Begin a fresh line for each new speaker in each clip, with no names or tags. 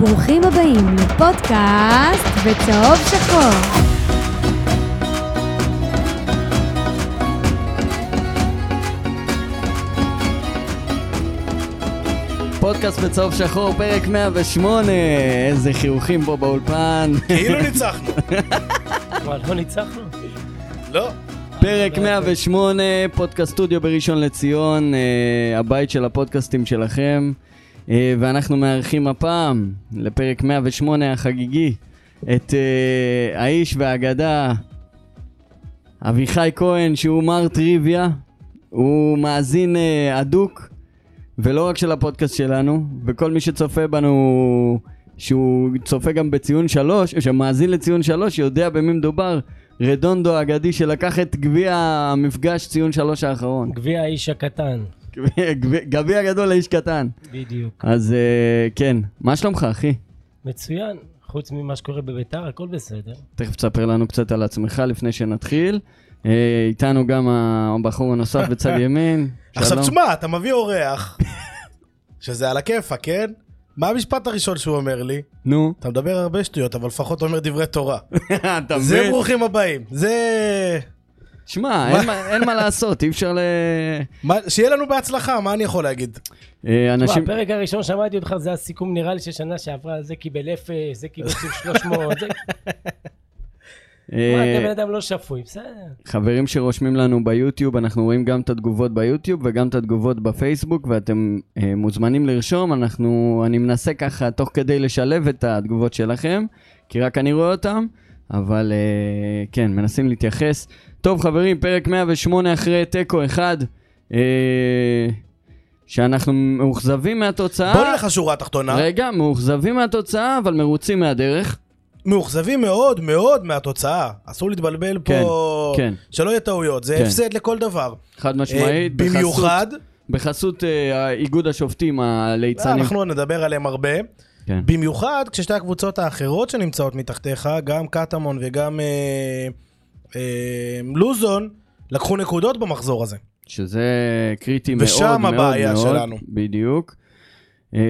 ברוכים הבאים לפודקאסט בצהוב שחור.
פודקאסט בצהוב שחור, פרק 108. איזה חיוכים פה באולפן.
כאילו ניצחנו.
מה, לא ניצחנו?
לא.
פרק 108, פודקאסט סטודיו בראשון לציון, אה, הבית של הפודקאסטים שלכם. אה, ואנחנו מארחים הפעם, לפרק 108 החגיגי, את אה, האיש והאגדה, אביחי כהן, שהוא מר טריוויה. הוא מאזין אה, אדוק. ולא רק של הפודקאסט שלנו, וכל מי שצופה בנו, שהוא צופה גם בציון שלוש, או שמאזין לציון שלוש, יודע במי מדובר. רדונדו האגדי שלקח את גביע המפגש ציון שלוש האחרון.
גביע האיש הקטן,
גביע- גביע- גביע גדול לאיש קטן.
בדיוק.
אז אה, כן, מה שלומך אחי?
מצוין, חוץ ממה שקורה בביתר, הכל בסדר.
תכף תספר לנו קצת על עצמך לפני שנתחיל. אה, איתנו גם הבחור הנוסף בצד ימין.
עכשיו
שלום.
תשמע, אתה מביא אורח, שזה על הכיפה, כן? מה המשפט הראשון שהוא אומר לי?
נו.
אתה מדבר הרבה שטויות, אבל לפחות אומר דברי תורה.
אתה
זה
מבין?
ברוכים הבאים. זה...
שמע, אין מה- אין מה לעשות, אי אפשר ל...
מה- שיהיה לנו בהצלחה, מה אני יכול להגיד?
אה,
תשמע,
אנשים...
הפרק הראשון שמעתי אותך, זה הסיכום נראה לי ששנה שעברה זה קיבל אפס, זה קיבל ציון 300, זה... מה,
אה,
אתה בן אדם לא שפוי, בסדר.
חברים שרושמים לנו ביוטיוב, אנחנו רואים גם את התגובות ביוטיוב וגם את התגובות בפייסבוק, ואתם אה, מוזמנים לרשום, אנחנו, אני מנסה ככה תוך כדי לשלב את התגובות שלכם, כי רק אני רואה אותם, אבל אה, כן, מנסים להתייחס. טוב חברים, פרק 108 אחרי תיקו אחד, אה, שאנחנו מאוכזבים מהתוצאה.
בוא נלך לשורה התחתונה.
רגע, מאוכזבים מהתוצאה, אבל מרוצים מהדרך.
מאוכזבים מאוד מאוד מהתוצאה. אסור להתבלבל פה.
כן, כן.
שלא יהיה טעויות, זה
כן.
הפסד לכל דבר.
חד
אה,
משמעית,
במיוחד,
בחסות אה, איגוד השופטים
אה,
הליצנים.
אנחנו נדבר עליהם הרבה.
כן.
במיוחד כששתי הקבוצות האחרות שנמצאות מתחתיך, גם קטמון וגם אה, אה, לוזון, לקחו נקודות במחזור הזה.
שזה קריטי מאוד
ושם
מאוד מאוד.
הבעיה שלנו.
בדיוק. אה,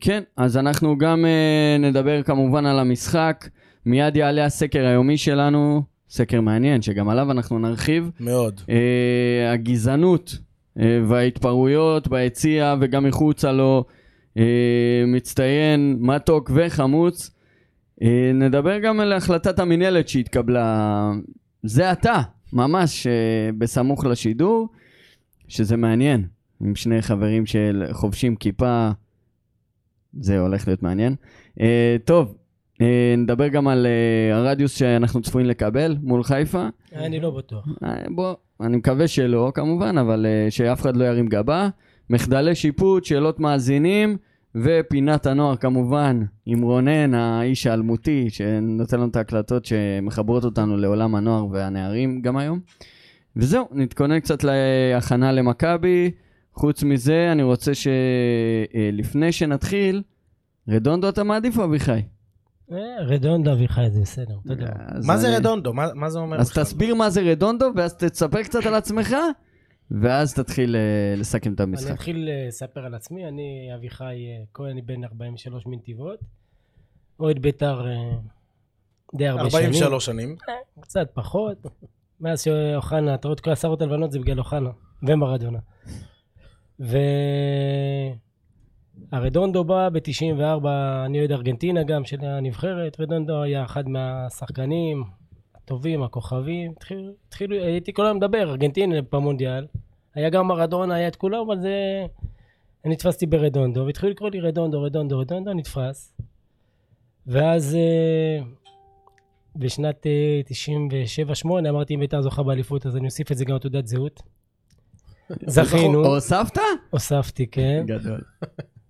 כן, אז אנחנו גם אה, נדבר כמובן על המשחק. מיד יעלה הסקר היומי שלנו, סקר מעניין, שגם עליו אנחנו נרחיב.
מאוד.
אה, הגזענות אה, וההתפרעויות ביציע וגם מחוצה לו, אה, מצטיין, מתוק וחמוץ. אה, נדבר גם על החלטת המינהלת שהתקבלה זה עתה, ממש אה, בסמוך לשידור, שזה מעניין, עם שני חברים של חובשים כיפה, זה הולך להיות מעניין. אה, טוב, אה, נדבר גם על אה, הרדיוס שאנחנו צפויים לקבל מול חיפה.
אני לא בטוח.
אה, בוא, אני מקווה שלא כמובן, אבל אה, שאף אחד לא ירים גבה. מחדלי שיפוט, שאלות מאזינים, ופינת הנוער כמובן, עם רונן, האיש האלמותי, שנותן לנו את ההקלטות שמחברות אותנו לעולם הנוער והנערים גם היום. וזהו, נתכונן קצת להכנה למכבי. חוץ מזה, אני רוצה שלפני שנתחיל, רדונדו אתה מעדיף או אביחי?
אה, רדונדו אביחי זה בסדר, אתה יודע.
אז
מה זה
אני-
רדונדו? מה מה זה אומר?
אז
בכלל?
תסביר מה זה רדונדו, ואז תספר קצת על עצמך, ואז תתחיל אה, לסכם את
אני
המשחק.
אתחיל אה, לספר על עצמי, אני אביחי אה, כהן, אני בן 43 מנתיבות. אוהד ביתר אה, די הרבה שנים.
43 שנים.
קצת פחות. מאז שאוחנה, אתה רואה את כל השערות הלבנות זה בגלל אוחנה ומרדונה. והרדונדו בא ב-94, אני אוהד ארגנטינה גם של הנבחרת, רדונדו היה אחד מהשחקנים הטובים, הכוכבים. התחילו, התחילו, הייתי כל היום מדבר, ארגנטינה במונדיאל. היה גם מרדונה, היה את כולם, אבל זה... אני נתפסתי ברדונדו, והתחילו לקרוא לי רדונדו, רדונדו, רדונדו, נתפס. ואז... אה, בשנת אה, 97-8 אמרתי אם ביתר זוכה באליפות אז אני אוסיף את זה גם לתעודת זהות. זכינו,
הוספת?
הוספתי כן,
גדול.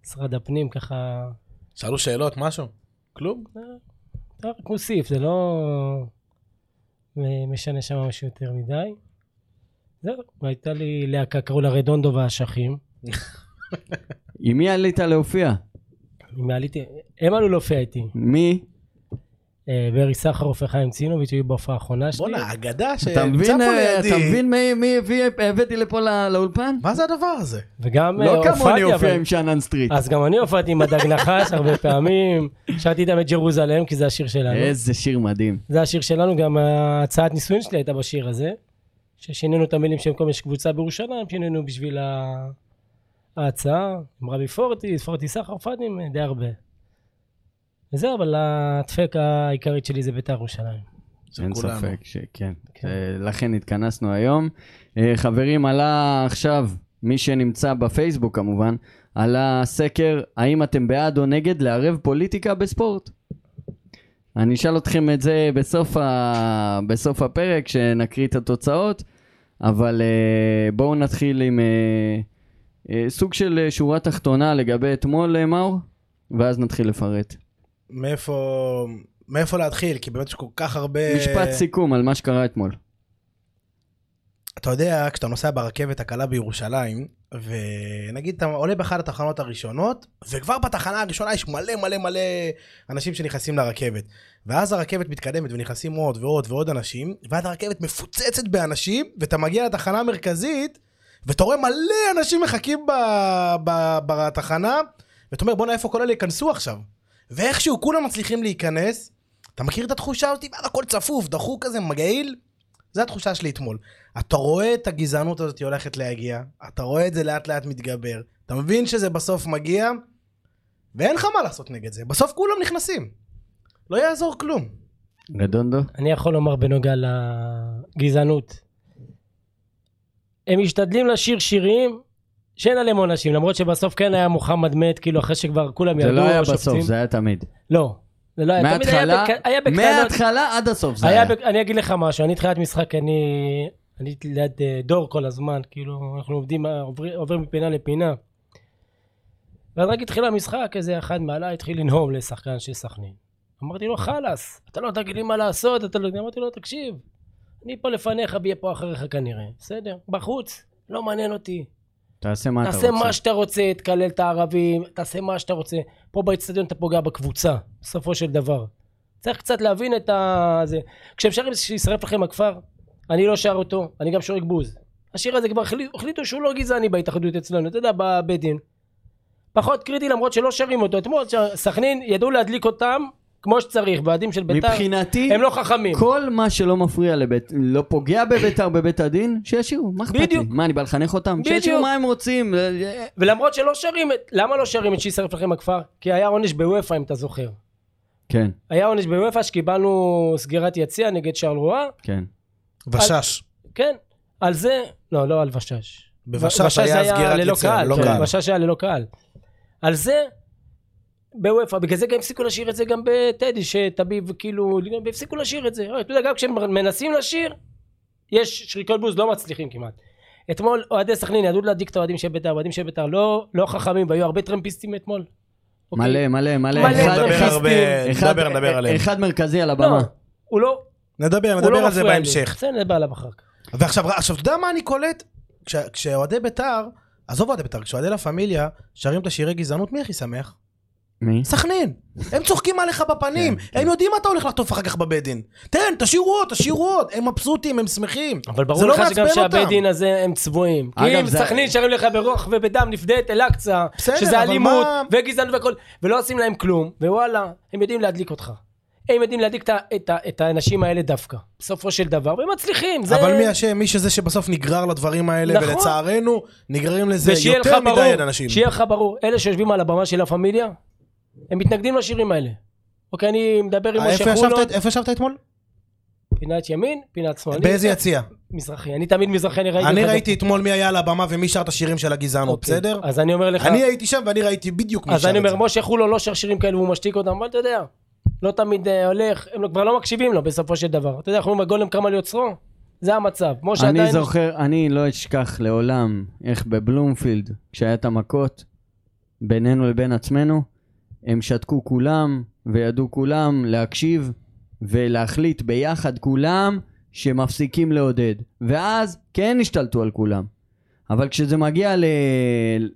משרד הפנים ככה,
שאלו שאלות, משהו? כלום?
טוב, רק מוסיף זה לא משנה שם משהו יותר מדי. זהו, והייתה לי להקה קראו לה רדונדו והאשכים.
עם מי עלית להופיע?
אם עליתי- הם עלו להופיע איתי,
מי?
אה, ברי סחרוף וחיים צינוביץ' היו בהופעה האחרונה שלי.
בואנה, אגדה
אתה
שנמצא
מבין,
פה
אה,
לידי.
אתה מבין מי- מי הביא- הבאתי לפה לא- לאולפן?
מה זה הדבר הזה?
וגם אה,
לא כמוני
הופעתי,
הופיע
אבל- אה,
עם שאנן סטריט.
אז גם אני הופעתי עם הדג נחש הרבה פעמים, שרתי איתם את ג'רוזלם, כי זה השיר שלנו.
איזה שיר מדהים.
זה השיר שלנו, גם הצעת נישואין שלי הייתה בשיר הזה, ששינינו את המילים של כל מיני קבוצה בירושלים, שינינו בשביל ה- ההצעה, עם רבי פורטיס, פורטיס סחר פאדים, די הרבה. וזהו, אבל הדפק העיקרית שלי זה בית"ר ירושלים.
של
אין
כולנו.
ספק שכן.
כן.
אה, לכן התכנסנו היום. אה, חברים, עלה עכשיו, מי שנמצא בפייסבוק כמובן, עלה סקר האם אתם בעד או נגד לערב פוליטיקה בספורט. אני אשאל אתכם את זה בסוף, ה... בסוף הפרק, כשנקריא את התוצאות, אבל אה, בואו נתחיל עם אה, אה, סוג של אה, שורה תחתונה לגבי אתמול, אה, מאור, ואז נתחיל לפרט.
מאיפה... מאיפה להתחיל? כי באמת יש כל כך הרבה...
משפט סיכום על מה שקרה אתמול.
אתה יודע, כשאתה נוסע ברכבת הקלה בירושלים, ונגיד אתה עולה באחת התחנות הראשונות, וכבר בתחנה הראשונה יש מלא מלא מלא אנשים שנכנסים לרכבת. ואז הרכבת מתקדמת ונכנסים עוד ועוד ועוד אנשים, ואז הרכבת מפוצצת באנשים, ואתה מגיע לתחנה המרכזית, ואתה רואה מלא אנשים מחכים ב... ב... בתחנה, ואתה אומר בואנה איפה כל אלה ייכנסו עכשיו. ואיכשהו כולם מצליחים להיכנס, אתה מכיר את התחושה הזאת? וואלה, הכל צפוף, דחוק כזה, מגעיל. זו התחושה שלי אתמול. אתה רואה את הגזענות הזאת הולכת להגיע, אתה רואה את זה לאט לאט מתגבר, אתה מבין שזה בסוף מגיע, ואין לך מה לעשות נגד זה, בסוף כולם נכנסים. לא יעזור כלום.
רדונדו?
אני יכול לומר בנוגע לגזענות. הם משתדלים לשיר שירים שאין עליהם עונשים, למרות שבסוף כן היה מוחמד מת, כאילו אחרי שכבר כולם
זה
ירדו,
לא היה
השופטים.
בסוף, זה היה תמיד.
לא, זה לא היה, תמיד היה
מההתחלה,
בק- היה בקטנות.
מההתחלה עד הסוף זה
היה,
היה.
בק- אני אגיד לך משהו, אני תחילת משחק, אני אני הייתי ליד אה, דור כל הזמן, כאילו, אנחנו עובדים, אה, עובר- עוברים מפינה לפינה. ואז רק התחיל המשחק, איזה אחד מעלה התחיל לנהום לשחקן של סכנין. אמרתי לו, חלאס, אתה לא תגיד לי מה לעשות, אתה לא... אמרתי לו, תקשיב, אני פה לפניך ויהיה פה אחריך כנראה. בסדר, בחוץ, לא מעניין אותי.
תעשה מה אתה רוצה.
תעשה מה שאתה רוצה, תקלל את הערבים, תעשה מה שאתה רוצה. פה באצטדיון אתה פוגע בקבוצה, בסופו של דבר. צריך קצת להבין את ה... זה. כשאפשר שישרף לכם הכפר, אני לא שר אותו, אני גם שורק בוז. השיר הזה כבר החליט- החליטו שהוא לא גזעני בהתאחדות אצלנו, אתה יודע, בבית דין. פחות קריטי למרות שלא שרים אותו. אתמול ש- סכנין ידעו להדליק אותם כמו שצריך, באוהדים של בית"ר,
מבחינתי,
הם לא חכמים.
כל מה שלא מפריע לבית, לא פוגע בביתר בבית הדין, שישירו, מה אכפת לי?
בדיוק.
מה, אני בא לחנך אותם?
בדיוק.
שישירו מה הם רוצים. אה,
ולמרות שלא שרים, את- למה לא שרים את שישרף לכם הכפר? כי היה עונש בוופא אם אתה זוכר.
כן,
היה עונש בוופא שקיבלנו סגירת יציע נגד שרלרואה,
כן.
ושש.
כן, על זה, לא, לא על ושש.
בבשש היה סגירת
ללא
יציע,
קהל,
לא
כן,
קהל.
בשש היה ללא קהל. על זה, בוופא, בגלל זה גם הפסיקו לשיר את זה גם בטדי, שטביב, כאילו, הפסיקו לשיר את זה. אתה יודע, גם כשהם מנסים לשיר, יש שריקות בוז, לא מצליחים כמעט. אתמול אוהדי סכנין ידעו להדליק את האוהדים של בית"ר, האוהדים של בית"ר לא, לא חכמים, והיו הרבה טרמפיסטים אתמול. אוקיי?
מלא, מלא, מלא.
מלא.
אחד-
נדבר
אחד-
הרבה,
אחד- אה,
נדבר, נדבר עליהם.
אחד מרכזי על
לא,
הבמה.
הוא לא,
נדבר,
הוא לא
נדבר על זה
מפריע לי.
בהמשך.
בסדר, נדבר עליו אחר כך.
ועכשיו, עכשיו, אתה יודע מה אני קולט? כש- כשאוהדי בית"ר, עזוב אוהדי בית"ר, כשאוהדי לה פמיליה שרים את השירי גזענות, מי הכי שמח?
מי?
סכנין. הם צוחקים עליך בפנים,
כן, כן.
הם יודעים מה אתה הולך לחטוף אחר כך בבית דין. תן, תשאירו עוד, תשאירו עוד. הם מבסוטים, הם שמחים.
אבל ברור
זה לא
לך שגם
מעצבן
שהבית
אותם.
דין הזה הם צבועים.
אגב,
כי אם
זה-
סכנין שרים לך ברוח ובדם נפדה אל-אקצא,
בסדר,
שזה
אבל
אלימות
מה-
וגזענות והכל, ולא עושים להם כלום, ווואלה, הם יודעים להדליק אותך. הם יודעים להדליק את ה- את ה- את האנשים האלה דווקא, בסופו של דבר, והם מצליחים. זה-
אבל מי אשם? מי שזה שבסוף נגרר לדברים האלה,
נכון.
ולצערנו, נגררים לזה
ושיהיה לך
יותר
ברור,
מדי אנשים.
שיהיה לך ברור, אלה שיושבים על הבמה של לה פמיליה, הם מתנגדים לשירים האלה. אוקיי, אני מדבר עם
אה, איפה
משה חולון,
ישבת- איפה ישבת אתמול?
פינת ימין, פינת שמאלית,
באיזה יציע?
מזרחי. אני תמיד מזרחי, אני ראיתי
אני
אותך גם-
ראיתי אתמול מי היה על הבמה ומי שר את השירים של הגזענות,
אוקיי.
בסדר?
אז אני אומר לך...
אני הייתי שם ואני ראיתי בדיוק מי שר את
אז
זה.
אני אומר, משה חולון לא שר שירים כאלה והוא משתיק אותם, אבל אתה יודע, לא תמיד אה, הולך, הם לא- כבר לא מקשיבים לו בסופו של דבר. אתה יודע, אנחנו אומרים, הגולם קם על יוצרו, זה המצב. משה
אני
עדיין...
זוכר, אני לא אשכח לעולם איך בבלומפילד, כשהיה את המכות בינינו לבין עצמנו, הם שתקו כולם וידעו כולם להקשיב ולהחליט ביחד כולם שמפסיקים לעודד. ואז כן השתלטו על כולם. אבל כשזה מגיע ל...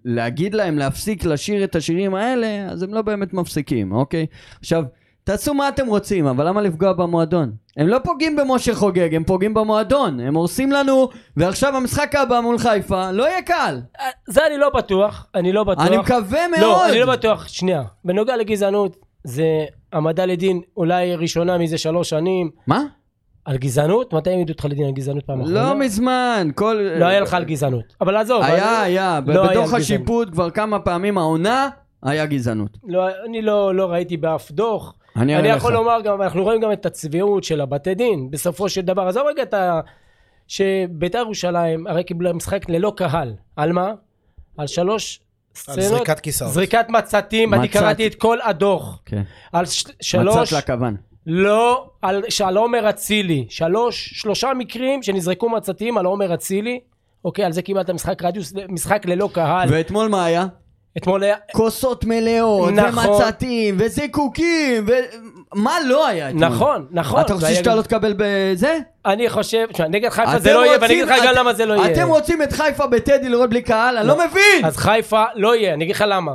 להגיד להם להפסיק לשיר את השירים האלה, אז הם לא באמת מפסיקים, אוקיי? עכשיו, תעשו מה אתם רוצים, אבל למה לפגוע במועדון? הם לא פוגעים במשה חוגג, הם פוגעים במועדון. הם הורסים לנו, ועכשיו המשחק הבא מול חיפה, לא יהיה קל.
אה, זה אני לא בטוח, אני לא בטוח.
אני מקווה מאוד.
לא, אני לא בטוח, שנייה. בנוגע לגזענות, זה העמדה לדין אולי ראשונה מזה שלוש שנים.
מה?
על גזענות? מתי העמידו אותך לדין על גזענות פעם אחרונה?
לא מזמן, כל...
לא היה לך על גזענות. אבל עזוב.
היה,
אני-
היה.
לא
בדוח
היה על גזענות.
השיפוט כבר כמה פעמים העונה, היה גזענות.
לא, אני לא, לא ראיתי באף דוח.
אני
אני
אראה
יכול
לך.
לומר גם, אנחנו רואים גם את הצביעות של הבתי דין, בסופו של דבר. עזוב רגע את ה... שביתר ירושלים הרי קיבלה משחק ללא קהל. על מה? על שלוש
על
סצנות.
זריקת כיסאות.
זריקת מצתים, אני
מצת.
קראתי את כל הדוח.
כן.
על ש-
מצאת
שלוש...
לה כוון.
לא, על, על עומר אצילי. שלוש, שלושה מקרים שנזרקו מצתים על עומר אצילי. אוקיי, על זה קיבלת משחק רדיוס, משחק ללא קהל. ו...
ואתמול מה היה?
אתמול היה...
כוסות מלאות,
נכון.
ומצתים, וזיקוקים, ו... מה לא היה אתמול?
נכון, נכון.
אתה חושב
והיה
שאתה
גם-
לא תקבל בזה?
אני חושב, תשמע, נגד חיפה זה
אתם
לא יהיה, ואני
רוצים-
אגיד לך גם
את-
למה זה לא יהיה.
אתם רוצים את חיפה בטדי לראות בלי קהל? אני לא מבין!
אז חיפה לא יהיה, אני אגיד לך למה.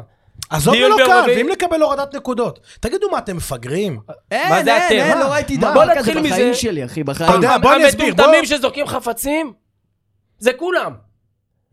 עזוב
דיון
ולא קל,
ברביעי.
ואם נקבל הורדת נקודות. תגידו מה, אתם מפגרים?
אין,
מה זה
אין,
אתם?
אין,
מה?
לא ראיתי
מה?
דבר
בוא
כזה
נתחיל מזה.
בחיים שלי, אחי, בחיים.
אתה יודע, בוא אני אסביר, בוא-
המטומטמים שזורקים חפצים, זה כולם.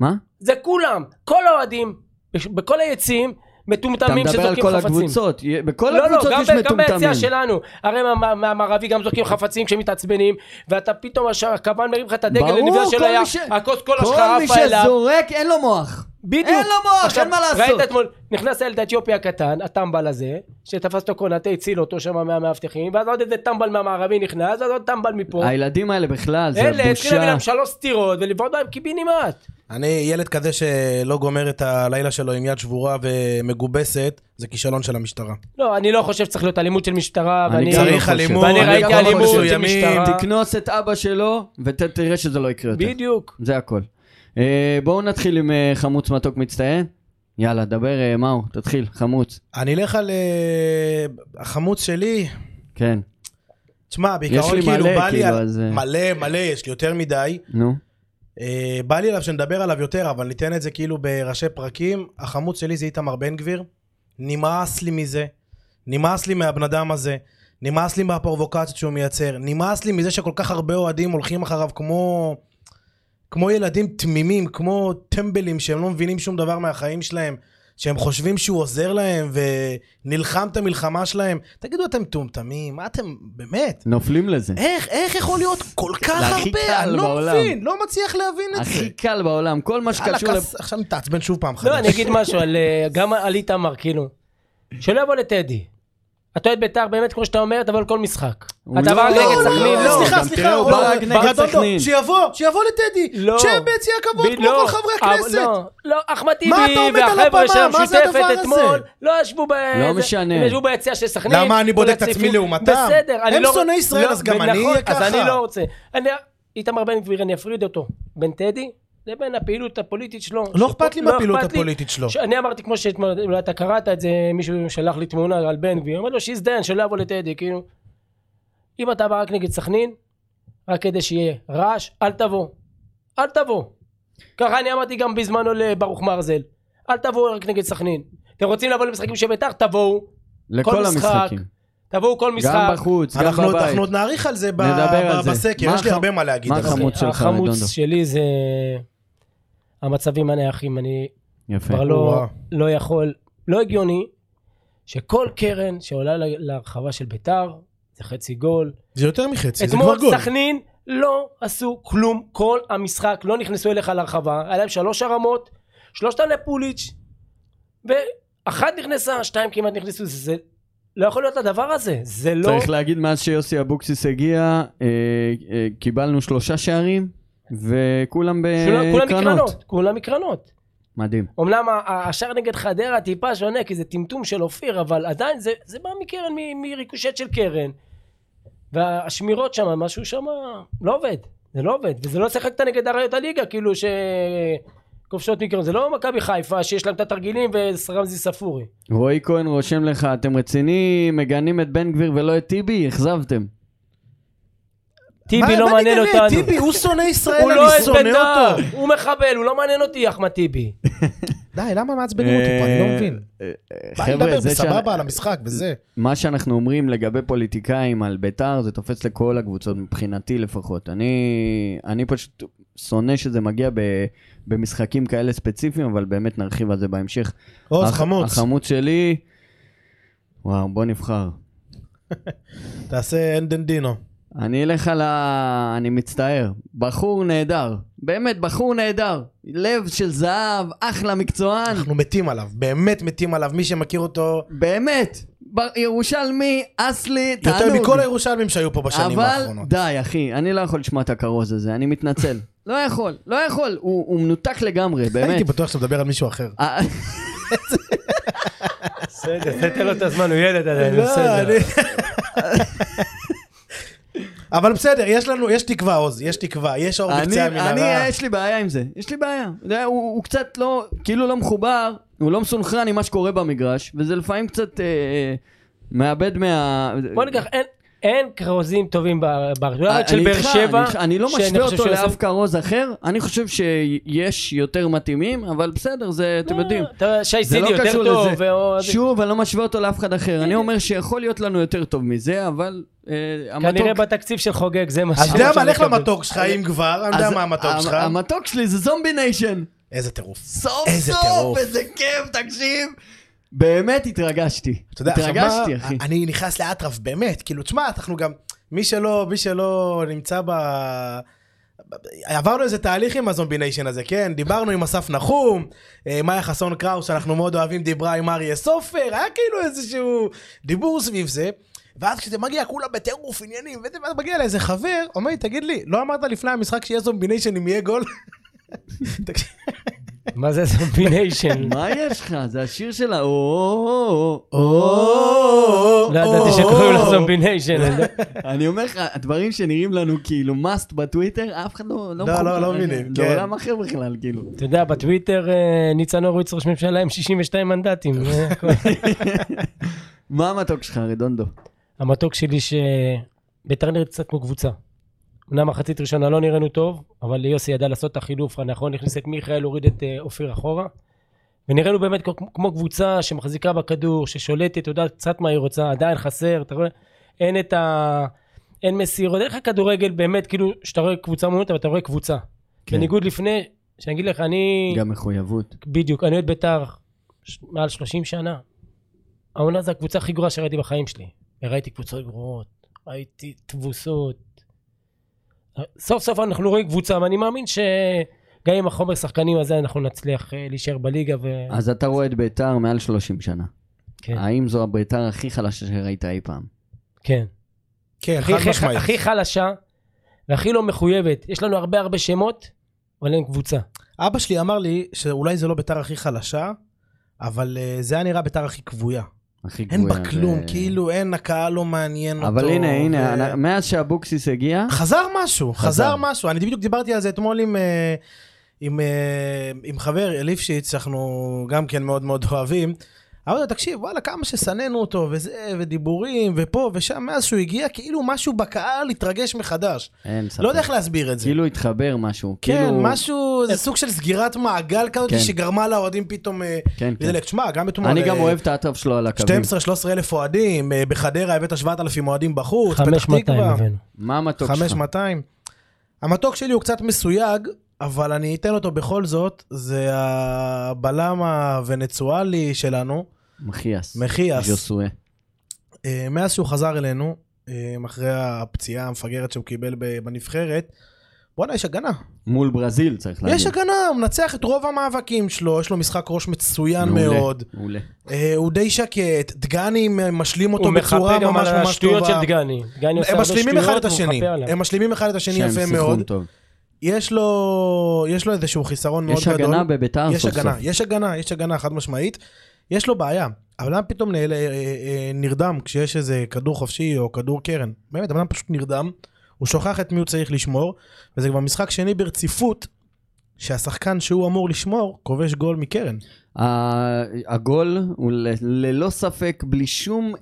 מה?
זה כולם. כל האוהדים, בש- בכל היציעים,
אתה
מטומטמים
מדבר על
שזורקים
כל
חפצים.
הקבוצות. יה- בכל
לא, לא,
הקבוצות
גם,
יש
ב- גם
מטומטמים.
ביציאה שלנו. הרי מה- מה- מהמערבי גם זורקים חפצים כשמתעצבנים, ואתה פתאום, הש- הכוון מרים לך את הדגל
ברור,
לנביאה
כל
של היה,
מי ש-
הכוס כל
כל
אשך
מי
עפה אליו.
שזורק, אין לו מוח.
בדיוק.
אין לו מוח,
עכשיו,
אין מה לעשות.
ראית אתמול, נכנס הילד האתיופי הקטן, הטמבל הזה, שתפס אותו קונטה, הציל אותו שם מהמאבטחים, ואז עוד איזה טמבל מהמערבי נכנס, ואז עוד טמבל מפה.
הילדים האלה בכלל, זה
אלה התחילו להביא
בושה.
להם שלוש סטירות ולבעוט בהם קיבינימט.
אני ילד כזה שלא גומר את הלילה שלו עם יד שבורה ומגובסת, זה כישלון של המשטרה.
לא, אני לא חושב שצריך להיות אלימות של משטרה,
אני
ואני...
גם לא
צריך
חושב.
אלימות, לא
ואני
גם
ראיתי
במקומות
אלימות של
מסוימים.
משטרה.
תקנוס את אבא שלו ותראה שזה לא יקרה יותר.
בדיוק.
זה הכל. אה, בואו נתחיל עם אה, חמוץ מתוק מצטיין. יאללה, דבר אה, מאו, תתחיל, חמוץ.
אני אלך על אה, החמוץ שלי,
כן,
תשמע,
לי
בעיקרון
מלא,
כאילו בא לי
כאילו,
על...
אז, אה.
מלא, מלא, יש לי יותר מדי.
נו.
אה, בא לי עליו שנדבר עליו יותר, אבל ניתן את זה כאילו בראשי פרקים. החמוץ שלי זה איתמר בן גביר. נמאס לי מזה. נמאס לי מהבן אדם הזה. נמאס לי מהפרובוקציות שהוא מייצר. נמאס לי מזה שכל כך הרבה אוהדים הולכים אחריו כמו... כמו ילדים תמימים, כמו טמבלים שהם לא מבינים שום דבר מהחיים שלהם. שהם חושבים שהוא עוזר להם ונלחם את המלחמה שלהם. תגידו, אתם מטומטמים? מה אתם... באמת?
נופלים לזה.
איך, איך יכול להיות כל כך
זה הכי
הרבה?
קל
אני לא
בעולם.
מבין, לא מצליח להבין את זה.
הכי קל בעולם, כל מה
יאללה,
שקשור...
כס- עכשיו נתעצבן שוב פעם חדש.
לא, אני אגיד משהו על, אה, גם על איתמר, כאילו. שלא יבוא לטדי. אתה אוהד בית"ר באמת, כמו שאתה אומר, תבוא לכל משחק.
הוא
אתה
לא- לא,
בא נגד
לא,
סכנין,
לא,
לא.
גם
סליחה,
תראה,
סליחה,
הוא
הוא לא-
בא רק נגד
ברדוגו,
סכנין.
שיבוא, שיבוא לטדי.
לא.
שיהיה ביציע הכבוד
ב-
כמו
לא,
כל חברי
אבל
הכנסת.
לא, לא, אחמד
מה אתה
טיבי
עומד על
והחבר'ה
הבמה?
של
מה זה
המשותפת
הדבר הזה?
אתמול, לא ישבו ב...
לא
זה-
משנה.
הם ישבו ביציע של סכנין.
למה אני
כל
בודק את עצמי
הצפיפות.
לעומתם?
בסדר, אני
הם
לא...
שונאי
לא-
ישראל, אז גם אני
נכון,
אהיה
אז
ככה.
אני לא רוצה. אני- איתמר בן גביר, אני אפריד אותו. בין טדי לבין הפעילות הפוליטית שלו.
לא אכפת לי
שפה- לא
מהפעילות
אכפת לי.
הפוליטית שלו.
שאני אמרתי, כמו שאתמול, אולי אתה קראת את זה, מישהו שלח לי תמונה על בן גביר, אמר לו שיזדיין, שלא יבוא לטדי, כאילו. אם אתה בא רק נגד סכנין, רק כדי שיהיה רעש, אל תבוא. אל תבוא. ככה אני אמרתי גם בזמנו לברוך מרזל. אל תבואו רק נגד סכנין. אתם רוצים לבוא למשחקים של בית"ר? תבואו.
לכל
כל משחק,
המשחקים.
תבואו כל משחק.
גם בחוץ, גם
אנחנו עוד-
בבית.
אנחנו עוד נעריך על זה ב-
נדבר על
ב-
זה.
בסקר,
מה
יש לי
הח-
הרבה מה להגיד.
מה
על זה.
החמוץ? שלך, רדונדו.
החמוץ שלי זה המצבים הנייחים. אני
יפה.
כבר לא,
וואו.
לא יכול, לא הגיוני שכל קרן שעולה ל- להרחבה של ביתר, זה חצי גול.
זה יותר מחצי, זה כבר
אתמול
גול.
סכנין לא עשו כלום, כל המשחק לא נכנסו אליך להרחבה, היה להם שלוש הרמות, שלושתן לפוליץ', ואחת נכנסה, שתיים כמעט נכנסו, זה- זה לא יכול להיות הדבר הזה, זה לא...
צריך להגיד, מאז שיוסי אבוקסיס הגיע, אה, אה, קיבלנו שלושה שערים, וכולם
כולם- כולם
בקרנות.
מקרנות, כולם מקרנות.
מדהים.
אמנם ה- ה- השער נגד חדרה טיפה שונה, כי זה טמטום של אופיר, אבל עדיין זה, זה בא מקרן, מ- מריקושט של קרן. והשמירות שם, משהו שם לא עובד, זה לא עובד. וזה לא שיחקת נגד אריות הליגה, כאילו שכובשות מקרן. זה לא מכבי חיפה, שיש להם את התרגילים ורמזי ספורי.
רועי כהן רושם לך, אתם רציניים, מגנים את בן גביר ולא את טיבי? אכזבתם.
טיבי
מה-
לא
מה
מעניין
נגלה?
אותנו.
טיבי, הוא שונא ישראל,
הוא לא
אני
אוהד
שונא אותו.
בית"ר, הוא מחבל, הוא לא מעניין אותי, אחמד טיבי.
די, למה מעצבנים אותי פה? אני לא מבין.
אה, אה,
אני מדבר
חבר'ה, זה
בסבבה על
שה-
המשחק וזה.
מה שאנחנו אומרים לגבי פוליטיקאים על ביתר, זה תופס לכל הקבוצות, מבחינתי לפחות. אני, אני פשוט שונא שזה מגיע ב, במשחקים כאלה ספציפיים, אבל באמת נרחיב על זה בהמשך.
עוז
הח-
חמוץ,
החמוץ שלי, וואו, בוא נבחר.
תעשה אנדנדינו.
כן. אני אלך על ה... אני מצטער. בחור נהדר. באמת, בחור נהדר. לב של זהב, אחלה מקצוען.
אנחנו מתים עליו, באמת מתים עליו, מי שמכיר אותו,
באמת. ב- ירושלמי, אסלי, תענוג.
יותר מכל הירושלמים שהיו פה בשנים האחרונות.
אבל די, אחי, אני לא יכול לשמוע את הכרוז הזה, אני מתנצל. לא יכול, לא יכול. הוא הוא מנותק לגמרי,
הייתי
באמת.
בטוח שאתה מדבר על מישהו אחר.
אה,
בסדר, זה תן לו את הזמן, הוא ילד עדיין,
לא,
בסדר.
אני- אבל בסדר, יש לנו, יש תקווה עוז, יש תקווה, יש אור
אני,
בקצה
אני,
המנהרה.
יש לי בעיה עם זה. יש לי בעיה. אתה יודע, הוא, הוא קצת לא, כאילו לא מחובר, הוא לא מסונכרן עם מה שקורה במגרש, וזה לפעמים קצת אה, אה, מאבד מה... אה,
בוא ניקח, אין- אין כרוזים טובים בארץ. אולי רק של
אני
באר
איתך,
שבע.
אני איתך, אני לא
שאני
משווה
חושב
אותו
שהוא
לאף
עושה-
כרוז אחר, אני חושב שיש יותר מתאימים, אבל בסדר, זה, אתם יודעים.
אתה יודע, שי
זה
סידי
לא
יותר
קשור
טוב.
לזה.
ואו-
שוב, אני לא משווה אותו לאף אחד אחר. אני אומר שיכול להיות לנו יותר טוב מזה, אבל אה,
כנראה
המתוק...
בתקציב של חוגג, זה מה ש...
אז אתה יודע מה, לך למתוק שלך, אם כבר, אני יודע
אז אמ-
מה המתוק
המ-
שלך.
המתוק שלי זה זומבי ניישן.
איזה טירוף.
סוף
איזה
סוף,
טירוף.
איזה כיף, תקשיב. באמת התרגשתי.
אתה יודע, עכשיו
התרגשתי,
מה,
אחי.
אני נכנס לאטרף, באמת, כאילו, תשמע, אנחנו גם, מי שלא, מי שלא נמצא ב... עברנו איזה תהליך עם הזומבי ניישן הזה, כן? דיברנו עם אסף נחום, אה, מאיה חסון קראוס, שאנחנו מאוד אוהבים, דיברה עם אריה סופר, היה כאילו איזשהו דיבור סביב זה. ואז כשזה מגיע כולם בטירוף עניינים, וזה, ואז מגיע לאיזה חבר, אומר לי, תגיד לי, לא אמרת לפני המשחק שיהיה זומבי ניישן אם יהיה גול? תקשיב,
מה זה זומביניישן?
מה יש לך? זה השיר שלה, או, או, או,
או,
או.
לא ידעתי שקוראים לו זומביניישן. אני לא-
אני אומר לך, הדברים שנראים לנו כאילו must בטוויטר, אף אחד לא...
לא,
מחובר.
לא, לא מבינים,
זה
כן.
עולם אחר בכלל, כאילו.
אתה יודע, בטוויטר אה, ניצן הורוביץ ראש ממשלה עם 62 מנדטים. זה הכל.
מה המתוק שלך, רדונדו?
המתוק שלי שביתר נראית קצת כמו קבוצה. אמנם מחצית ראשונה לא נראינו טוב, אבל יוסי ידע לעשות את החילוף הנכון, הכניס את מיכאל, הוריד את אה, אופיר אחורה. ונראינו באמת כמו- כמו קבוצה שמחזיקה בכדור, ששולטת, יודעת קצת מה היא רוצה, עדיין חסר, אתה רואה? אין את ה... אין מסירות, אין לך כדורגל באמת, כאילו, שאתה רואה קבוצה מונית, אבל אתה רואה קבוצה.
כן.
בניגוד לפני, שאני אגיד לך, אני...
גם מחויבות.
בדיוק, אני אוהד בית"ר ש- מעל 30 שנה. העונה זו הקבוצה הכי גרועה שראיתי בחיים שלי. ראיתי קבוצות גרועות, ראיתי תבוסות. סוף סוף אנחנו רואים קבוצה, ואני מאמין שגם עם החומר שחקנים הזה אנחנו נצליח אה, להישאר בליגה ו...
אז אתה רואה את ביתר מעל 30 שנה.
כן.
האם זו הביתר הכי חלשה שראית אי פעם?
כן.
כן,
הכי-
חד
הכי-
משמעית.
הכי חלשה והכי לא מחויבת. יש לנו הרבה הרבה שמות, אבל אין קבוצה.
אבא שלי אמר לי שאולי זה לא ביתר הכי חלשה, אבל אה, זה היה נראה ביתר הכי כבויה.
הכי
אין
גבוהה.
בה כלום,
ו-
כאילו אין, הקהל לא מעניין אותו.
אבל הנה,
ו-
הנה, אנ- מאז שאבוקסיס הגיע,
חזר משהו,
חזר.
חזר משהו. אני בדיוק דיברתי על זה אתמול עם... אה, עם, אה, עם חבר ליפשיץ, שאנחנו גם כן מאוד מאוד אוהבים. אמרתי לו, תקשיב, וואלה, כמה ששנאנו אותו, וזה, ודיבורים, ופה ושם, מאז שהוא הגיע, כאילו משהו בקהל התרגש מחדש.
אין ספק.
לא יודע איך להסביר את זה.
כאילו התחבר משהו.
כן,
כאילו-
משהו, זה סוג של סגירת מעגל כזאת
כן.
שגרמה לאוהדים פתאום... אה,
כן, כן.
לדלק. תשמע, גם אתמול...
אני
אה,
גם אוהב את האטרף שלו על הקווים.
12-13 אלף אוהדים, אה, בחדרה הבאת 7,000 אוהדים בחוץ, פתח
5,200
תקווה,
הבאנו.
מה המתוק שלך?
5,200. המתוק שלי הוא קצת מסויג, אבל אני אתן אותו בכל זאת, זה הבלם הוונצואלי שלנו,
מחיאס.
מחיאס.
ז'וסואה.
אה, מאז שהוא חזר אלינו, אה, אחרי הפציעה המפגרת שהוא קיבל ב- בנבחרת, בואנה, יש הגנה.
מול ברזיל, צריך להגיד.
יש הגנה, הוא מנצח את רוב המאבקים שלו, יש לו משחק ראש מצוין
מעולה,
מאוד.
מעולה.
אה, הוא די שקט, דגני משלים אותו
הוא
בצורה
מחפה
ממש ממש
גם
טובה.
על השטויות של דגני. דגני עושה
הם
הרבה
משלימים אחד את
שטויות, הוא
השני,
מחפה עליהם.
הם משלימים אחד את השני
שהם
יפה
שיחקו
מאוד.
טוב.
יש לו יש לו איזשהו חיסרון מאוד
יש
גדול.
הגנה בביתר
יש
סוף סוף.
הגנה, יש הגנה, יש הגנה חד משמעית. יש לו בעיה, אבל למה פתאום נעל- אה, אה, נרדם כשיש איזה כדור חופשי או כדור קרן? באמת, אבל למה פשוט נרדם? הוא שוכח את מי הוא צריך לשמור, וזה כבר משחק שני ברציפות, שהשחקן שהוא אמור לשמור כובש גול מקרן.
ה- הגול הוא ל- ללא ספק, בלי שום...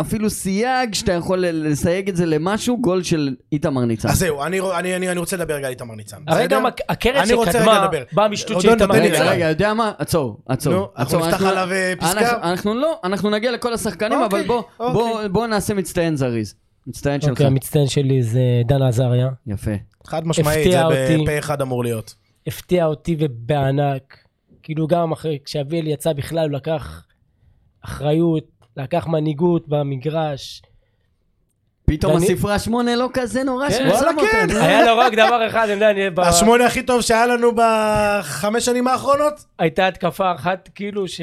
אפילו סייג שאתה יכול ל- לסייג את זה למשהו, גול של איתמר ניצן.
אז זהו, אני, אני, אני, אני רוצה לדבר רגע על איתמר ניצן.
הרי
בסדר?
גם הק- הקרן
אני רוצה רגע
שקדמה
לדבר.
באה משטות
עודון,
שהייתה
תן לי
רגע,
רגע.
רגע, יודע מה? עצור, עצור.
נו, אנחנו
עצור,
נפתח עליו, אה, פסקה?
אנחנו- אנחנו לא, אנחנו נגיע לכל השחקנים,
אוקיי,
אבל בוא-
אוקיי.
בוא- בוא נעשה מצטיין זריז. מצטיין שלך.
אוקיי, המצטיין שלי זה דן עזריה.
יפה.
חד משמעית, זה
הפתיע אותי.
בפה אחד אמור להיות.
הפתיע אותי ובענק. כאילו גם אחרי, כשאביאל יצא בכלל, הוא לקח אחריות, לקח מנהיגות במגרש.
פתאום
ואני-
הספרה שמונה לא כזה נורא
כן.
שהוא
וואלה,
שם אותנו.
היה לו רק דבר אחד, אני יודע, אני- ב-
השמונה הכי טוב שהיה לנו בחמש שנים האחרונות?
הייתה התקפה אחת, כאילו ש...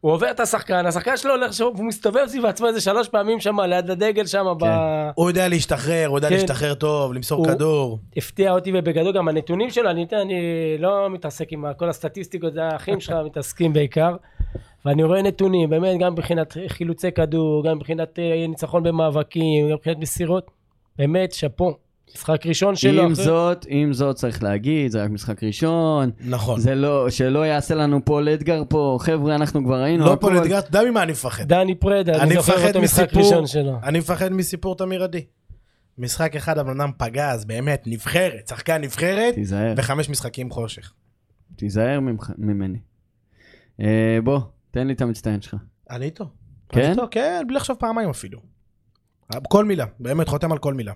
הוא עובר את השחקן, השחקן שלו הולך, שם, והוא מסתובב סביב עצמו איזה שלוש פעמים שם, ליד הדגל שם, ב...
כן.
הוא יודע להשתחרר, הוא יודע
כן.
להשתחרר טוב, למסור
הוא-
כדור.
הפתיע אותי, ובגדול גם הנתונים שלו, אני, יודע, אני לא מתעסק עם כל הסטטיסטיקות, זה האחים שלך מתעסקים בעיקר. ואני רואה נתונים, באמת, גם מבחינת חילוצי כדור, גם מבחינת אה, ניצחון במאבקים, גם מבחינת מסירות, באמת, שאפו. משחק ראשון שלו.
עם
אחרי-
זאת, עם זאת צריך להגיד, זה רק משחק ראשון.
נכון.
זה לא, שלא יעשה לנו פול אדגר פה, חבר'ה, אנחנו כבר היינו.
לא
הכל-
פה לאתגר, אתה יודע ממה אני מפחד.
דני פרדה, אני
אני
זוכר
מפחד
אותו משחק
מסיפור,
ראשון שלו.
אני מפחד מסיפור תמיר עדי. משחק אחד הבן אדם פגע, אז באמת, נבחרת, שחקן נבחרת,
תיזהר,
וחמש משחקים חושך.
תיזהר ממך- ממני. אה, בוא, תן לי את המצטיין שלך.
אני איתו.
כן?
אני איתו, כן, בלי לחשוב פעמיים אפילו. כל מילה, באמת, חותם על כל מילה.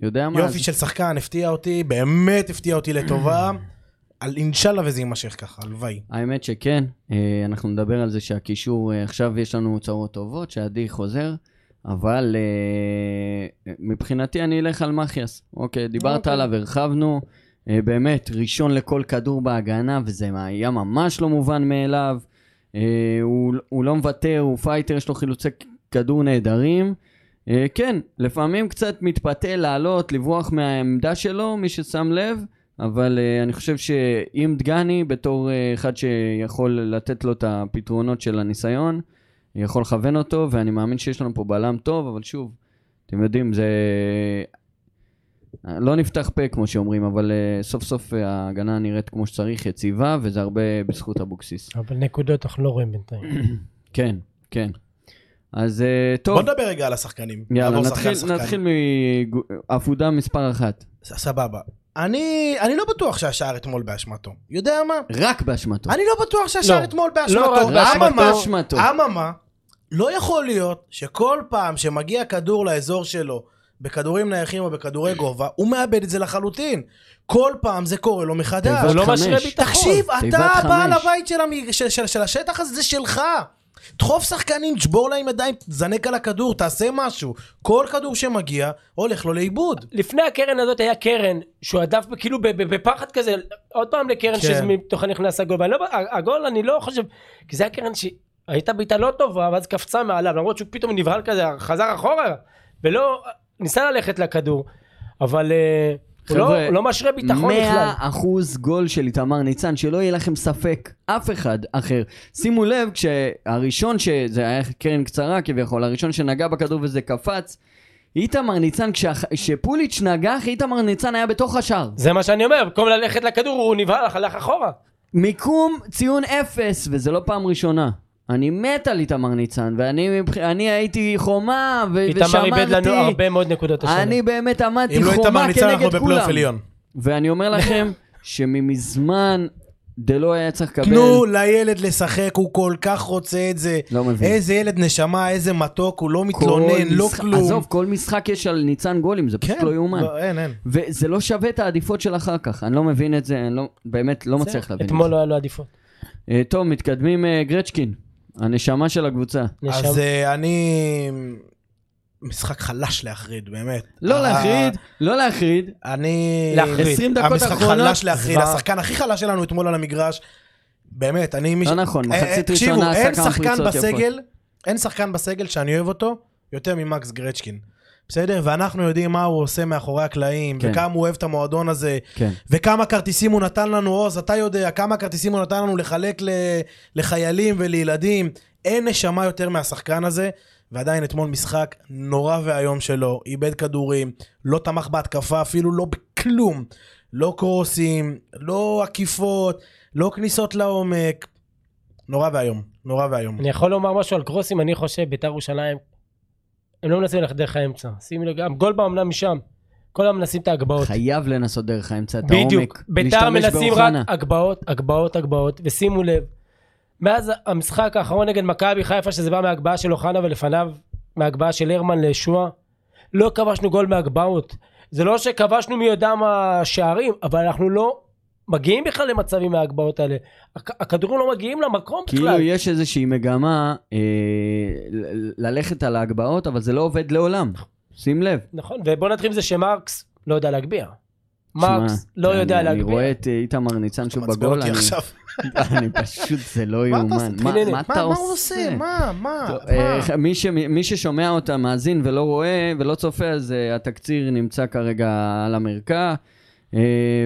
יודע מה?
יופי
אז-
של שחקן, הפתיע אותי, באמת הפתיע אותי לטובה. על אינשאללה וזה יימשך ככה, הלוואי.
האמת שכן, אה, אנחנו נדבר על זה שהקישור, אה, עכשיו יש לנו הוצאות טובות, שעדי חוזר, אבל אה, מבחינתי אני אלך על מחיאס. אוקיי, דיברת
אוקיי.
עליו, הרחבנו, אה, באמת, ראשון לכל כדור בהגנה, וזה היה ממש לא מובן מאליו. אה, הוא, הוא לא מוותר, הוא פייטר, יש לו חילוצי כדור נהדרים. אה, כן, לפעמים קצת מתפתה לעלות, לברוח מהעמדה שלו, מי ששם לב, אבל אה, אני חושב שעם דגני, בתור אה, אחד שיכול לתת לו את הפתרונות של הניסיון, יכול לכוון אותו, ואני מאמין שיש לנו פה בלם טוב, אבל שוב, אתם יודעים, זה... לא נפתח פה כמו שאומרים, אבל אה, סוף סוף אה, ההגנה נראית כמו שצריך, יציבה, וזה הרבה בזכות אבוקסיס.
אבל נקודות אנחנו לא רואים בינתיים.
כן, כן. אז אה, טוב,
בוא נדבר רגע על השחקנים.
יאללה,
נעבור
נתחיל,
שחקן-שחקן.
נתחיל מעפודה מספר אחת.
ס- סבבה. אני, אני לא בטוח שהשער אתמול באשמתו. יודע מה?
רק באשמתו.
אני לא בטוח שהשער
לא.
אתמול
לא,
באשמתו.
רק באשמתו.
אממה,
באשמתו.
אממה, לא יכול להיות שכל פעם שמגיע כדור לאזור שלו, בכדורים נייחים או בכדורי גובה, הוא מאבד את זה לחלוטין. כל פעם זה קורה לו מחדש.
הוא לא
חמש.
משרה ביטחון.
תקשיב,
נכון, תיבת
אתה
חמש.
בעל הבית של, המג... של, של, של השטח הזה, זה שלך. דחוף שחקנים, תשבור להם ידיים, תזנק על הכדור, תעשה משהו. כל כדור שמגיע, הולך לו לאיבוד.
לפני הקרן הזאת היה קרן שהוא הדף ב- כאילו ב- ב- בפחד כזה עוד פעם לקרן
כן.
שמתוכה נכנס הגול ואני לא, ה- הגול אני לא חושב כי זה הקרן שהייתה בעיטה לא טובה ואז קפצה מעליו למרות שהוא פתאום נבהל כזה חזר אחורה ולא ניסה ללכת לכדור אבל אה, הוא לא,
חבר'ה,
הוא לא משרה ביטחון בכלל
100 אחוז גול של איתמר ניצן, שלא יהיה לכם ספק, אף אחד אחר. שימו לב, כשהראשון, שזה היה קרן קצרה כביכול, הראשון שנגע בכדור וזה קפץ, איתמר ניצן, כשהח- כשפוליץ' נגח, איתמר ניצן היה בתוך השער.
זה מה שאני אומר במקום ללכת לכדור הוא נבהל הלך אחורה
מיקום ציון אפס, וזה לא פעם ראשונה. אני מת על איתמר ניצן, ואני מבח- אני הייתי חומה, ו-
איתמר
ושמרתי.
איבד לנו הרבה מאוד נקודות השנה
אני באמת
אם
עמדתי
לא איתמר
חומה
ניצן, אנחנו
כנגד
בפלייאוף
כולם.
עליון.
ואני אומר לכם שממזמן דלו היה צריך לקבל...
תנו לילד לשחק, הוא כל כך רוצה את זה.
לא מבין.
איזה ילד נשמה, איזה מתוק, הוא לא
כל
מתלונן, לא
משחק-
כלום.
עזוב, כל משחק יש על ניצן גולים, זה פשוט
כן,
לא יאומן.
אין, אין.
וזה לא שווה את העדיפות של אחר כך, אני לא מבין את זה, אני לא, באמת לא מצליח להבין את
אתמול לא היה לו עדיפות
זה. אה, טוב, מתקדמים אה, גרצ'קין, הנשמה של הקבוצה.
נשם.
אז אה, אני... משחק חלש להחריד, באמת.
לא
אה,
להחריד, לא להחריד,
אני...
להחריד.
20 דקות
המשחק
אחרונות,
חלש להחריד,
זוועה.
השחקן הכי חלש שלנו אתמול על המגרש. באמת, אני... מי ש-
לא נכון,
אה, אה,
מחצית
תקשיבו,
ראשונה
אין
עשה כמה
שחקן
פריצות יפות.
בסגל, אין שחקן בסגל שאני אוהב אותו יותר ממקס גרצ'קין. בסדר? ואנחנו יודעים מה הוא עושה מאחורי הקלעים,
כן.
וכמה הוא אוהב את המועדון הזה,
כן.
וכמה כרטיסים הוא נתן לנו, עוז, אתה יודע, כמה כרטיסים הוא נתן לנו לחלק ל... לחיילים ולילדים. אין נשמה יותר מהשחקן הזה, ועדיין אתמול משחק נורא ואיום שלו, איבד כדורים, לא תמך בהתקפה, אפילו לא בכלום. לא קרוסים, לא עקיפות, לא כניסות לעומק. נורא ואיום, נורא ואיום.
אני יכול לומר משהו על קרוסים, אני חושב ביתר ירושלים הם לא מנסים ללכת דרך האמצע. שימי לב, גם גולבה אמנם משם. כל הזמן מנסים את ההגבהות.
חייב לנסות דרך האמצע, את העומק.
בדיוק. ביתר
להשתמש
מנסים רק
באוחנה.
הגבהות, הגבהות, הגבהות, ושימו לב, מאז המשחק האחרון נגד מכבי חיפה, שזה בא מהגבהה של אוחנה ולפניו, מהגבהה של הרמן לשועה, לא כבשנו גול מהגבהות. זה לא שכבשנו מי יודע מה שערים, אבל אנחנו לא מגיעים בכלל למצבים מההגבהות האלה. הכ- הכדורים לא מגיעים למקום
כאילו
בכלל.
יש איזושהי מגמה אה, ל- ל- ללכת על ההגבהות, אבל זה לא עובד לעולם. שים לב.
נכון, ובוא נתחיל עם זה שמרקס לא יודע להגביה. מרקס
שמע,
לא
אני-
יודע
אני רואה
להגביה.
את אה, איתמר ניצן שהוא
מצביע
בגול,
אותי
אני-
עכשיו.
אני פשוט, זה לא
מה אתה
יאומן.
עושה?
מה-
הנה,
מה אתה
מה הוא עושה?
עושה?
מה? מה?
טוב,
מה?
אה, מי, ש... מי ששומע אותה, מאזין ולא רואה ולא צופה, אז אה, התקציר נמצא כרגע על המרקע, אה,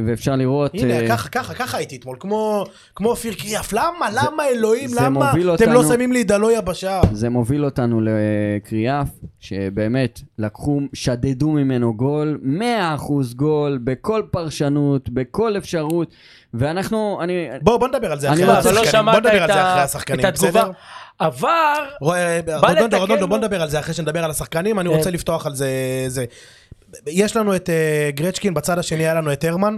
ואפשר לראות... אה,
הנה, ככה, ככה, ככה הייתי אתמול, כמו כמו אופיר קריאף. למה? למה אלוהים?
זה
למה?
מוביל
אתם לא
אותנו-
שמים לי דלויה בשער.
זה מוביל אותנו לקריאף, שבאמת לקחו, שדדו ממנו גול, 100% גול, בכל פרשנות, בכל אפשרות, ואנחנו, אני...
בוא, בוא נדבר על זה
אני
אחרי
רוצה-
אבל לא
השחקנים. בוא
שמעת
נדבר על
את
זה אחרי
ה- את
השחקנים,
התגובה.
בסדר?
עבר
רואה,
בא
רודונדו,
לתקן
רודונדו,
לו.
בוא נדבר על זה אחרי שנדבר על השחקנים, אני
כן.
רוצה לפתוח על זה... זה. יש לנו את אה, גרצ'קין, בצד השני היה לנו את הרמן.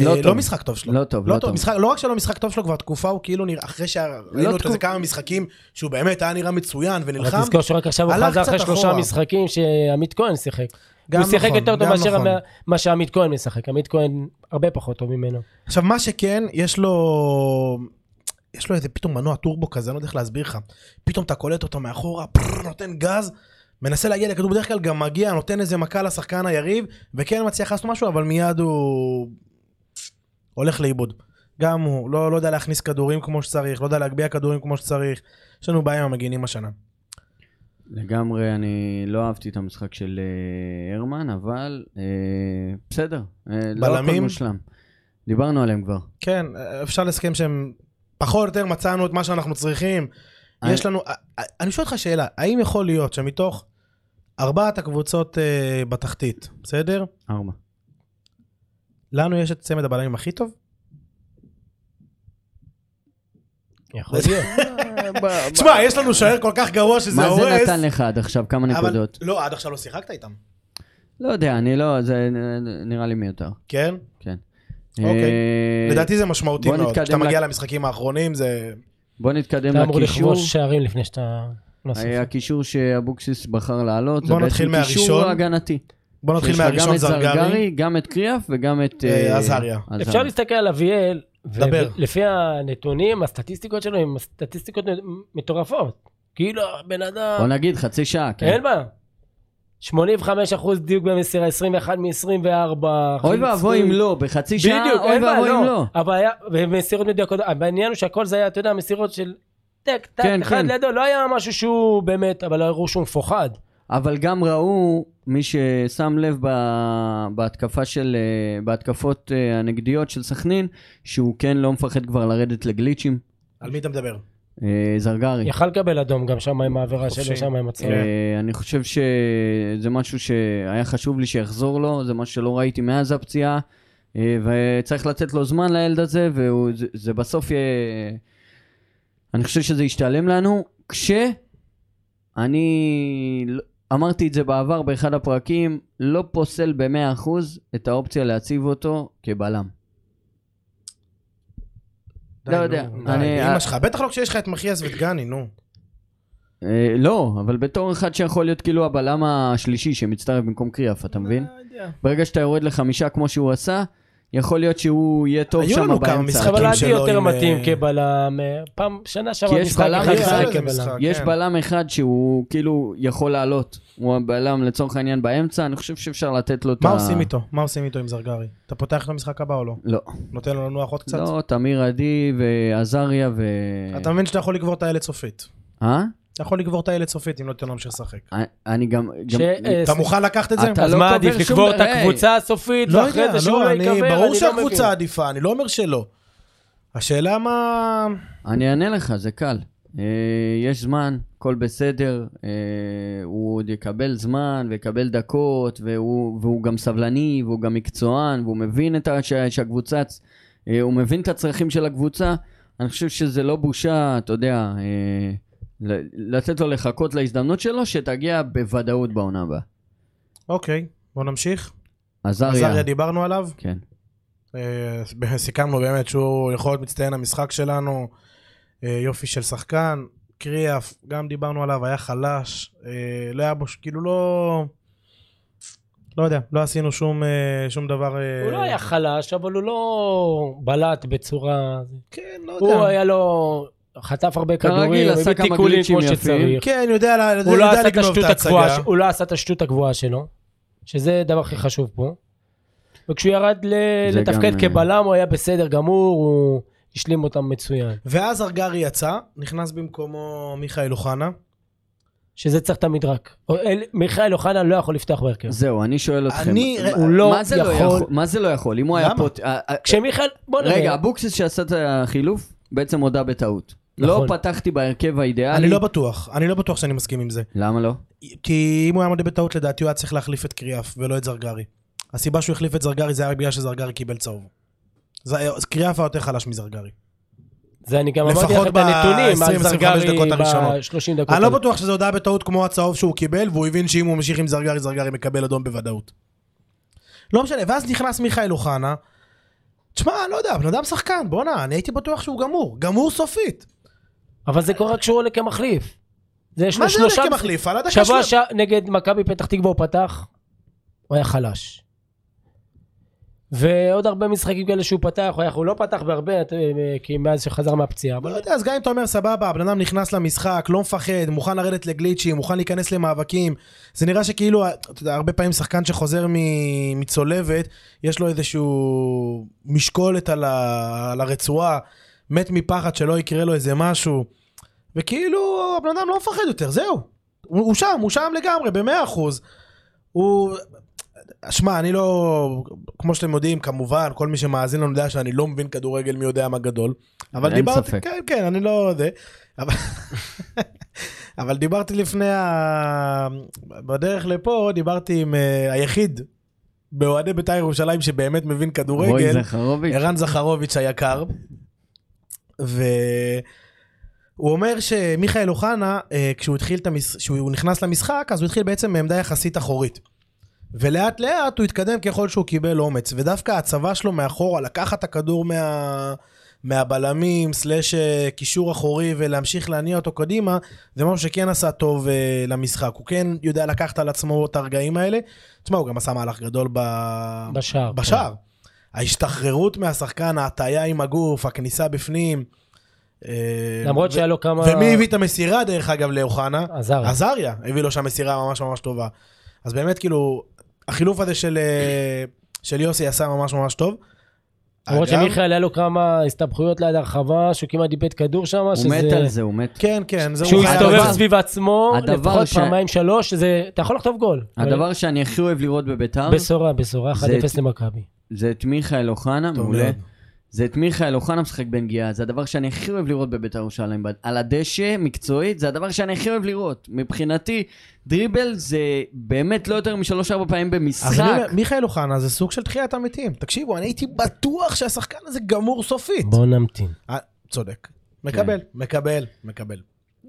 אה,
לא
לא
טוב.
משחק טוב שלו.
לא טוב, לא טוב. לא
משחק- לא רק שלא משחק טוב שלו, כבר תקופה הוא כאילו נראה, אחרי שראינו אותו
תקופ-
איזה כמה משחקים, שהוא באמת היה נראה מצוין
אבל
ונלחם.
תזכור שרק עכשיו הוא
הלך
חזר
קצת
אחרי שלושה
אחורה.
משחקים שעמית כהן שיחק.
גם
הוא שיחק
נכון,
יותר טוב
גם
מאשר
נכון.
המ- מה שעמית כהן משחק. עמית כהן הרבה פחות טוב ממנו.
עכשיו, מה שכן, יש לו... יש לו איזה פתאום מנוע טורבו כזה, אני לא יודע איך להסביר לך. פתאום אתה קולט אותו מאחורה, פרר, נותן גז, מנסה להגיע לכדור, בדרך כלל גם מגיע, נותן איזה מכה לשחקן היריב, וכן מצליח לעשות משהו, אבל מיד הוא הולך לאיבוד. גם הוא לא, לא יודע להכניס כדורים כמו שצריך, לא יודע להגביה כדורים כמו שצריך. יש לנו בעיה עם המגינים השנה.
לגמרי, אני לא אהבתי את המשחק של אה, הרמן, אבל אה, בסדר, אה, לא הכל
בלמים?
מושלם. דיברנו עליהם כבר.
כן, אפשר לסכם שהם פחות או יותר מצאנו את מה שאנחנו צריכים.
אני-
יש לנו, אני שואל אותך שאלה, האם יכול להיות שמתוך ארבעת הקבוצות אה, בתחתית, בסדר?
ארבע.
לנו יש את צמד הבלמים הכי טוב?
יכול להיות.
תשמע, יש לנו שוער כל כך גרוע שזה
מה
הורס.
זה נתן לך עד עכשיו? כמה
אבל-
נקודות?
לא, עד עכשיו לא שיחקת איתם.
לא יודע, אני לא, זה נ- נראה לי מיותר.
כן? אוקיי.
אוקיי.
לדעתי זה משמעותי
בוא
מאוד.
נתקדם
כשאתה
ל-
מגיע למשחקים האחרונים זה...
בוא נתקדם
אתה אמור
לקישור. אה,
לכבוש שערים לפני שאתה... לא נוסף.
הקישור שאבוקסיס בחר לעלות, זה
בוא נתחיל
בעצם קישור
מהראשון.
הגנתי.
בוא נתחיל
שיש לך גם
מהראשון
את
זרגרי.
גם את קריאף וגם את...
אה,
אה,
עזריה.
אפשר להסתכל על אביאל,
דבר.
ולפי הנתונים, הסטטיסטיקות שלו הן סטטיסטיקות מטורפות. כאילו, הבן
בוא
אדם...
נגיד חצי שעה, כן.
אין בעיה. 85% דיוק במסירה, 21 מ-24.
אוי ואבוי אם לא, בחצי שעה,
בדיוק,
אוי
אין בעיה,
ואבוי אם לא.
אבל היה, ומסירות מדויקות, העניין הוא שהכל זה היה, אתה יודע, מסירות של טק, טק,
כן,
אחד
כן.
לידו, לא היה משהו שהוא באמת, אבל לא הראו שהוא מפוחד.
אבל גם ראו, מי ששם לב ב- בהתקפה של, אה, בהתקפות אה, הנגדיות של סכנין, שהוא כן לא מפחד כבר לרדת לגליצ'ים.
על מי אתה מדבר?
אה, זרגרי.
יכל לקבל אדום גם שם עם העבירה
חופשי.
שלו, שם עם הצהרה.
אה, אני חושב שזה משהו שהיה חשוב לי שיחזור לו, זה משהו שלא ראיתי מאז הפציעה, אה, וצריך לתת לו זמן לילד הזה, וזה בסוף יהיה... אני חושב שזה ישתלם לנו, כשאני לא- אמרתי את זה בעבר באחד הפרקים, לא פוסל ב-100% את האופציה להציב אותו כבלם. לא יודע,
די,
אני-
אמא שלך, בטח לא כשיש לך את מחיאס ודגני, נו.
אה, לא, אבל בתור אחד שיכול להיות כאילו הבלם השלישי שמצטרף במקום קריאף, אתה מבין?
אה.
ברגע שאתה יורד לחמישה כמו שהוא עשה, יכול להיות שהוא יהיה טוב
היו
שם
לנו כמה
באמצע.
משחקים
אבל עדי
שלו
יותר
עם,
מתאים
אה,
כבלם, אה, פעם, שנה
כי
שעברה
יש
משחק
בלם
אחד
אחד
שיחק
כזה
כבלם.
משחק.
יש
כן.
בלם אחד שהוא כאילו יכול לעלות, הוא הבלם לצורך העניין באמצע, אני חושב שאפשר לתת לו את
מה
ה-
עושים איתו? מה עושים איתו עם זרגרי? אתה פותח את המשחק הבא או לא?
לא,
נותן לו לנוח עוד קצת?
לא, תמיר עדי ועזריה ו...
אה.
אתה מבין שאתה יכול לקבור את הילד סופית.
אה?
אתה יכול לקבור את הילד סופית אם לא תיתן לו להמשיך לשחק.
אני גם... גם-
ש- אה,
אתה מוכן לקחת את זה?
אתה
אז
לא
מה
קובר
עדיף,
שום
לקבור את
דבר, היי.
הקבוצה הסופית,
לא
ואחרי
יודע,
זה שהוא
לא,
לא
אני-
יקבל, אני לא
ברור
מבין.
שהקבוצה עדיפה, אני לא אומר שלא. השאלה מה...
אני אענה לך, זה קל. אה, יש זמן, הכל בסדר, אה, הוא עוד יקבל זמן ויקבל דקות, והוא, והוא גם סבלני, והוא גם מקצוען, והוא מבין את ה, ש, שהקבוצה, צ- אה, הוא מבין את הצרכים של הקבוצה. אני חושב שזה לא בושה, אתה יודע, אה, ל- לתת לו לחכות להזדמנות שלו, שתגיע בוודאות בעונה הבאה.
אוקיי, בוא נמשיך.
עזריה.
עזריה דיברנו עליו,
כן.
אה, סיכמנו באמת שהוא יכול להיות מצטיין המשחק שלנו, אה, יופי של שחקן, קריאף, גם דיברנו עליו, היה חלש, אה, לא היה בו, ש- כאילו לא... לא יודע, לא עשינו שום, אה, שום דבר... אה,
הוא לא היה חלש, אבל הוא לא בלט בצורה...
כן, לא יודע.
הוא היה לו... חטף הרבה
כרגיל,
כדורים,
עשה
הביא
כמה
תיקולים כמו
גליצ'ים יפים.
שצריך.
כן, יודע, לה- יודע,
הוא לא
יודע
עשה את
לגנוב
השטות
את
הקבועה,
ההצגה.
ש- הוא לא עשה את השטות הקבועה שלו, שזה הדבר הכי חשוב פה. וכשהוא ירד ל-
זה
לתפקד
גם, אה,
כבלם, הוא היה בסדר גמור, הוא השלים אותם מצוין.
ואז ארגרי יצא, נכנס במקומו מיכאל אוחנה.
שזה צריך תמיד רק. או- אל- מיכאל אוחנה לא יכול לפתוח בהרכב.
זהו, אני שואל אתכם.
אני-
מה-
הוא לא
מה זה
יכול-
מה זה לא יכול? אם הוא היה
למה?
פות... אה, אה,
כשמיכאל... בוא
נכון,
נראה.
רגע, אבוקסיס שעשה את החילוף, בעצם הודה בטעות. לא
נכון.
פתחתי בהרכב האידיאלי.
אני לא בטוח, אני לא בטוח שאני מסכים עם זה.
למה לא?
כי אם הוא היה מודה בטעות, לדעתי הוא היה צריך להחליף את קריאף ולא את זרגרי. הסיבה שהוא החליף את זרגרי זה היה בגלל שזרגרי קיבל צהוב. זה- אז קריאף היה יותר חלש מזרגרי.
זה אני גם אמרתי
לפחות
לך את הנתונים, על
ב- 25
זרגרי
דקות הראשונות.
ב-30 דקות.
אני לא
הראשונות.
בטוח שזה הודעה בטעות כמו הצהוב שהוא קיבל, והוא הבין שאם הוא ממשיך עם זרגרי, זרגרי מקבל אדום בוודאות. לא משנה, ואז נכנס מיכאל אוחנה. תשמע, לא יודע, בן אדם שחקן, בואנה, אני הייתי בטוח שהוא גמור. גמור סופית.
אבל זה קורה כשהוא עולה כמחליף. זה יש
מה
לו
זה עולה
שלושה...
כמחליף? על הדקה
שבוע
שלו.
ש... נגד מכבי פתח תקווה הוא פתח, הוא היה חלש. ועוד הרבה משחקים כאלה שהוא פתח, הוא, היה, הוא לא פתח בהרבה, אתה- כי מאז שחזר מהפציעה,
לא
אבל
יודע, אז גם אם אתה אומר סבבה, הבן אדם נכנס למשחק, לא מפחד, מוכן לרדת לגליצ'ים, מוכן להיכנס למאבקים, זה נראה שכאילו, אתה יודע, הרבה פעמים שחקן שחוזר מ- מצולבת, יש לו איזשהו משקולת על, ה... על הרצועה, מת מפחד שלא יקרה לו איזה משהו, וכאילו, הבן אדם לא מפחד יותר, זהו. הוא, הוא שם, הוא שם לגמרי, במאה אחוז. הוא... שמע, אני לא... כמו שאתם יודעים, כמובן, כל מי שמאזין לנו יודע שאני לא מבין כדורגל מי יודע מה גדול. אבל
אין
דיברתי...
ספק.
כן, כן, אני לא... זה, אבל... אבל דיברתי לפני ה... בדרך לפה, דיברתי עם אה, היחיד באוהדי בית"ר ירושלים שבאמת מבין
רועי
כדורגל.
זכרוביץ'.
ערן זכרוביץ' היקר, והוא אומר שמיכאל אוחנה, אה, כשהוא התחיל את המש... כשהוא נכנס למשחק, אז הוא התחיל בעצם מעמדה יחסית אחורית. ולאט לאט הוא התקדם ככל שהוא קיבל אומץ, ודווקא הצבה שלו מאחורה, לקחת את הכדור מה... מהבלמים, סלאש אה, קישור אחורי ולהמשיך להניע אותו קדימה, זה משהו שכן עשה טוב אה, למשחק. הוא כן יודע לקחת על עצמו את הרגעים האלה. תשמע, הוא גם עשה מהלך גדול ב...
בשער. כן.
בשער. ההשתחררות מהשחקן, ההטייה עם הגוף, הכניסה בפנים. אה,
למרות אה.
ו-
שהיה לו כמה...
ומי הביא את המסירה דרך אגב לאוחנה?
עזר.
עזריה הביא לו שם מסירה ממש ממש טובה. אז באמת כאילו, החילוף הזה של, אה, של יוסי עשה ממש ממש טוב.
למרות
אגב,
שמיכאל היה לו כמה הסתבכויות ליד הרחבה, שהוא כמעט איבד כדור שם,
הוא
שזה...
מת על זה, הוא מת.
כן, כן, זה
שהוא
הוא חייב
הסתובב
לדעת.
סביב עצמו,
הדבר
לפחות
ש-
פעמיים שלוש, שזה... אתה יכול לכתוב גול.
הדבר שאני הכי אוהב לראות בביתר,
בשורה, בשורה, 1-0
זה-
למכבי.
זה את מיכאל אוחנה,
טוב לא.
מעולה.
מאוד.
זה את מיכאל אוחנה משחק בנגיעה, זה הדבר שאני הכי אוהב לראות בביתר ירושלים. על הדשא, מקצועית, זה הדבר שאני הכי אוהב לראות. מבחינתי, דריבל זה באמת לא יותר משלוש-ארבע פעמים
אז אני
במשחק.
אומר, מיכאל אוחנה זה סוג של תחיית המתים. תקשיבו, אני הייתי בטוח שהשחקן הזה גמור סופית.
בוא נמתין.
אה, צודק.
כן.
מקבל, מקבל, מקבל.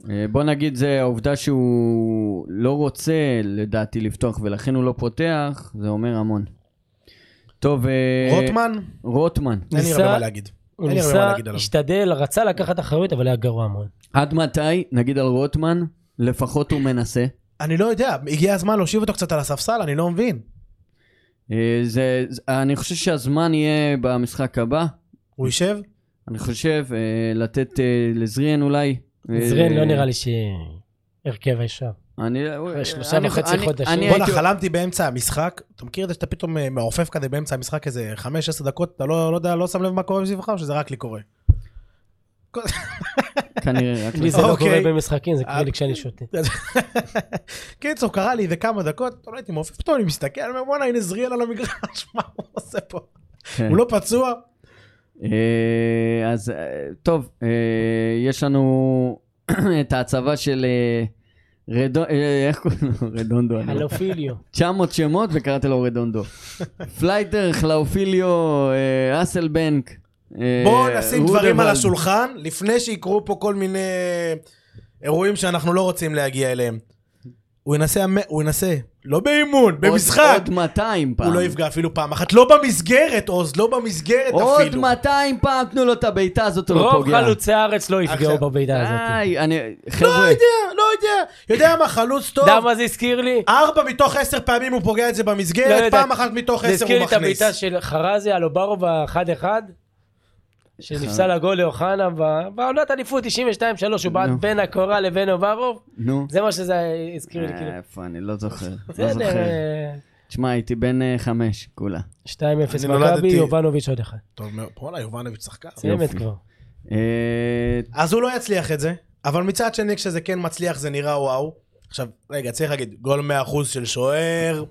אה, בוא נגיד, זה העובדה שהוא לא רוצה, לדעתי, לפתוח, ולכן הוא לא פותח, זה אומר המון. טוב, אה,
רוטמן,
רוטמן.
אין לי
ניסה-
הרבה מה להגיד.
הוא
אין לי הרבה מה
ניסה,
להגיד עליו.
השתדל, רצה לקחת אחריות, אבל היה גרוע מאוד.
עד מתי, נגיד על רוטמן, לפחות הוא מנסה.
אני לא יודע, הגיע הזמן להושיב אותו קצת על הספסל, אני לא מבין.
אה, זה, זה- אני חושב שהזמן יהיה במשחק הבא.
הוא יישב?
אני חושב אה, לתת אה, לזריאן אולי. אה,
זרין לא נראה לי שהרכב ישר.
אני, אחרי
שלושה וחצי חודשים. אני
בואנה, חלמתי באמצע המשחק, אתה מכיר את זה שאתה פתאום אה, מעופף כזה באמצע המשחק איזה 5-10 דקות, אתה לא לא יודע, לא שם לב מה קורה מסביבך, או שזה רק לי קורה?
כנראה, רק
לי זה
לזה.
לא
אוקיי.
קורה במשחקים, זה קורה
אה,
לי כשאני שותה.
קיצור, קרה לי איזה כמה דקות, לא הייתי מעופף, פתאום אני מסתכל, אני אומר, בואנה, הנה זריאל על המגרש, מה הוא עושה פה?
כן.
הוא לא פצוע?
אה, אז אה, טוב, אה, יש לנו את ההצבה של אה, רדו- אה, איך קוראים לו? רדונדו. אני לא-
הלופיליו.
900 שמות וקראתי לו רדונדו. פלייטר, חלאופיליו, אה, אסלבנק. אה,
בואו נשים דברים על
רודוולד.
השולחן, לפני שיקרו פה כל מיני אירועים שאנחנו לא רוצים להגיע אליהם. הוא ינסה, המ- הוא ינסה, לא באימון, במשחק.
עוד, עוד 200 פעם.
הוא לא יפגע אפילו פעם אחת, לא במסגרת, עוז, לא במסגרת
עוד
אפילו.
200 פעם תנו לו את הבעיטה הזאת, הוא לא
רוב
פוגע.
חלוצי הארץ לא יפגעו
עכשיו-
בבעיטה הזאת.
איי, אני...
לא
חבר'ה,
יודע, לא יודע. יודע מה, חלוץ טוב. אה,
אתה יודע מה זה הזכיר לי?
ארבע מתוך עשר פעמים הוא פוגע את זה
לא
במסגרת,
יודע.
פעם אחת מתוך
זה
עשר
הזכיר
הוא
לי את
מכניס.
הבעיטה של חרזי, אלוברוב ב-1-1,
אה.
שנפסל הגול לאוחנה ב- בעונת אליפות 92-3, הוא בעט
נו.
בין הקורה לבין אוברוב,
נו.
זה מה שזה הזכיר לי, כאילו.
אה, איפה, אני לא זוכר. לא
בסדר,
זוכר.
אה,
תשמע, הייתי בן אה, חמש, כולה.
2-0
אני
מכבי,
נולדתי-
יובנוביץ' עוד אחד.
טוב מאוד, וואלה, יובנוביץ' שחקן.
סיימת
יופי.
כבר.
אה,
אז הוא לא יצליח את זה, אבל מצד שני, כשזה כן מצליח, זה נראה וואו. עכשיו, רגע, צריך להגיד, גול 100% של שוער.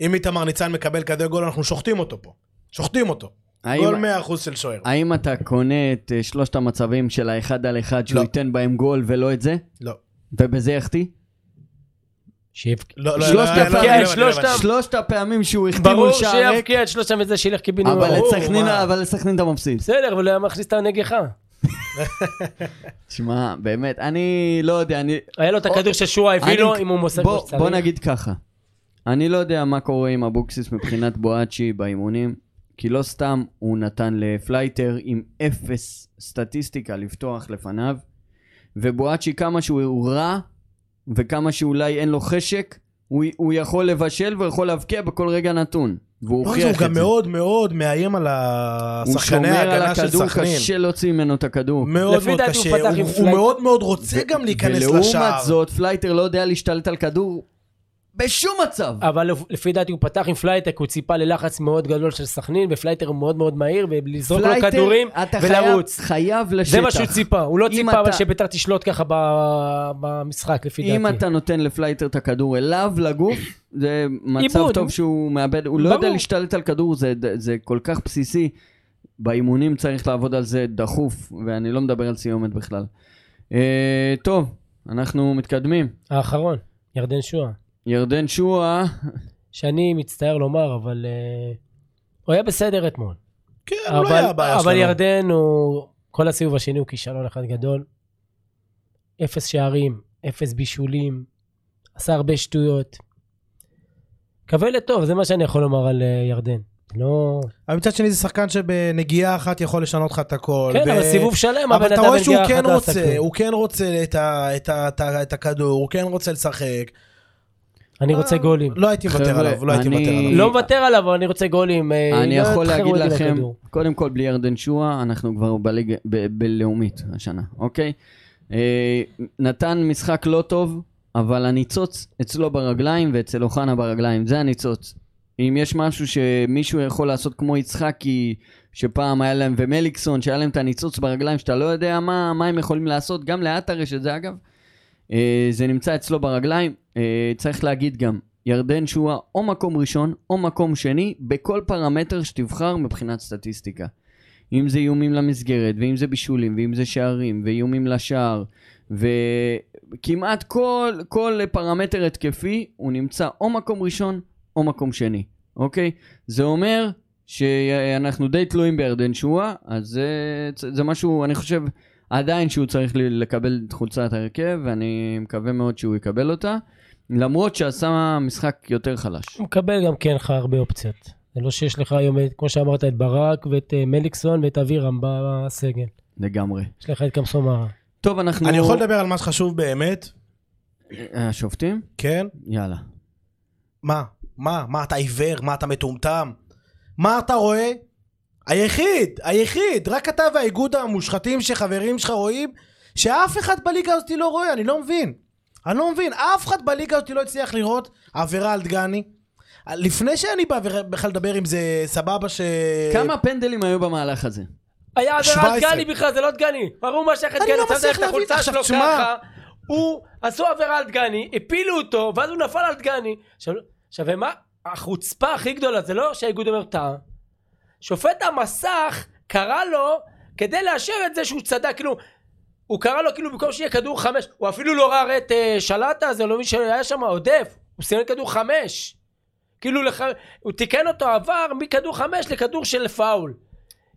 אם איתמר ניצן מקבל כזה גול, אנחנו שוחטים אותו פה. שוחטים אותו.
האם-
גול 100% של שוער.
האם אתה קונה את אה, שלושת המצבים של האחד על אחד שהוא
לא.
ייתן בהם גול ולא את זה?
לא.
ובזה יחטיא?
שיבק-
לא, לא,
שלושת
לא, לא, לא,
הפעמים,
לא, לא, לא,
שלושת
לא, לא,
שלושת הפעמים שהוא החטיא מול
ברור
שער ריק,
שיבקיע את שלושתם וזה שילך קיבינימט.
אבל
ברור,
לסכנין-
מה?
אבל לסכנין אתה מפסיד.
בסדר, אבל הוא היה מכניס את הנגיחה.
שמע, באמת, אני לא יודע, אני...
היה לו את הכדור ששועה הביא
אוקיי. אני-
לו, אם הוא מוסר כמו
בוא-
שצריך.
בוא נגיד ככה, אני לא יודע מה קורה עם אבוקסיס מבחינת בואצ'י באימונים, כי לא סתם הוא נתן לפלייטר עם אפס סטטיסטיקה לפתוח לפניו, ובואצ'י כמה שהוא רע, וכמה שאולי אין לו חשק, הוא, הוא יכול לבשל ויכול להבקיע בכל רגע נתון. והוא
לא, הוא
הוכיח
גם
את זה.
מאוד מאוד מאיים על
הוא
השחקני
שומר על
ההגנה של
הכדור,
סכנין.
קשה להוציא ממנו את הכדור.
מאוד
לפי
מאוד
דעתי הוא
קשה,
פתח עם
הוא- הוא
פלייט.
מאוד מאוד רוצה גם להיכנס לשער.
ולעומת זאת, פלייטר לא יודע להשתלט על כדור בשום מצב.
אבל לפ- לפי דעתי הוא פתח עם פלייטק, הוא ציפה ללחץ מאוד גדול של סכנין, ופלייטר הוא מאוד מאוד מהיר, ולזרוק לו
פלייטר,
כדורים
אתה
ולרוץ.
חייב, חייב לשטח.
זה מה שהוא ציפה, הוא לא
אם
ציפה אבל
אתה-
שביתר תשלוט ככה ב- במשחק, לפי דעתי.
אם אתה נותן לפלייטר את הכדור אליו, לגוף, זה מצב
עיבוד.
טוב שהוא מאבד, הוא לא יודע
ברור.
להשתלט על כדור, זה, זה כל כך בסיסי. באימונים צריך לעבוד על זה דחוף, ואני לא מדבר על סיומת בכלל. אה, טוב, אנחנו מתקדמים.
האחרון, ירדן שואה.
ירדן שואה,
שאני מצטער לומר, אבל אה, הוא היה בסדר אתמול.
כן, הוא לא היה
אבל,
הבעיה
אבל
שלנו.
ירדן הוא, כל הסיבוב השני הוא כישלון אחד גדול. אפס שערים, אפס בישולים, עשה הרבה שטויות. קווה לטוב, זה מה שאני יכול לומר על אה, ירדן. לא...
אבל מצד שני זה שחקן שבנגיעה אחת יכול לשנות לך את הכל.
כן,
ו-
אבל סיבוב שלם,
אבל
הבן
אתה
אדם
רואה שהוא
הגיע
כן
אחת
רוצה,
לעסקים.
הוא כן רוצה את ה- את ה- את ה- את הכדור, הוא כן רוצה לשחק.
אני רוצה גולים.
לא הייתי מוותר
חבר'ה,
עליו, לא הייתי
אני-
מוותר עליו.
לא מוותר עליו, אבל אני רוצה גולים. אה,
אני
לא
יכול
את
להגיד
חירויות
לכם,
לכדור.
קודם כל בלי ירדן שואה, אנחנו כבר בליגה ב- בינלאומית השנה, אוקיי? אה, נתן משחק לא טוב, אבל הניצוץ אצלו ברגליים ואצל אוחנה ברגליים, זה הניצוץ. אם יש משהו שמישהו יכול לעשות כמו יצחקי, שפעם היה להם, ומליקסון, שהיה להם את הניצוץ ברגליים, שאתה לא יודע מה, מה הם יכולים לעשות, גם לעטר יש את זה אגב, אה, זה נמצא אצלו ברגליים. אה, צריך להגיד גם, ירדן שואה או מקום ראשון או מקום שני בכל פרמטר שתבחר מבחינת סטטיסטיקה. אם זה איומים למסגרת, ואם זה בישולים, ואם זה שערים, ואיומים לשער, וכמעט כל, כל פרמטר התקפי, הוא נמצא או מקום ראשון או מקום שני, אוקיי? זה אומר שאנחנו די תלויים בירדן שואה, אז זה, זה משהו, אני חושב, עדיין שהוא צריך ל- לקבל את חולצת ההרכב, ואני מקווה מאוד שהוא יקבל אותה, למרות שעשה משחק יותר חלש.
הוא מקבל גם כן לך הרבה אופציות. זה לא שיש לך היום, את- כמו שאמרת, את ברק ואת אה, מליקסון ואת אבירם בסגל.
לגמרי.
יש לך את קמסומרה.
טוב,
לא-
אנחנו...
אני יכול לדבר על מה שחשוב באמת,
השופטים?
כן?
יאללה.
מה? מה? מה אתה עיוור? מה אתה מטומטם? מה אתה רואה? היחיד, היחיד, רק אתה והאיגוד המושחתים שחברים שלך רואים, שאף אחד בליגה הזאת לא רואה, אני לא מבין. אני לא מבין, אף אחד בליגה הזאת לא הצליח לראות עבירה על דגני. לפני שאני בא בכלל לדבר אם זה סבבה ש...
אה,
כמה פנדלים היו במהלך הזה?
היה עבירה
17.
על דגני בכלל, זה לא דגני. ברור מה שייך את
אני
דגני,
לא
שמת
מצליח
את החולצה
להבין.
שלו
עכשיו,
ככה. הוא, עשו עבירה על דגני, הפילו אותו, ואז הוא נפל על דגני. עכשיו, עכשיו, מה, החוצפה הכי גדולה, זה לא שהאיגוד אומר טעה. שופט המסך קרא לו כדי לאשר את זה שהוא צדק, כאילו, הוא קרא לו כאילו במקום שיהיה כדור חמש, הוא אפילו לא ראה את אה, שלטה הזה, לא מי שהיה שם עודף, הוא סימן כדור חמש. כאילו, לח... הוא תיקן אותו עבר מכדור חמש לכדור של פאול.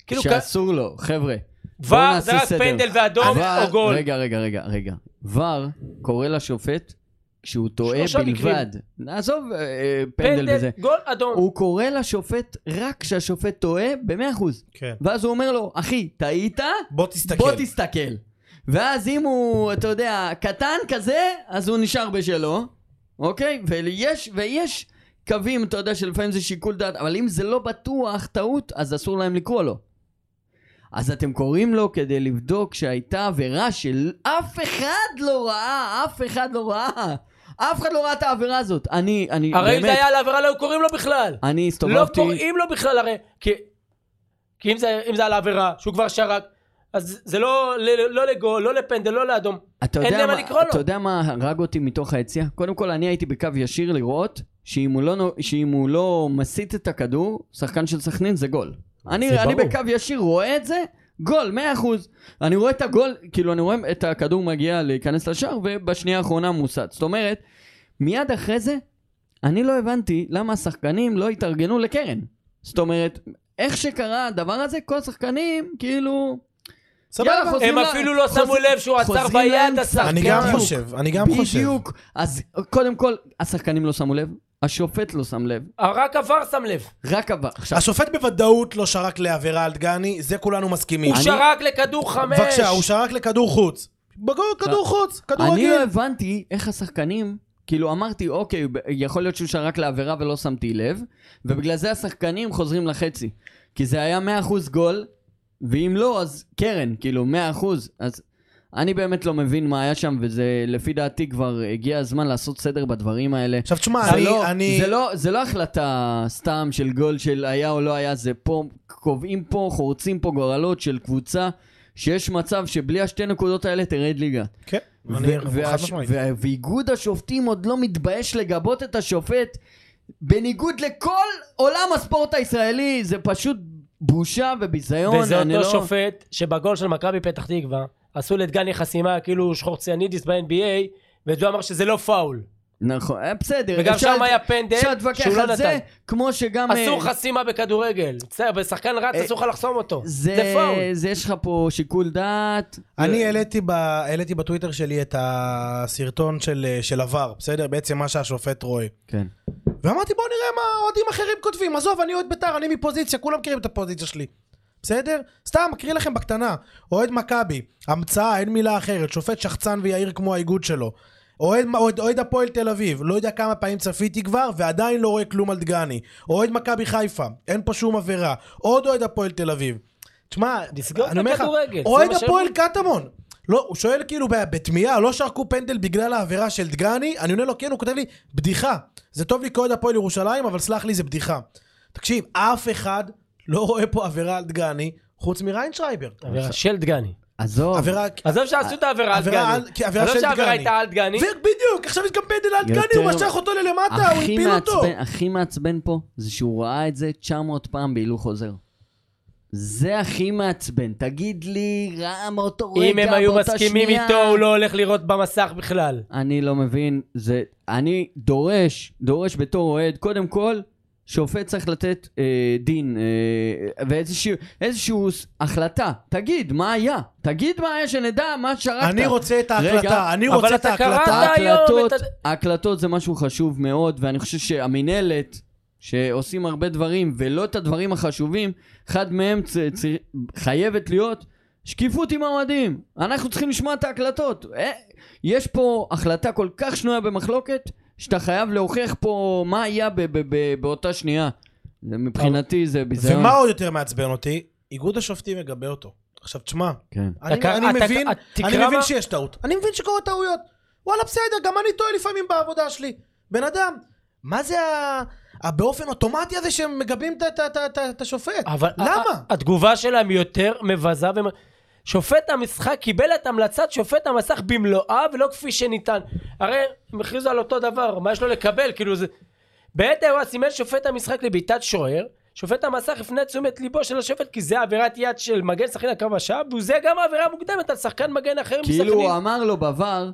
כאילו, כ-
שאסור לו, חבר'ה.
ור
נעשה
זה רק
סדר.
פנדל ואדום
אבל-
או גול.
רגע, רגע, רגע, רגע. ור קורא לשופט כשהוא טועה
שלושה
בלבד. נעזוב אה, אה, פנדל וזה.
גול אדום.
הוא קורא לשופט רק כשהשופט טועה ב-100%.
כן.
ואז הוא אומר לו, אחי, טעית?
בוא תסתכל.
בוא תסתכל. ואז אם הוא, אתה יודע, קטן כזה, אז הוא נשאר בשלו, אוקיי? ויש, ויש קווים, אתה יודע, שלפעמים זה שיקול דעת, אבל אם זה לא בטוח טעות, אז אסור להם לקרוא לו. אז אתם קוראים לו כדי לבדוק שהייתה עבירה שאף אחד לא ראה, אף אחד לא ראה. אף אחד לא ראה את העבירה הזאת. אני, אני,
הרי אם
באמת,
זה היה על העבירה, לא היו קוראים לו בכלל.
אני
לא
הסתובבתי...
קוראים לו בכלל הרי. כי- כי אם זה- אם זה על העבירה, שהוא כבר שרק, אז זה לא ל- לא לגול, לא לפנדל, לא לאדום.
אתה
אין
יודע,
למה
מה,
לקרוא לו.
אתה יודע מה הרג אותי מתוך היציאה? קודם כל, אני הייתי בקו ישיר לראות שאם הוא לא, נו- שאם הוא לא מסיט את הכדור, שחקן של סכנין זה גול. אני,
ברור.
אני בקו ישיר רואה את זה, גול, 100%. אני רואה את הגול, כאילו אני רואה את הכדור מגיע להיכנס לשער, ובשנייה האחרונה מוסט. זאת אומרת, מיד אחרי זה, אני לא הבנתי למה השחקנים לא התארגנו לקרן. זאת אומרת, איך שקרה הדבר הזה, כל השחקנים, כאילו... יאללה,
סבבה.
חוזרים
הם
לה-
אפילו לא שמו
חוזרים-
לב שהוא עצר
חוזרים
ביד,
לאמצע.
השחקן.
אני גם
בדיוק.
חושב, אני גם חושב.
בדיוק. אז קודם כל, השחקנים לא שמו לב, השופט לא שם לב,
רק עבר שם לב.
רק עבר. עכשיו,
השופט בוודאות לא שרק לעבירה על דגני, זה כולנו מסכימים.
הוא שרק לכדור חמש.
בבקשה, הוא שרק לכדור חוץ. בגול, כדור חוץ, כדור
אני לא
רגיל.
הבנתי איך השחקנים, כאילו אמרתי, אוקיי, ב- יכול להיות שהוא שרק לעבירה ולא שמתי לב, ובגלל זה השחקנים חוזרים לחצי. כי זה היה 100% גול, ואם לא, אז קרן, כאילו 100%. אז אני באמת לא מבין מה היה שם, וזה לפי דעתי כבר הגיע הזמן לעשות סדר בדברים האלה.
עכשיו תשמע,
זה,
אני-
לא,
אני...
זה, לא, זה לא החלטה סתם של גול של היה או לא היה, זה פה, קובעים פה, חורצים פה גורלות של קבוצה שיש מצב שבלי השתי נקודות האלה תרד ליגה.
כן, אני-
ו-
חד
והש-
משמעית.
וה- ואיגוד השופטים עוד לא מתבייש לגבות את השופט בניגוד לכל עולם הספורט הישראלי, זה פשוט בושה וביזיון.
וזה
אני
אותו
לא-
שופט שבגול של מכבי פתח תקווה עשו לדגני חסימה כאילו שחורציאנידיס ב-NBA ולא אמר שזה לא פאול.
נכון, אה, בסדר.
וגם
אפשר-
שם היה פנדל
אפשר להתווכח
שהוא לא
על זה,
נתן.
כמו שגם... אה,
אסור חסימה בכדורגל. בסדר, בשחקן רץ
אה,
אסור לך לחסום אותו.
זה,
זה פאול.
זה יש לך פה שיקול דעת.
אני העליתי ב- העליתי בטוויטר שלי את הסרטון של- אה, של עבר, בסדר? בעצם מה שהשופט רואה.
כן.
ואמרתי בוא נראה מה אוהדים אחרים כותבים, עזוב אני אוהד בית"ר, אני מפוזיציה, כולם מכירים את הפוזיציה שלי. בסדר? סתם, אקריא לכם בקטנה. אוהד מכבי, המצאה, אין מילה אחרת, שופט שחצן ויהיר כמו האיגוד שלו. אוהד, אוהד, אוהד הפועל תל אביב, לא יודע כמה פעמים צפיתי כבר, ועדיין לא רואה כלום על דגני. אוהד מכבי חיפה, אין פה שום עבירה. עוד אוהד הפועל תל אביב. תשמע,
לסגור את
אני אומר לך,
הכדורגל, זה
אוהד
מה שהם
הפועל קטמון. לא, הוא שואל כאילו ב- בתמיהה, לא שרקו פנדל בגלל העבירה של דגני? אני עונה לו, כן, הוא כותב לי, בדיחה. זה טוב לי כאוהד הפועל ירושלים, אבל סלח לי, זה בדיחה. תקשיב, אף אחד לא רואה פה עבירה על דגני, חוץ מריינשרייבר.
עבירה של דגני.
עזוב.
עבירה...
עזוב שעשו את העבירה על
עבירה
דגני.
על- כי עבירה
עזוב
של
שהעבירה
דגני.
הייתה על דגני.
ובדיוק, עכשיו יש גם פנדל על דגני,
יותר-
הוא משך אותו ללמטה, הוא
הכי
הפיל אותו.
מעצבן, הכי מעצבן פה זה שהוא ראה את זה 900 פעם בהילוך חוזר. זה הכי מעצבן. תגיד לי, ראה מאותו רגע,
אם הם היו
באותה
מסכימים
שנייה.
איתו הוא לא הולך לראות במסך בכלל.
אני לא מבין, זה... אני דורש, דורש בתור אוהד, קודם כל, שופט צריך לתת אה, דין אה, ואיזשהו איזשהו ס- החלטה. תגיד, מה היה? תגיד מה היה, שנדע מה שרקת.
אני רוצה את ההקלטה, אני
אבל
רוצה את
אתה קראת
ההקלטה.
היום
ההקלטות,
את
ההקלטות זה משהו חשוב מאוד, ואני חושב שהמינהלת, שעושים הרבה דברים, ולא את הדברים החשובים, אחד מהם צ, צ, חייבת להיות שקיפות עם האוהדים. אנחנו צריכים לשמוע את ההקלטות. אה, יש פה החלטה כל כך שנויה במחלוקת, שאתה חייב להוכיח פה מה היה ב, ב, ב, באותה שנייה. זה מבחינתי זה ביזיון.
ומה עוד יותר מעצבן אותי? איגוד השופטים מגבה אותו. עכשיו, תשמע,
כן.
אני
אתה-
אני
אתה-
מבין,
אתה- תקרא
אני מבין
מה-
שיש טעות. אני מבין שקורות טעויות. וואלה, בסדר, גם אני טועה לפעמים בעבודה שלי. בן אדם, מה זה ה- הבאופן אוטומטי הזה שהם מגבים את- את- את- את- את השופט?
אבל אה,
למה?
ה- ה- התגובה שלהם היא יותר מבזה ו... שופט המשחק קיבל את המלצת שופט המסך במלואה ולא כפי שניתן. הרי הם הכריזו על אותו דבר, מה יש לו לקבל? כאילו זה... בעת האירוע סימן שופט המשחק לבעיטת שוער, שופט המסך הפנה את תשומת ליבו של השופט כי זה עבירת יד של מגן שחקן על קו השעה, וזה גם העבירה המוקדמת על שחקן מגן אחר מסכנין.
כאילו הוא אמר לו בVAR,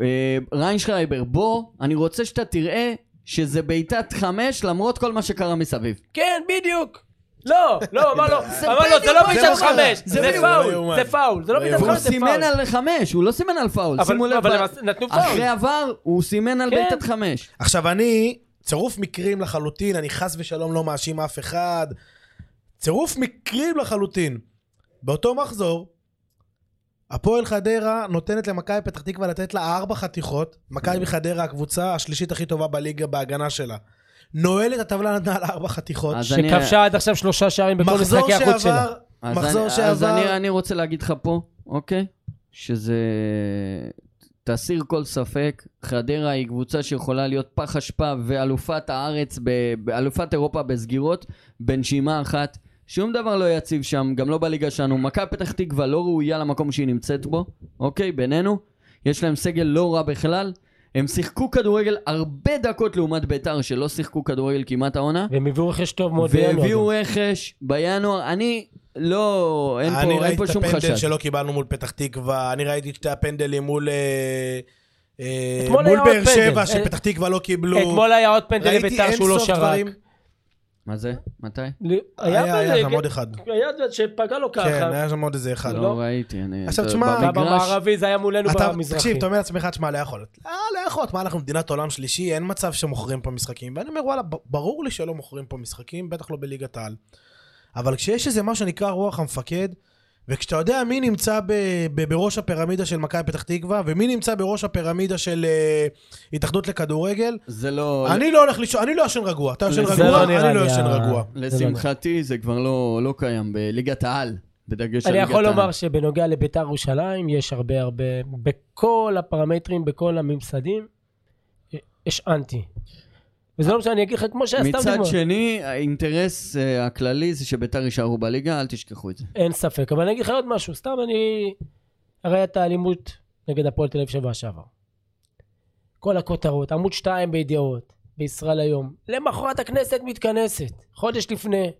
אה, ריינשרייבר, בוא, אני רוצה שאתה תראה שזה בעיטת חמש למרות כל מה שקרה מסביב.
כן, בדיוק. לא, לא, אמר לו, אמר לו, זה לא בעיטת חמש, זה
בדיוק, לא
פאול,
יאומן.
זה פאול, זה לא
לא
בעיטת
יאומן.
הוא
חמש, זה
סימן
פאול.
על חמש, הוא לא סימן על פאול,
אבל-
שימו לב.
אבל
ב-
הם נתנו פאול.
אחרי עבר, הוא סימן על
כן.
בעיטת חמש.
עכשיו אני, צירוף מקרים לחלוטין, אני חס ושלום לא מאשים אף אחד. צירוף מקרים לחלוטין. באותו מחזור, הפועל חדרה נותנת למכבי פתח תקווה לתת לה ארבע חתיכות. מכבי חדרה הקבוצה השלישית הכי טובה בליגה בהגנה שלה. נועלת הטבלה נתנה לה ארבע חתיכות.
אז אני-
שכבשה עד עכשיו שלושה שערים בכל
מחזור
משחקי החוץ שלה.
שעבר,
אז
מחזור
אני- אז אני-
שעבר,
אני רוצה להגיד לך פה, אוקיי? שזה... תסיר כל ספק, חדרה היא קבוצה שיכולה להיות פח אשפה ואלופת הארץ, ב- ב- אלופת אירופה בסגירות, בנשימה אחת. שום דבר לא יציב שם, גם לא בליגה שלנו. מכבי פתח תקווה לא ראויה למקום שהיא נמצאת בו, אוקיי? בינינו. יש להם סגל לא רע בכלל. הם שיחקו כדורגל הרבה דקות לעומת ביתר, שלא שיחקו כדורגל כמעט העונה.
והם הביאו רכש טוב מאוד
והביאו רכש בינואר, אני לא, אין
אני
פה, אין
ראיתי
פה
את
שום
הפנדל
חשש.
שלא קיבלנו מול פתח תקווה, אני ראיתי את שתי הפנדלים מול... אה, אה,
אתמול
מול
היה עוד
באר
פנדל.
שבע, שפתח תקווה לא קיבלו.
אתמול היה עוד פנדל
ראיתי
לביתר
אין
שהוא לא
סוף
שרק.
דברים.
מה זה? מתי?
היה
היה, היה
פנדל, כן.
שם עוד אחד.
היה זה שפגע לו ככה.
כן, היה שם עוד איזה אחד.
לא ראיתי, אני...
עכשיו,
אתה-
תשמע,
זה היה
במגרש-
במערבי, זה היה מולנו
אתה,
במזרחי.
תקשיב, אתה אומר לעצמך, תשמע, לא יכול להיות. אה, לא יכול להיות, מה, אנחנו מדינת עולם שלישי, אין מצב שמוכרים פה משחקים. ואני אומר, וואלה, ב- ברור לי שלא מוכרים פה משחקים, בטח לא בליגת העל. אבל כשיש איזה מה שנקרא רוח המפקד, וכשאתה יודע מי נמצא ב, ב, בראש הפירמידה של מכבי פתח תקווה, ומי נמצא בראש הפירמידה של אה, התאחדות לכדורגל,
זה לא...
אני לא הולך לישון, אני לא ישן רגוע. אתה ישן
זה
רגוע,
לא
נראה
אני לא
לי
ישן
ה-
רגוע.
לשמחתי זה כבר לא לא קיים בליגת העל, בדגש על
אני
ליגת
יכול
העל.
לומר שבנוגע לביתר ירושלים, יש הרבה הרבה, בכל הפרמטרים, בכל הממסדים, יש אנטי. וזה לא משנה, אני אגיד לך כמו שהיה, סתם
מצד
דוגמא.
שני, האינטרס אה, הכללי זה שביתר יישארו בליגה, אל תשכחו את זה.
אין ספק, אבל אני אגיד לך עוד משהו, סתם אני... הרי הייתה אלימות נגד הפועל תל אביב שבוע שעבר. כל הכותרות, עמוד 2 בידיעות, בישראל היום. למחרת הכנסת מתכנסת, חודש לפני.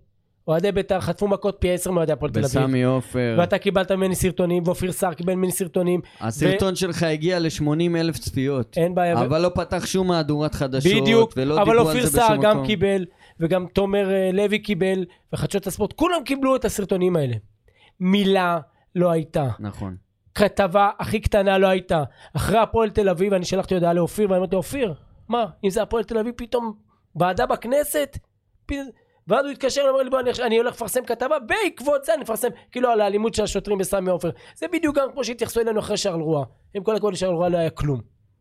אוהדי בית"ר חטפו מכות פי 10 מאוהדי הפועל תל אביב.
בסמי עופר,
ואתה קיבלת ממני סרטונים, ואופיר סער קיבל ממני סרטונים.
הסרטון שלך הגיע ל-80 אלף צפיות,
אין בעיה. ו-
אבל לא פתח שום מהדורת חדשות,
בדיוק,
ולא
אבל
דיברו על
אופיר
זה
סער
בשום
גם
מקום.
קיבל, וגם תומר אה, לוי קיבל, וחדשות הספורט, כולם קיבלו את הסרטונים האלה. מילה לא הייתה.
נכון.
כתבה הכי קטנה לא הייתה. אחרי הפועל תל אביב, אני שלחתי הודעה לאופיר, ואני אמרתי, אופיר, מה, אם זה הפועל תל אביב, פתאום ועדה בכנסת? פ- ואז הוא התקשר, אמר לי, בוא, אני, עכשיו- אני הולך לפרסם כתבה, בעקבות זה אני מפרסם, כאילו, על האלימות של השוטרים בסמי עופר. זה בדיוק גם כמו שהתייחסו אלינו אחרי שרל רואה. עם כל הכבוד לשרל רואה לא היה כלום.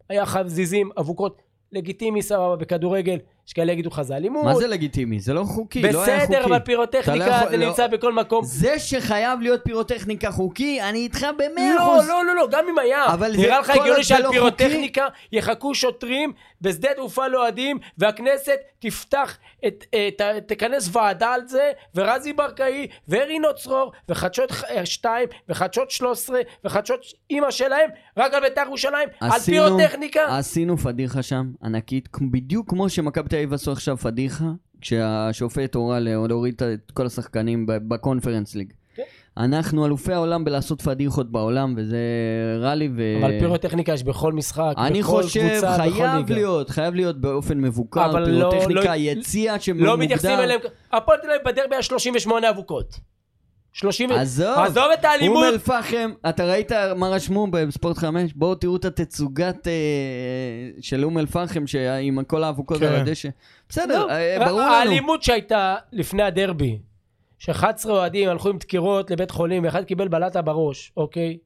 היה חזיזים, אבוקות, לגיטימי, סבבה, בכדורגל, יש כאלה יגידו לך, זה אלימות.
מה זה לגיטימי? זה לא חוקי, לא היה חוקי.
בסדר, אבל
אתה לא
פירוטכניקה,
יכול-
זה
לא-
נמצא בכל מקום.
זה שחייב להיות פירוטכניקה חוקי, אני איתך במאה
לא,
אחוז.
לא, לא, לא, גם אם היה.
אבל זה-
נראה לך
כל עוד
הגיוני
זה לא
שעל
חוקי-
פירוטכניקה יחכו שוטרים בשדה תעופה לאוהדים, והכנסת תפתח, את, את, ה- תכנס ועדה על זה, ורזי ברקאי, וארי נוצרור, וחדשות 2, וחדשות 13, וחדשות אימא שלהם, רק על בית"ר ירושלים, על
עשינו- אה,
פירוטכניקה.
עשינו פדיחה שם, ענקית, כמו- בדיוק כמו שמכבי תל אביב עשו עכשיו פדיחה, כשהשופט הורה לה- להוריד את- את כל השחקנים ב- בקונפרנס ליג.
כן.
אנחנו אלופי העולם בלעשות פדיחות בעולם, וזה רע לי ו...
אבל פירוטכניקה יש בכל משחק,
אני
בכל
חושב,
קבוצה, בכל
חייב
ליגה.
להיות, חייב להיות באופן מבוקר,
אבל לא-
פירוטכניקה,
לא-
יציע שמוגדר.
לא מתייחסים אליהם, הפועל תל אביב בדרבי היה 38 אבוקות. 30...
עזוב,
עזוב את האלימות,
אום אל-פחם, אתה ראית מה רשמו בספורט 5? בואו תראו את התצוגת אה, של אום אל-פחם שה- עם כל האבוקות
כן.
על הדשא. בסדר,
לא,
אה,
ה-
ברור לנו.
האלימות שהייתה לפני הדרבי, ש-11 אוהדים הלכו עם דקירות לבית חולים ואחד קיבל בלטה בראש, אוקיי?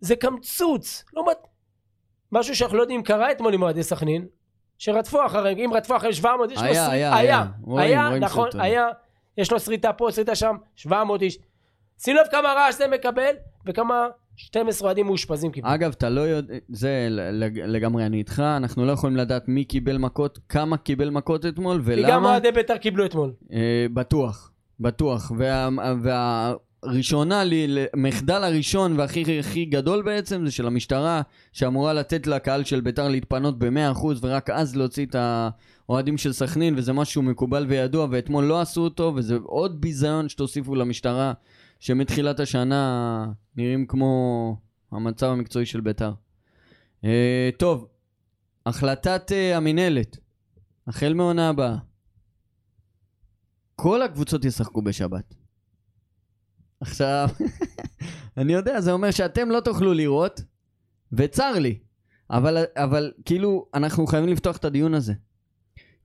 זה קמצוץ, לא מת... משהו שאנחנו לא יודעים אם קרה אתמול עם אוהדי סכנין, שרדפו אחריהם, אם רדפו אחרי 700, יש לו
היה,
סריטה,
היה, היה. רואים,
לא היה,
רואים
נכון,
סרטונים.
היה, יש לו סריטה פה, סריטה שם, 700 איש. שים לב כמה רעש זה מקבל, וכמה 12 אוהדים מאושפזים קיבלו.
אגב, אתה לא יודע, זה ל- לג- לגמרי אני איתך, אנחנו לא יכולים לדעת מי קיבל מכות, כמה קיבל מכות אתמול
כי גם
ולמה.
אוהדי בית"ר קיבלו אתמול.
אה, בטוח, בטוח. וה- והראשונה לי, המחדל הראשון והכי הכי גדול בעצם זה של המשטרה, שאמורה לתת לקהל של ביתר להתפנות ב-100% ורק אז להוציא את האוהדים של סכנין, וזה משהו מקובל וידוע, ואתמול לא עשו אותו, וזה עוד ביזיון שתוסיפו למשטרה, שמתחילת השנה נראים כמו המצב המקצועי של ביתר. אה, טוב, החלטת אה, המינהלת, החל מעונה הבאה. כל הקבוצות ישחקו בשבת. עכשיו, אני יודע, זה אומר שאתם לא תוכלו לראות, וצר לי. אבל, אבל כאילו, אנחנו חייבים לפתוח את הדיון הזה.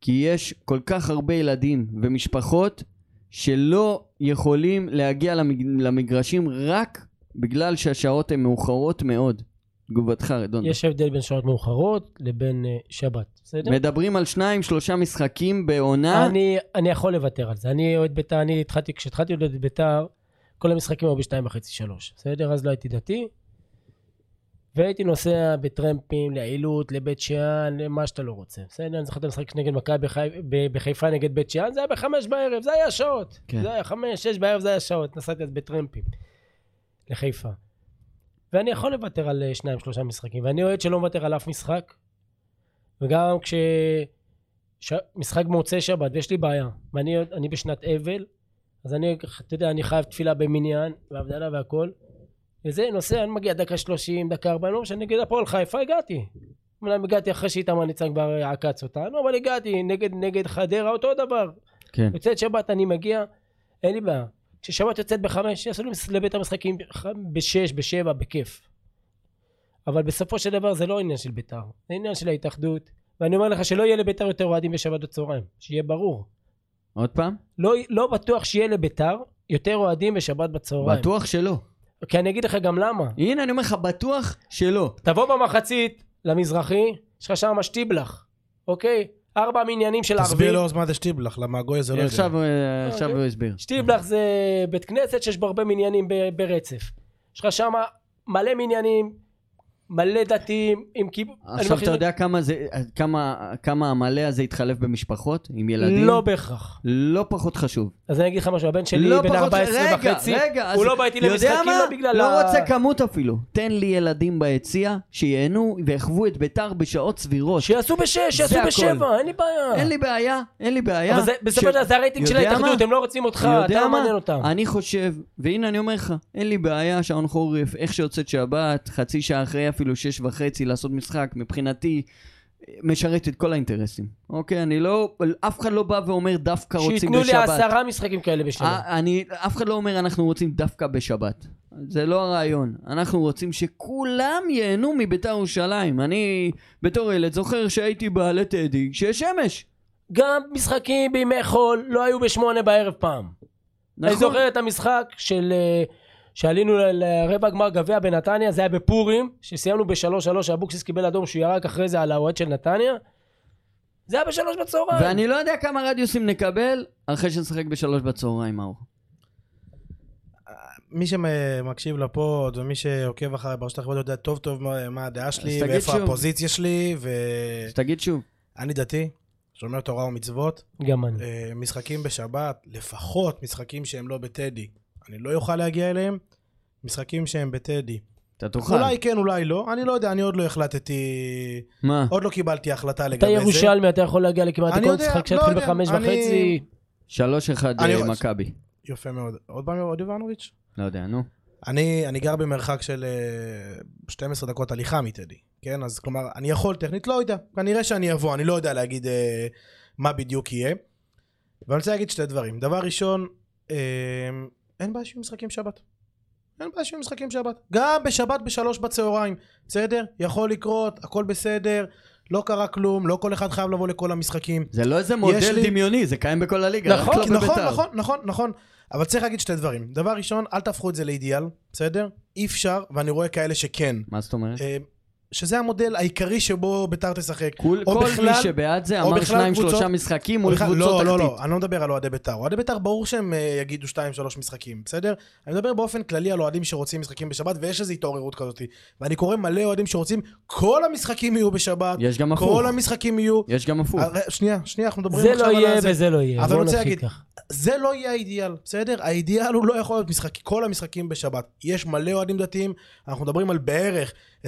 כי יש כל כך הרבה ילדים ומשפחות שלא יכולים להגיע למג... למגרשים רק בגלל שהשעות הן מאוחרות מאוד. תגובתך, רדון.
יש הבדל בין שעות מאוחרות לבין אה, שבת, בסדר?
מדברים על שניים, שלושה משחקים בעונה.
אני, אני יכול לוותר על זה. אני אוהד בית"ר, אני התחלתי, כשהתחלתי להיות בית"ר, כל המשחקים היו בשתיים וחצי, שלוש. בסדר? אז לא הייתי דתי. והייתי נוסע בטרמפים, לעילות, לבית שאן, למה שאתה לא רוצה. בסדר? אני זוכר את המשחק נגד מכבי בחי... ב- בחיפה נגד בית שאן, זה היה בחמש בערב, זה היה שעות.
כן.
כן. זה היה חמש, שש בערב, זה היה שעות. נסעתי אז בטרמפים לחיפה. ואני יכול לוותר על אה, שניים, שלושה משחקים. ואני אוהד שלא מוותר על אף משחק. וגם כש... ש... משחק במוצאי שבת, ויש לי בעיה. ואני אני בשנת אבל, אז אני, אתה יודע, אני חייב תפילה במניין, והבדלה והכל. וזה, נוסע, אני מגיע דקה שלושים, דקה ארבעים, לא משנה, נגד הפועל חיפה הגעתי. אמנם הגעתי אחרי שאיתמר ניצן כבר עקץ אותנו, אבל הגעתי, נגד, נגד חדרה, אותו דבר.
כן.
יוצאת שבת, אני מגיע, אין לי בעיה. כששבת יוצאת בחמש, יעשו לי מס- לבית המשחקים ח- בשש, בשבע, בכיף. אבל בסופו של דבר זה לא עניין של בית"ר, זה עניין של ההתאחדות. ואני אומר לך שלא יהיה לבית"ר יותר אוהדים בשבת בצהריים, שיהיה ברור.
עוד פעם?
לא, לא בטוח שיהיה לבית"ר יותר אוהדים בשבת בצהריים.
בטוח שלא.
כי אני אגיד לך גם למה.
הנה, אני אומר לך, בטוח שלא.
תבוא במחצית למזרחי, יש לך שם שטיבלך, אוקיי? ארבע מניינים של ערבי.
תסביר לו אז מה זה שטיבלך, למה הגוי זה לא יודע.
עכשיו אה, עכשיו
אוקיי.
הוא הסביר.
שטיבלך זה בית כנסת שיש בו הרבה מניינים ב- ברצף. יש לך שם מלא מניינים, מלא דתיים, עם כיב... אני
עכשיו
מכיר-
אתה יודע כמה זה- כמה- כמה המלא הזה התחלף במשפחות, עם ילדים?
לא בהכרח.
לא פחות חשוב.
אז אני אגיד לך משהו, הבן שלי
לא
בן
פחות-
14
רגע,
וחצי,
רגע, אז
הוא לא בא איתי
יודע
למשחקים
מה?
לא בגלל
לא
ה-
רוצה כמות אפילו. תן לי ילדים ביציע, שייהנו ויחוו את ביתר בשעות סבירות.
שיעשו בשש, שיעשו
הכל.
בשבע, אין לי בעיה.
אין לי בעיה, אין לי בעיה.
אבל זה- בסופו של דבר זה הרייטינג של
יודע
ההתאחדות,
מה?
הם לא רוצים אותך, אתה
יודע
לא
מה?
מעניין אותם.
אני חושב, והנה אני אומר לך, אין לי בעיה, שעון חורף, איך שיוצאת שבת, חצי שעה אחרי אפילו שש וחצי לעשות משחק, מבחינתי, משרת את כל האינטרסים. אוקיי, אני לא, אף אחד לא בא ואומר דווקא רוצים
שייתנו
בשבת.
לי עשרה משחקים כאלה בשנה.
אה, אני, אף אחד לא אומר אנחנו רוצים דווקא בשבת. זה לא הרעיון. אנחנו רוצים שכולם ייהנו מביתר ירושלים. אני בתור ילד זוכר שהייתי בעלי טדי, שיש שמש.
גם משחקים בימי חול לא היו בשמונה בערב פעם. נכון. אני זוכר את המשחק של... אה, שעלינו ל- לרבע גמר גביע בנתניה, זה היה בפורים, שסיימנו בשלוש שלוש, אבוקסיס קיבל אדום שהוא ירק אחרי זה על האוהד של נתניה. זה היה בשלוש בצהריים.
ואני לא יודע כמה רדיוסים נקבל אחרי שנשחק בשלוש בצהריים, מאור.
מי שמקשיב לפוד ומי שעוקב אחרי ברשת החברות יודע טוב טוב מה- מה הדעה שלי
תגיד
ואיפה
שוב.
הפוזיציה שלי
אז תגיד שוב.
ואני דתי, שומר תורה ומצוות,
גם אני.
אה, משחקים בשבת, לפחות משחקים שהם לא בטדי, אני לא אוכל להגיע אליהם, משחקים שהם בטדי.
אתה תוכל.
אולי כן, אולי לא, אני לא יודע, אני עוד לא החלטתי,
מה?
עוד לא קיבלתי החלטה לגבי
אתה
זה.
ירושלמי, אתה יכול להגיע לכמעט
אני
כל
יודע,
משחק
לא
שיתחיל
יודע,
בחמש
אני-
וחצי.
שלוש אחד
אני
אה,
רוצה-
מכבי.
יפה מאוד. עוד פעם עוד יובנוביץ'?
לא יודע, נו.
אני, אני גר במרחק של אה, 12 דקות הליכה מטדי, כן? אז כלומר, אני יכול טכנית, לא יודע. כנראה שאני אבוא, אני לא יודע להגיד אה, מה בדיוק יהיה. ואני רוצה להגיד שתי דברים. דבר ראשון, אה, אין בעיה שיהיו משחקים שבת. אין בעיה שיהיו משחקים שבת. גם בשבת בשלוש בצהריים, בסדר? יכול לקרות, הכל בסדר, לא קרה כלום, לא כל אחד חייב לבוא לכל המשחקים.
זה לא איזה מודל
לי-
דמיוני, זה קיים בכל הליגה. רק
נכון,
לא
נכון,
בביתר.
נכון, נכון, נכון. אבל צריך להגיד שתי דברים. דבר ראשון, אל תהפכו את זה לאידיאל, בסדר? אי אפשר, ואני רואה כאלה שכן.
מה זאת אומרת?
אה, שזה המודל העיקרי שבו ביתר תשחק.
כול-
או
כל מי
בכלל-
שבעד זה
או
אמר
בכלל
שניים
קבוצות-
שלושה משחקים מול
בכלל-
קבוצות
לא,
תחתית.
לא, לא, אני לא מדבר על אוהדי ביתר. אוהדי ביתר ברור שהם אה, יגידו 2-3 משחקים, בסדר? אני מדבר באופן כללי על אוהדים שרוצים משחקים בשבת, ויש איזו התעוררות כזאת. ואני קורא מלא אוהדים שרוצים, כל המשחקים יהיו בשבת,
יש גם הפוך.
לא. כל המשחקים יהיו...
יש גם הפוך.
הרי- שנייה, שנייה, אנחנו מדברים
זה
עכשיו
לא
על
יהיה
הזה.
וזה לא יהיה.
אבל
בוא
אני רוצה
נתחיל
להגיד,
ככה.
זה לא יהיה האידיאל, בסדר? האידיאל הוא לא יכול להיות משחק, כל המשחקים בשבת. יש מלא אוהדים דתיים, אנחנו מדברים על בערך 25-30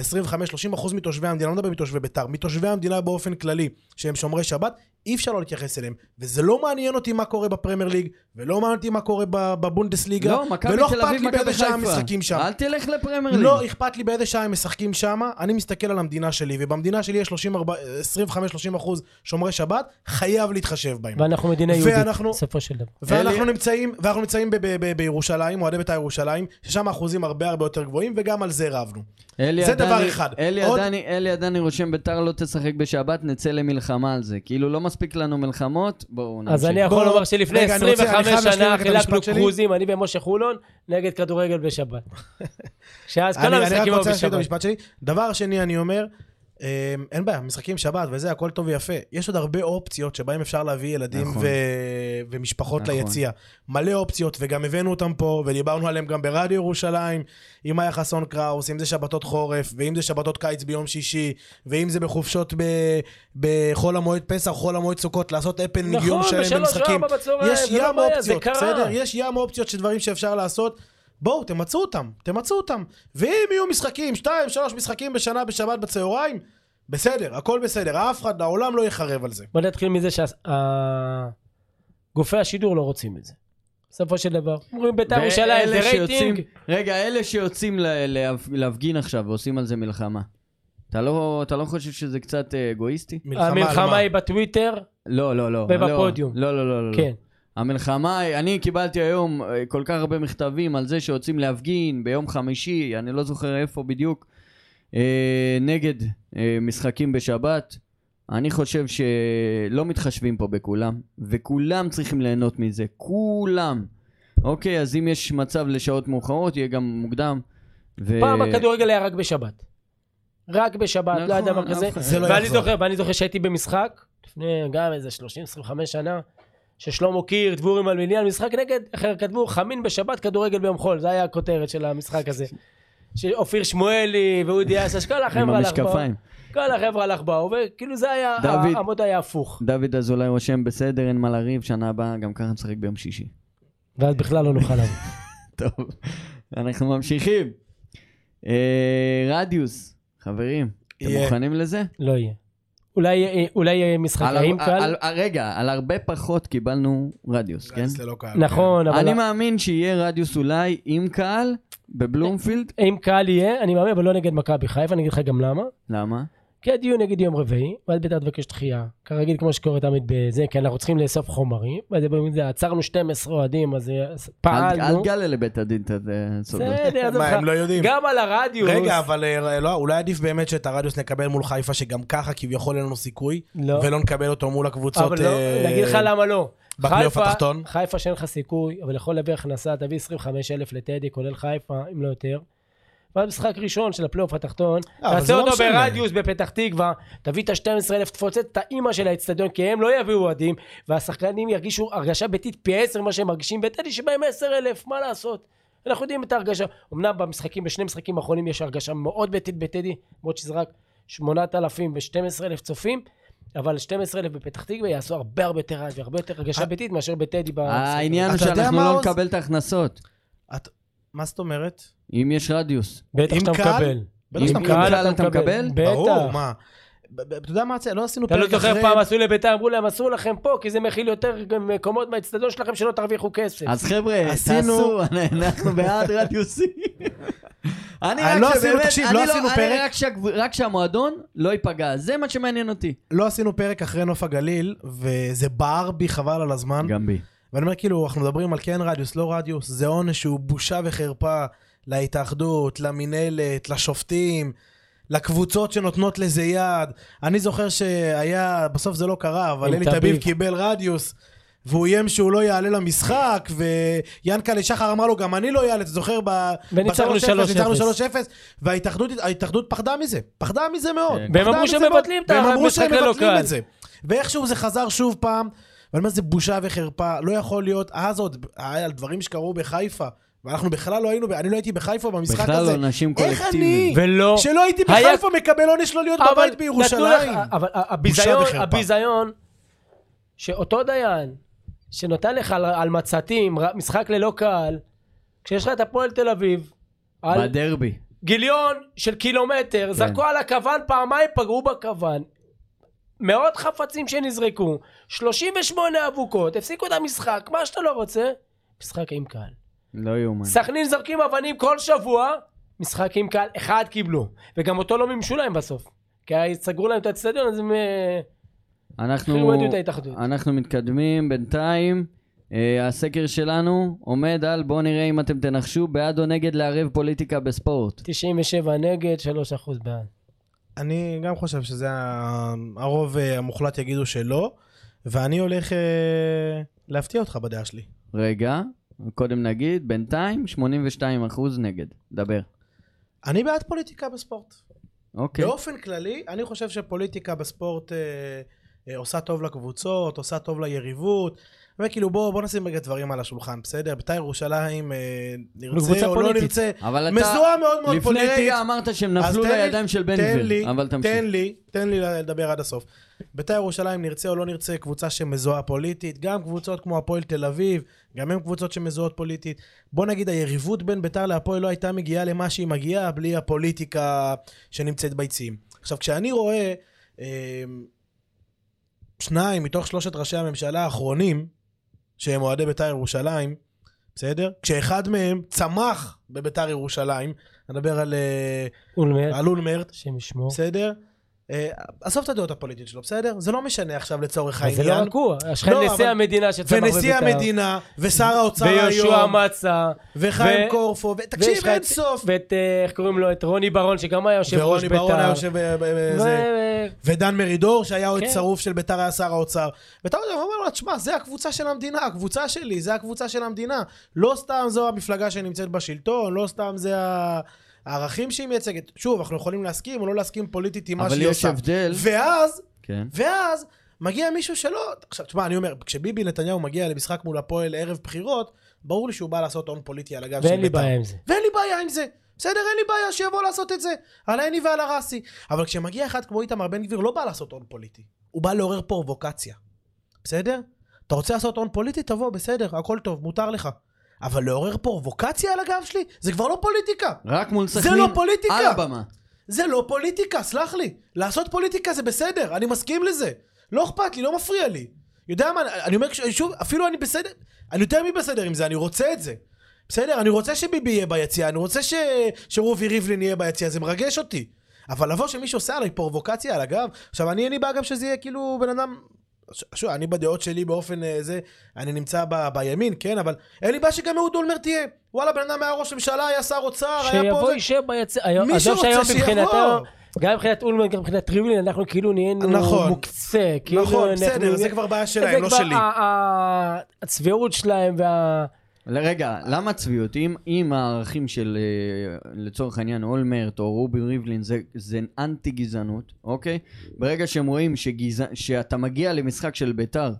אחוז מתושבי המדינה, לא מדבר מתושבי ביתר, מתושבי המדינה באופן כללי, שהם שומרי שבת, אי אפשר לא להתייחס אליהם. וזה לא מעניין אותי מה קורה בפרמייר ליג, ולא מעניין אותי מה קורה ב- בבונדסליגה,
לא, מכבי
ולא
תל
אכפת
אביב,
לי
מכבי
באיזה שעה הם
חיפה.
משחקים שם.
אל תלך לפרמייר ליג.
לא אכפת לי באיזה שעה הם משחקים שם, אני מסתכל על המדינה שלי, ובמדינה שלי יש 25-30 אחוז שומרי שבת, חייב להתחשב בהם.
ואנחנו מדינה יהודית,
ואנחנו-
בסופו של דבר.
ואנחנו
אלי-
נמצאים, ואנחנו נמצאים ב- ב- ב- בירושלים, אוהדי בית"ר ירושלים, ששם האחוזים הרבה הרבה יותר גבוהים, וגם על זה רבנו.
אלי
זה
עדני-
דבר אחד.
אלי
עוד-
עדני- אלי עדני רושם ביתר לא תשחק בשבת, נצא למלחמה על זה. כאילו לא מספיק לנו מלחמות, בואו נמשיך.
אז אני
בוא,
יכול לומר שלפני
רגע, אני רוצה- אני
25
חייב להשלים
שנה
רק את
חילקנו
המשפט שלי.
כרוזים, אני ומשה חולון, נגד כדורגל בשבת. שאז כל
אני אני רק
המשחקים היו
רוצה להשלים את
בשבת.
המשפט שלי. דבר שני, אני אומר, אמ, אין בעיה, משחקים שבת וזה, הכל טוב ויפה. יש עוד הרבה אופציות שבהן אפשר להביא ילדים
נכון.
ו- ומשפחות
נכון.
ליציע. מלא אופציות, וגם הבאנו אותם פה, ודיברנו עליהם גם ברדיו ירושלים, אם היה חסון קראוס, אם זה שבתות חורף, ואם זה שבתות קיץ ביום שישי, ואם זה בחופשות ב- בחול המועד פסח, חול המועד סוכות, לעשות אפל
נכון,
יום שלם
בשלוש
במשחקים.
וארבע בצהריים,
יש
זה לא
ים
בעיה, זה
אופציות,
קרה.
בסדר? יש ים אופציות של דברים שאפשר לעשות. בואו, תמצו אותם, תמצו אותם. ואם יהיו משחקים, שתיים, שלוש משחקים בשנה בשבת בצהריים, בסדר, הכל בסדר, אף אחד, העולם לא יחרב על זה.
בוא נתחיל מזה שגופי השידור לא רוצים את זה. בסופו של דבר. אומרים בית"ר
ואלה
ירושלים, זה
שיוצאים-
רייטינג.
רגע, אלה שיוצאים ל- להפ- להפגין עכשיו ועושים על זה מלחמה. אתה לא, אתה לא חושב שזה קצת אה, אגואיסטי?
מלחמה על מה?
המלחמה היא בטוויטר,
לא, לא, לא.
ובפודיום.
לא, לא, לא, לא. לא.
כן.
המלחמה, אני קיבלתי היום אה, כל כך הרבה מכתבים על זה שיוצאים להפגין ביום חמישי, אני לא זוכר איפה בדיוק, אה, נגד אה, משחקים בשבת. אני חושב שלא מתחשבים פה בכולם, וכולם צריכים ליהנות מזה, כולם. אוקיי, אז אם יש מצב לשעות מאוחרות, יהיה גם מוקדם. ו...
פעם הכדורגל היה רק בשבת. רק בשבת, לא יודע
נכון,
מה כזה.
אף אחד-
זה לא
ואני
יחזור.
זוכר, ואני זוכר שהייתי במשחק, לפני גם איזה 30-25 שנה, ששלמה קיר, דבורי מלמיליאן, משחק נגד, אחר כתבו חמין בשבת, כדורגל ביום חול, זה היה הכותרת של המשחק הזה. שאופיר שמואלי ואודי אסש, כל
עם
החבר'ה הלך
המשקפיים.
באו- כל החבר'ה הלך באו, וכאילו זה היה,
דוד.
המוד היה הפוך.
דוד אזולאי רושם, בסדר, אין מה לריב, שנה הבאה גם ככה נשחק ביום שישי.
ואז בכלל לא נוכל לבוא.
טוב, אנחנו ממשיכים. אה, רדיוס, חברים, אתם
יהיה.
מוכנים לזה?
לא יהיה. אולי- אולי יהיה משחק
על
עם
הר-
קהל,
על- על- רגע, על הרבה פחות קיבלנו רדיוס, כן?
זה לא קהל.
נכון, אבל
אני מאמין שיהיה רדיוס אולי עם קהל בבלומפילד.
אם קהל יהיה, אני מאמין, אבל לא נגד מכבי חיפה, אני אגיד לך גם למה.
למה?
כי הדיון כן, נגיד יום רביעי, ואז בית"ר תבקש דחייה. כרגיל, כמו שקורה תמיד בזה, כי אנחנו צריכים לאסוף חומרים, ואז הם זה, עצרנו 12 אוהדים, אז אה,
אל אל
פעלנו.
תגלה לבית הדין את הסודות.
בסדר, עזוב
מה, הם
אותך.
לא יודעים?
גם על הרדיוס.
רגע, אבל אה, לא, אולי עדיף באמת שאת הרדיוס נקבל מול חיפה, שגם ככה כביכול אין לנו סיכוי,
לא.
ולא נקבל אותו מול הקבוצות.
אבל לא,
אה,
אני אגיד לך למה לא.
בפלייאוף
חיפה-
התחתון?
חיפה שאין לך סיכוי, אבל יכול להביא הכנסה, תביא 25 אלף לטדי, כולל חיפה, אם לא יותר. ואז משחק ראשון של הפלייאוף התחתון,
אבל זה
תעשה
לא
אותו
משנה.
ברדיוס בפתח תקווה, תביא את ה-12 אלף, תפוצץ את האימא של האצטדיון, כי הם לא יביאו אוהדים, והשחקנים ירגישו הרגשה ביתית פי 10 ממה שהם מרגישים בטדי, שבהם 10 אלף, מה לעשות? אנחנו יודעים את ההרגשה. אמנם במשחקים, בשני משחקים האחרונים יש הרגשה מאוד ביתית בטדי, למרות שזה רק 8,000 ו-12,000 צופים, אבל 12,000 בפתח תקווה יעשו הרבה הרבה יותר רעש והרבה יותר הרגשה ביתית מאשר בטדי. במשחק.
העניין הוא
אתה יודע
שאנחנו
מה,
לא
עוז?
נקבל את ההכנסות,
את- מה זאת אומרת?
אם יש רדיוס.
בטח
עם
שאתה
קהל?
מקבל.
בטח
עם
שאתה מקבל.
עם קהל אתה מקבל?
ברור,
בטח.
מה? ב- ב- אתה יודע מה, זה- לא עשינו
אתה לא
פרק
זוכר
אחרי...
פעם עשו לביתר, אמרו להם אסור לכם פה, כי זה מכיל יותר מקומות מהאצטדיון שלכם שלא תרוויחו כסף.
אז חבר'ה,
עשינו-
תעשו, אנחנו בעד רדיוסים. אני
אה,
רק
לא עשינו-
שבאמת,
תקשיב,
אני
לא עשינו
אני
פרק.
רק שהגב- רק שהמועדון לא ייפגע, זה מה שמעניין אותי.
לא עשינו פרק אחרי נוף הגליל, וזה בער בי חבל על הזמן.
גם בי.
ואני אומר, כאילו, אנחנו מדברים על כן רדיוס, לא רדיוס, זה עונש שהוא בושה וחרפה להתאחדות, למינהלת, לשופטים, לקבוצות שנותנות לזה יד. אני זוכר שהיה, בסוף זה לא קרה, אבל
עם
אלי
טביב.
טביב קיבל רדיוס. והוא איים שהוא לא יעלה למשחק, ויענקלה שחר אמר לו, גם אני לא יעלה, אתה זוכר? ב-
וניצחנו
ב- 3-0,
3-0.
ניצחנו 3-0, וההתאחדות ההתאחדות פחדה מזה, פחדה מזה
כן.
מאוד.
והם
פחדה
אמרו
מזה
שהם
מאוד.
מבטלים את
והם אמרו
המשחק
שהם
ללא
מבטלים
קהל.
את זה. ואיכשהו זה חזר שוב פעם, ואני אומר, זה בושה וחרפה, לא יכול להיות, אז עוד, היה על דברים שקרו בחיפה, ואנחנו בכלל לא היינו, אני לא הייתי בחיפה במשחק
בכלל
הזה.
לא נשים
איך אני,
קולקטיביים.
ולא...
שלא הייתי
לא. היה-
בחיפה, מקבל עונש לא להיות
אבל
בבית
נתנו
בירושלים?
לך- אבל ה- הביזיון,
וחרפה.
הביזיון, שאותו דיין, שנותן לך על- על מצתים, ר- משחק ללא קהל, כשיש לך את הפועל תל אביב, על
בדרבי.
גיליון של קילומטר, זרקו על הכוון פעמיים, פגעו בכוון. מאות חפצים שנזרקו, 38 אבוקות, הפסיקו את המשחק, מה שאתה לא רוצה, משחק עם קהל.
לא יאומן.
סכנין זרקים אבנים כל שבוע, משחק עם קהל, אחד קיבלו. וגם אותו לא מימשו להם בסוף. כי סגרו להם את האצטדיון, אז הם... אה,
אנחנו,
חירמדו את ההתאחדות.
אנחנו מתקדמים בינתיים. אה, הסקר שלנו עומד על בואו נראה אם אתם תנחשו בעד או נגד לערב פוליטיקה בספורט.
97 נגד, 3% בעד.
אני גם חושב שזה ה- הרוב אה, המוחלט יגידו שלא, ואני הולך אה, להפתיע אותך בדעה שלי.
רגע, קודם נגיד, בינתיים 82% נגד. דבר.
אני בעד פוליטיקה בספורט.
אוקיי.
באופן כללי, אני חושב שפוליטיקה בספורט אה, אה, עושה טוב לקבוצות, עושה טוב ליריבות. וכאילו בוא, בוא נשים רגע דברים על השולחן, בסדר? בית"ר ירושלים אה,
קבוצה
נרצה או לא
פוליטית.
נרצה,
אבל אתה...
מזוהה מאוד מאוד
לפני
פוליטית.
רגע אמרת שהם
אז
נפלו
תן לי-
לידיים של בן
תן
גביר.
לי-
אבל תמשיך.
תן לי, תן לי לדבר עד הסוף. בית"ר ירושלים, נרצה או לא נרצה, קבוצה שמזוהה פוליטית, גם קבוצות כמו הפועל תל אביב, גם הן קבוצות שמזוהות פוליטית. בוא נגיד, היריבות בין בית"ר להפועל לא הייתה מגיעה למה שהיא מגיעה בלי הפוליטיקה שנמצאת ביציעים. עכשיו, כשאני רואה אה, שניים מתוך שלושת ראשי הממשלה האחרונים, שהם אוהדי בית"ר ירושלים, בסדר? כשאחד מהם צמח בבית"ר ירושלים, אני מדבר על, אה,
אולמרט,
על אולמרט,
השם ישמור.
בסדר? אה, עזוב את הדעות הפוליטיות שלו, בסדר? זה לא משנה עכשיו לצורך
אבל זה לא
העניין.
רק הוא, השכן
לא,
נשיא
אבל-
המדינה שצמח בביתר.
ונשיא המדינה, ושר האוצר
ויהושע
היום,
מצה.
וחיים
ו-
קורפו, ו- תקשיב,
ויש לך
אין
את-
סוף.
ואת, אה, איך קוראים לו? את רוני ברון, שגם היה יושב ראש
ורוני
בית"ר.
ברון היה יושב... ב- ב-
ו-
זה. ודן מרידור, שהיה עוד
כן.
שרוף של ביתר, היה שר האוצר. ואתה יודע, הוא אומר לו, תשמע, זה הקבוצה של המדינה, הקבוצה שלי, זה הקבוצה של המדינה. לא סתם זו המפלגה שנמצאת בשלטון, לא סתם זה ה- הערכים שהיא מייצגת. שוב, אנחנו יכולים להסכים או לא להסכים פוליטית עם מה
אבל
שהיא
יש
עושה.
הבדל.
ואז,
כן.
ואז מגיע מישהו שלא... עכשיו, תשמע, אני אומר, כשביבי נתניהו מגיע למשחק מול הפועל ערב בחירות, ברור לי שהוא בא לעשות הון פוליטי על הגב של בית"ר.
ואין לי בעיה עם זה.
ואין לי בעיה עם זה. בסדר, אין לי בעיה שיבוא לעשות את זה. על העיני ועל הרסי. אבל כשמגיע אחד כמו איתמר בן גביר, לא בא לעשות הון פוליטי. הוא בא לעורר פרובוקציה. בסדר? אתה רוצה לעשות הון פוליטי? תבוא, בסדר, הכל טוב, מותר לך. אבל לעורר פרובוקציה על הגב שלי? זה כבר לא פוליטיקה.
רק מול
זה
סכנין.
לא פוליטיקה.
על הבמה.
זה לא פוליטיקה, סלח לי. לעשות פוליטיקה זה בסדר, אני מסכים לזה. לא אכפת לי, לא מפריע לי. יודע מה, אני אומר, כש- שוב, אפילו אני בסדר, אני יותר מבסדר עם זה, אני רוצה את זה. בסדר, אני רוצה שביבי יהיה ביציע, אני רוצה ש... שרובי ריבלין יהיה ביציע, זה מרגש אותי. אבל לבוא שמישהו עושה עליי פרובוקציה על הגב, עכשיו אני אין לי בעיה גם שזה יהיה כאילו בן אדם... ש- שוב, אני בדעות שלי באופן אה, זה, אני נמצא ב, בימין, כן, אבל אין לי בעיה שגם אהוד אולמרט יהיה. וואלה, בן אדם היה ראש ממשלה, היה שר אוצר, לא, היה פה...
שיבוא
זה.
יישב ביצ... היום,
מי
עזוב
שרוצה
שהיום
שיבוא.
מבחינתו, גם מבחינת אולמן, גם מבחינת ריבלין, אנחנו כאילו נהיינו
נכון.
מוקצה. כאילו
נכון,
אנחנו-
בסדר, זה כבר בעיה
זה
שלהם, לא
כבר אה,
שלי.
ה- ה- הצביעות שלהם וה...
רגע, למה צביעות? אם, אם הערכים של אה, לצורך העניין אולמרט או רובי ריבלין זה, זה אנטי גזענות, אוקיי? ברגע שהם רואים שגזע, שאתה מגיע למשחק של ביתר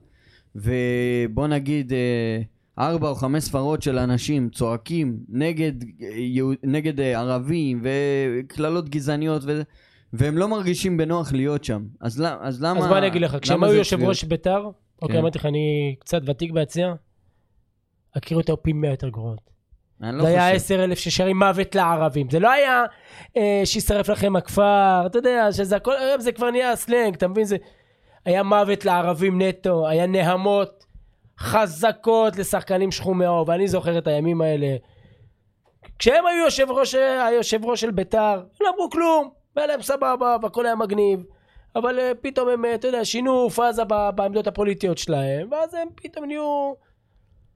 ובוא נגיד אה, ארבע או חמש ספרות של אנשים צועקים נגד, אה, יהוד- נגד אה, ערבים וקללות גזעניות וזה והם לא מרגישים בנוח להיות שם. אז, למ- אז למה...
אז מה אני אגיד לך,
למה
כשהם
זה
היו יושב
צביעות? כן.
ראש בית"ר, אוקיי, אמרתי לך, אני קצת ותיק ביציע, הכיר אותו פי מאה יותר גרועות.
אני לא
זה היה
חושב.
עשר אלף ששרים מוות לערבים, זה לא היה אה, שישרף לכם הכפר, אתה יודע, שזה הכל, היום זה כבר נהיה סלנג, אתה מבין? זה היה מוות לערבים נטו, היה נהמות חזקות לשחקנים שחומי עור, ואני זוכר את הימים האלה. כשהם היו יושב ראש, היושב ראש של ביתר, לא אמרו כלום, והיה להם סבבה, והכל היה מגניב. אבל אה, פתאום הם, אה, אתה יודע, שינו פאזה ב- בעמדות הפוליטיות שלהם, ואז הם פתאום נהיו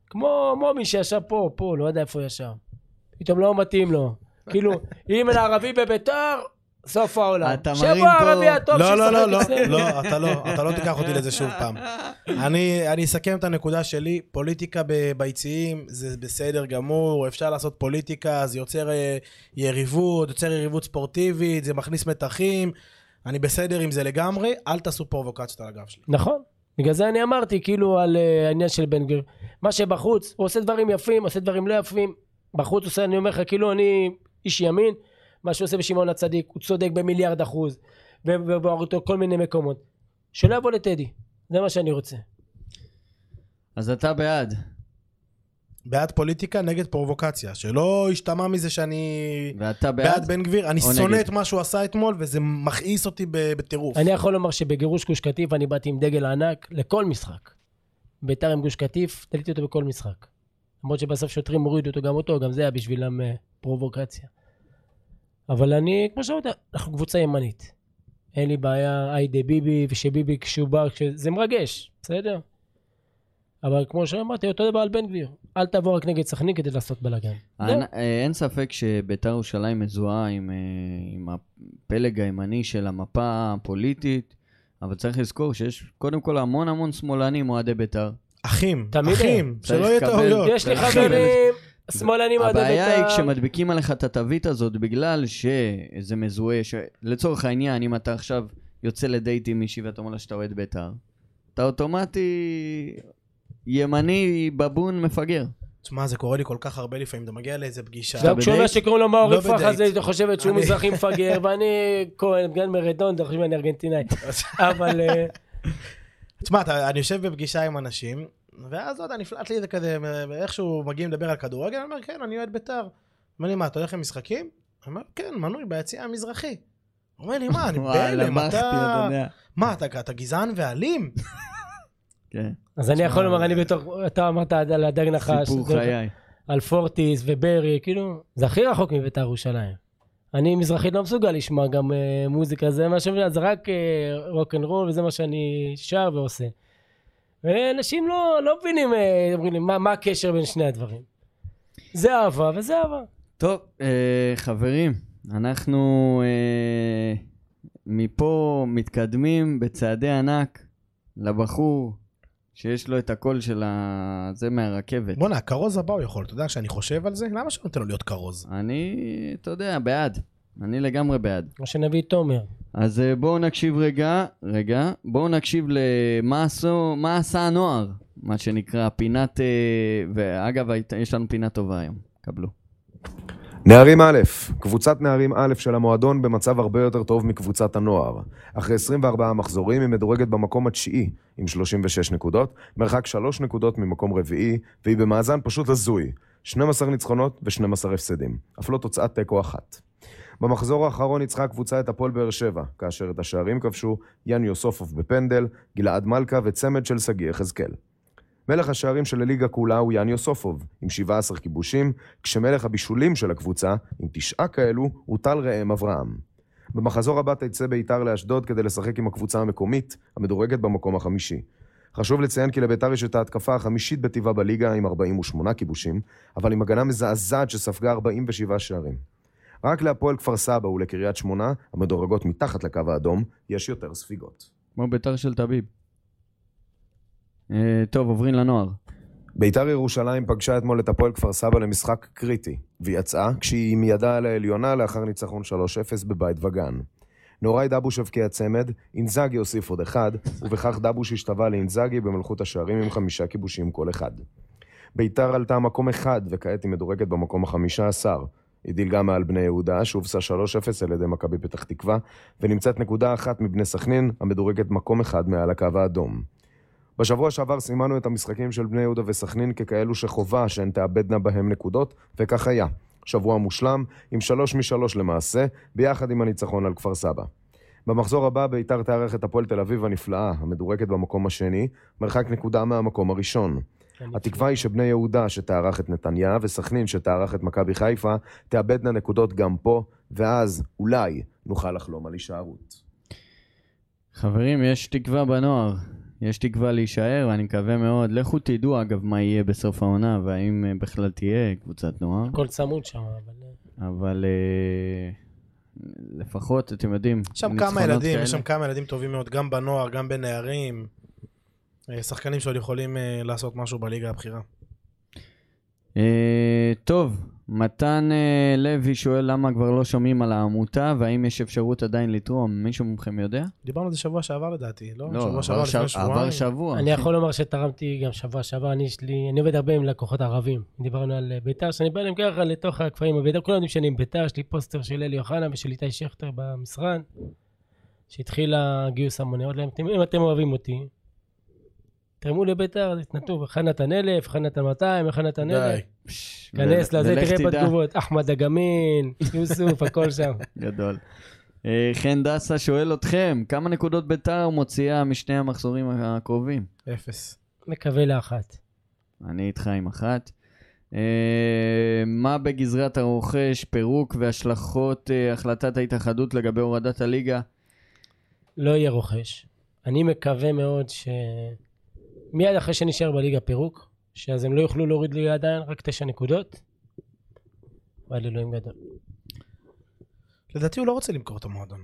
כמו מומי שישב פה, פה, לא יודע איפה הוא ישב. פתאום לא מתאים לו. כאילו, אם אין ערבי בביתר, סוף העולם.
אתה מרים
שבוע הערבי
פה-
הטוב
לא, לא,
שישחק
לא, לא,
אצלנו.
לא, אתה לא, אתה לא תיקח אותי לזה שוב פעם. אני, אני אסכם את הנקודה שלי, פוליטיקה ב, ביציעים זה בסדר גמור, אפשר לעשות פוליטיקה, זה יוצר אה, יריבות, יוצר יריבות ספורטיבית, זה מכניס מתחים, אני בסדר עם זה לגמרי, אל תעשו פרובוקציות על הגב שלי.
נכון. בגלל זה אני אמרתי, כאילו, על אה, העניין של בן גביר. מה שבחוץ, הוא עושה דברים יפים, עושה דברים לא יפים. בחוץ עושה, אני אומר לך, כאילו, אני איש ימין, מה שהוא עושה בשמעון הצדיק, הוא צודק במיליארד אחוז. ובאורתו כל מיני מקומות. שלא יבוא לטדי, זה מה שאני רוצה.
אז אתה בעד.
בעד פוליטיקה נגד פרובוקציה, שלא ישתמע מזה שאני
ואתה
בעד
בעד?
בן גביר, אני
או
שונא
נגד?
את מה שהוא עשה אתמול וזה מכעיס אותי ב- בטירוף.
אני יכול לומר שבגירוש גוש קטיף אני באתי עם דגל ענק לכל משחק. ביתר עם גוש קטיף, תליתי אותו בכל משחק. למרות שבסוף שוטרים הורידו אותו, גם אותו, גם זה היה בשבילם אה, פרובוקציה. אבל אני, כמו שאמרת, אנחנו קבוצה ימנית. אין לי בעיה, היידה ביבי, ושביבי כשהוא בא, כש- זה מרגש, בסדר? אבל כמו שאמרתי, אותו דבר על בן גביר. אל תבוא רק נגד סכנין כדי לעשות בלאגן.
אין- אה, אין ספק שביתר ירושלים מזוהה עם, אה, עם הפלג הימני של המפה הפוליטית, אבל צריך לזכור שיש קודם כל המון המון שמאלנים אוהדי ביתר.
אחים,
תמיד
אחים,
צריך
שלא יהיה
לקבל-
טעויות.
לא. יש לי
אחי,
חברים, שמאלנים עד
לא, הבעיה היא
הבית"ר.
כשמדביקים עליך את התווית הזאת בגלל שזה מזוהה, ש... לצורך העניין, אם אתה עכשיו יוצא לדייט עם מישהי ואתה אומר לה שאתה אוהד בית"ר, אתה אוטומטי ימני בבון מפגר.
תשמע, זה קורה לי כל כך הרבה לפעמים, אתה מגיע לאיזה פגישה.
גם כשהוא אומר
בדייט?
שקוראים לו מאורי
לא
פרחס,
בדייט.
היא חושבת שהוא
אני-
מזרחי מפגר, ואני כהן, גן מרדון, אתה חושב שאני ארגנטינאי. אבל אה,
תשמע, אתה- אני יושב בפגישה עם אנשים, ואז לא יודע, נפלט לי איזה כזה, מ- איכשהו מגיעים לדבר על כדורגל, אני אומר, כן, אני אוהד בית"ר. אומר לי, מה, אתה הולך למשחקים? אני אומר, כן, מנוי ביציע המזרחי. הוא אומר לי, מה, אני בהלם,
בכתי,
אתה...
יודע.
מה, אתה אתה גזען ואלים?
כן,
אז אני יכול לומר, אני בתור, אתה אמרת על על הדג נחש,
סיפור
זה-
חיי.
על פורטיס וברי, כאילו, זה הכי רחוק מבית"ר ירושלים. אני מזרחית לא מסוגל לשמוע גם אה, מוזיקה, זה מה שאני זה רק רול וזה מה שאני שר ועושה. ואנשים לא לא מבינים, אה, אומרים לי, "מה- מה הקשר בין שני הדברים? זה אהבה וזה אהבה.
טוב, אה, חברים, אנחנו אה, מפה מתקדמים בצעדי ענק לבחור שיש לו את הקול של ה... זה מהרכבת.
בואנה, הכרוז הבא הוא יכול, אתה יודע שאני חושב על זה? למה שאני נותן לו להיות כרוז?
אני, אתה יודע, בעד. אני לגמרי בעד.
כמו שנביא את תומר.
אז אה, בואו נקשיב רגע, רגע, בואו נקשיב למה עשו, מה עשה הנוער, מה שנקרא, פינת, אה, ואגב, היית- יש לנו פינה טובה היום, קבלו.
נערים א', קבוצת נערים א' של המועדון במצב הרבה יותר טוב מקבוצת הנוער. אחרי 24 מחזורים היא מדורגת במקום התשיעי עם 36 נקודות, מרחק 3 נקודות ממקום רביעי, והיא במאזן פשוט הזוי, 12 ניצחונות ו-12 הפסדים, אף לא תוצאת תיקו אחת. במחזור האחרון ניצחה הקבוצה את הפועל באר שבע, כאשר את השערים כבשו יאן יוסופוב בפנדל, גלעד מלכה וצמד של שגיא יחזקאל. מלך השערים של הליגה כולה הוא יאן יוסופוב, עם 17 כיבושים, כשמלך הבישולים של הקבוצה, עם תשעה כאלו, הוא טל ראם אברהם. במחזור הבא תצא ביתר לאשדוד כדי לשחק עם הקבוצה המקומית, המדורגת במקום החמישי. חשוב לציין כי לביתר יש את ההתקפה החמישית בטבעה בליגה עם 48 כיבושים, אבל עם הגנה מזעזעת שספגה 47 שערים. רק להפועל כפר סבא ולקריית שמונה, המדורגות מתחת לקו האדום, יש יותר ספיגות.
כמו ביתר של תביב. אה, טוב, עוברים לנוער.
ביתר ירושלים פגשה אתמול את הפועל כפר סבא למשחק קריטי, והיא יצאה כשהיא עם ידה על העליונה לאחר ניצחון 3-0 בבית וגן. נוראי דבוש הבקיע צמד, אינזאגי הוסיף עוד אחד, ובכך דבוש השתווה לאינזאגי במלכות השערים עם חמישה כיבושים כל אחד. ביתר עלתה מקום אחד, וכעת היא מדורגת במקום החמישה עשר. היא דילגה מעל בני יהודה, שהובסה 3-0 על ידי מכבי פתח תקווה, ונמצאת נקודה אחת מבני סכנין, המדורגת מקום אחד מעל הקו האדום. בשבוע שעבר סימנו את המשחקים של בני יהודה וסכנין ככאלו שחובה שהן תאבדנה בהם נקודות, וכך היה. שבוע מושלם, עם שלוש משלוש למעשה, ביחד עם הניצחון על כפר סבא. במחזור הבא ביתר תארח את הפועל תל אביב הנפלאה, המדורגת במקום השני, מרחק נקודה מהמקום הראשון. התקווה היא שבני יהודה שתארח את נתניה וסכנין שתארח את מכבי חיפה, תאבדנה נקודות גם פה, ואז אולי נוכל לחלום על הישארות.
חברים, יש תקווה בנוער. יש תקווה להישאר, ואני מקווה מאוד. לכו תדעו, אגב, מה יהיה בסוף העונה, והאם אה, בכלל תהיה קבוצת נוער.
הכל צמוד שם, אבל... אה,
אבל אה, לפחות, אתם יודעים,
יש שם כמה
ניצחונות
ילדים,
כאלה.
יש שם כמה ילדים טובים מאוד, גם בנוער, גם בנערים. אה, שחקנים שעוד יכולים אה, לעשות משהו בליגה הבכירה.
אה, טוב, מתן אה, לוי שואל למה כבר לא שומעים על העמותה, והאם יש אפשרות עדיין לתרום. מישהו מכם יודע?
דיברנו על זה שבוע שעבר לדעתי, לא? שבוע
עבר
שעבר,
שב-
לפני
עבר
שבועיים.
שבוע.
אני יכול לומר שתרמתי גם שבוע שעבר, אני יש לי, אני עובד הרבה עם לקוחות ערבים. דיברנו על אה, ביתר, שאני בא אליהם ככה לתוך הכפרים הביתר, כולם יודעים שאני עם ביתר, יש לי פוסטר של אלי אוחנה ושל איתי שכטר במשרד, שהתחיל הגיוס המוני. עוד להם, "אתם- אם אתם אוהבים אותי, תרמו לביתר, התנתנו, אחד נתן אלף, אחד נתן 200, אחד נתן
די.
אלף. כנס
ו-
לזה,
ולך
תראה
תדע.
בתגובות, אחמד אגמין, יוסוף, הכל שם.
גדול. אה, חן דסה שואל אתכם, כמה נקודות ביתר מוציאה משני המחזורים הקרובים?
אפס.
מקווה לאחת.
אני איתך עם אחת. אה, מה בגזרת הרוכש, פירוק והשלכות אה, החלטת ההתאחדות לגבי הורדת הליגה?
לא יהיה רוכש. אני מקווה מאוד ש... מיד אחרי שנשאר בליגה פירוק, שאז הם לא יוכלו להוריד ליגה עדיין, רק תשע נקודות. ועל אלוהים גדול.
לדעתי הוא לא רוצה למכור את המועדון.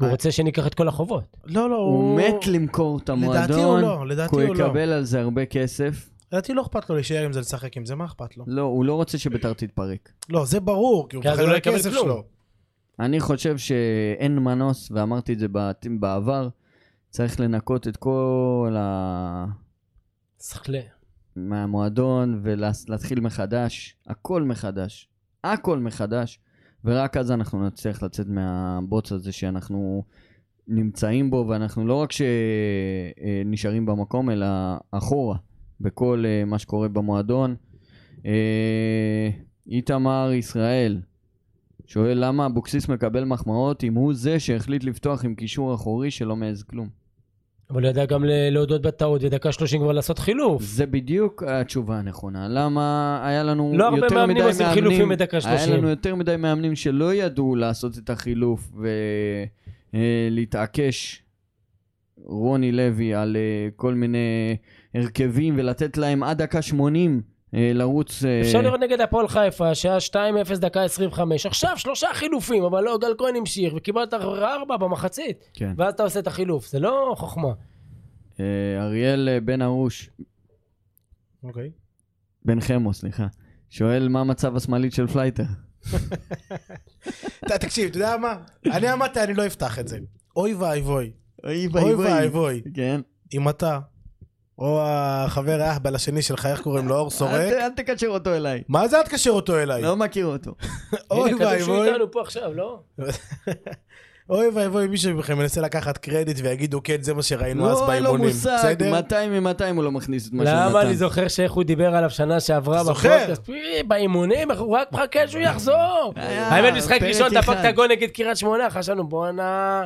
הוא רוצה שניקח את כל החובות.
לא, לא,
הוא מת למכור את המועדון.
לדעתי הוא לא, לדעתי
כי
הוא
הוא
לא.
יקבל על זה הרבה כסף.
לדעתי לא אכפת לו להישאר עם זה, לשחק עם זה, מה אכפת לו?
לא, הוא לא רוצה שביתר תתפרק.
לא, זה ברור, כי הוא
כי אז
מפחד
הוא לא
על
יקבל
הכסף
כלום.
שלו.
אני חושב שאין מנוס, ואמרתי את זה בעט- בעבר, צריך לנקות את כל ה...
סחלה.
מהמועדון ולהתחיל מחדש, הכל מחדש, הכל מחדש, ורק אז אנחנו נצליח לצאת מהבוץ הזה שאנחנו נמצאים בו, ואנחנו לא רק שנשארים במקום, אלא אחורה בכל אה, מה שקורה במועדון. אה, איתמר ישראל שואל למה אבוקסיס מקבל מחמאות אם הוא זה שהחליט לפתוח עם קישור אחורי שלא מעז כלום.
אבל הוא ידע גם ל- להודות בטעות, ודקה שלושים כבר לעשות חילוף.
זה בדיוק התשובה הנכונה. למה היה לנו
לא הרבה
יותר מדי
מאמנים עושים חילופים בדקה
היה
30.
לנו יותר מדי מאמנים שלא ידעו לעשות את החילוף ולהתעקש, רוני לוי, על אה, כל מיני הרכבים ולתת להם עד דקה 80 אה, לרוץ. אה,
אפשר לראות נגד הפועל חיפה, שעה 2-0 דקה 25, עכשיו שלושה חילופים, אבל לא, גל כהן המשיך, וקיבלת ארבע במחצית,
כן.
ואז אתה עושה את החילוף, זה לא חוכמה.
אה, אריאל אה, בן ארוש,
אוקיי.
בן חמו, סליחה, שואל מה המצב השמאלית של פלייטר.
ת- תקשיב, אתה יודע מה? אני אמרתי, אני לא אפתח את זה. אוי ואבוי.
אוי
אוי ואבוי.
כן.
אם אתה, או החבר האחבל השני שלך, איך קוראים לו? אור
אל
סורק?
ת- אל תקשר אותו אליי.
מה זה אל תקשר אותו אליי?
לא מכיר אותו.
אוי
הנה, כתוב שהוא
ואבוי.
איתנו פה עכשיו, לא?
אוי ואבוי, מישהו מכם ינסה לקחת קרדיט ויגידו, כן, זה מה שראינו אז
לא, אין לו
באימונים.
מושג, 200 מ-200 הוא לא מכניס את מה שהוא נתן.
למה אני זוכר שאיך הוא דיבר עליו שנה שעברה
זוכר?
בפודקאסט? "אה, באימונים, אנחנו רק מחכה שהוא יחזור.
היה
האמת, משחק
אה, פרק
ראשון דפק
אחד.
את הגול נגד קריית שמונה, חשבנו בואנה,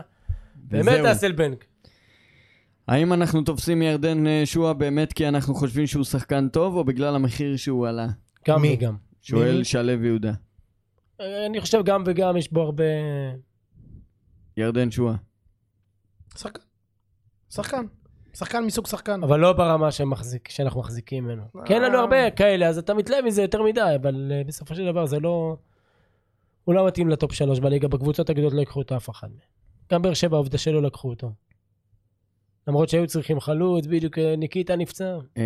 באמת
וזהו.
אסלבנק.
האם אנחנו תופסים מירדן אה, שועה באמת כי אנחנו חושבים שהוא שחקן טוב, או בגלל המחיר שהוא עלה?
גם
מי?
וגם.
שואל שלו יהודה.
אה, אני חושב גם וגם, יש בו הרבה...
ירדן שועה.
שחקן. שחקן. שחקן מסוג שחקן.
אבל לא ברמה שמחזיק, שאנחנו מחזיקים ממנו. כי אין לנו הרבה כאלה, אז אתה מתלהב מזה יותר מדי, אבל אה, בסופו של דבר זה לא... הוא לא מתאים לטופ שלוש בליגה, בקבוצות הגדולות לא ייקחו אותו אף אחד מהם. גם באר שבע, עובדה שלא לקחו אותו. למרות שהיו צריכים חלוץ, בדיוק אה, ניקיטה נפצע.
אה,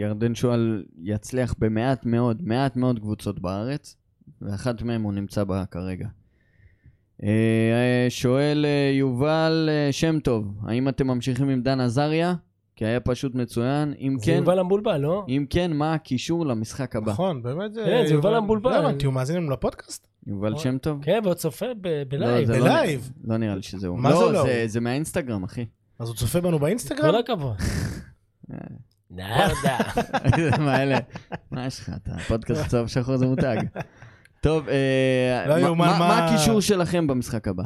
ירדן שועה יצליח במעט מאוד, מעט מאוד קבוצות בארץ, ואחת מהן הוא נמצא בה כרגע. אה, אה, שואל אה, יובל אה, שם טוב, האם אתם ממשיכים עם דן עזריה? כי היה פשוט מצוין. אם
זה
כן,
יובל המבולבל, לא?
אם כן, מה הקישור למשחק הבא?
נכון, באמת זה...
כן, זה יובל המבולבל.
לא הבנתי, הוא מאזין לנו לפודקאסט?
יובל שם טוב?
כן, ועוד צופה ב- בלייב.
זה לא-
בלייב.
לא נראה לי שזה הוא.
מה זה לא
זה,
הוא?
זה מהאינסטגרם, אחי.
אז הוא צופה בנו באינסטגרם?
כל הכבוד.
אה.
נרדה.
מה אלה? מה יש לך? אתה פודקאסט צהוב שחור זה מותג. טוב, אה,
לא
מה-
יאומן,
מה-
מה-
מה הקישור שלכם במשחק הבא?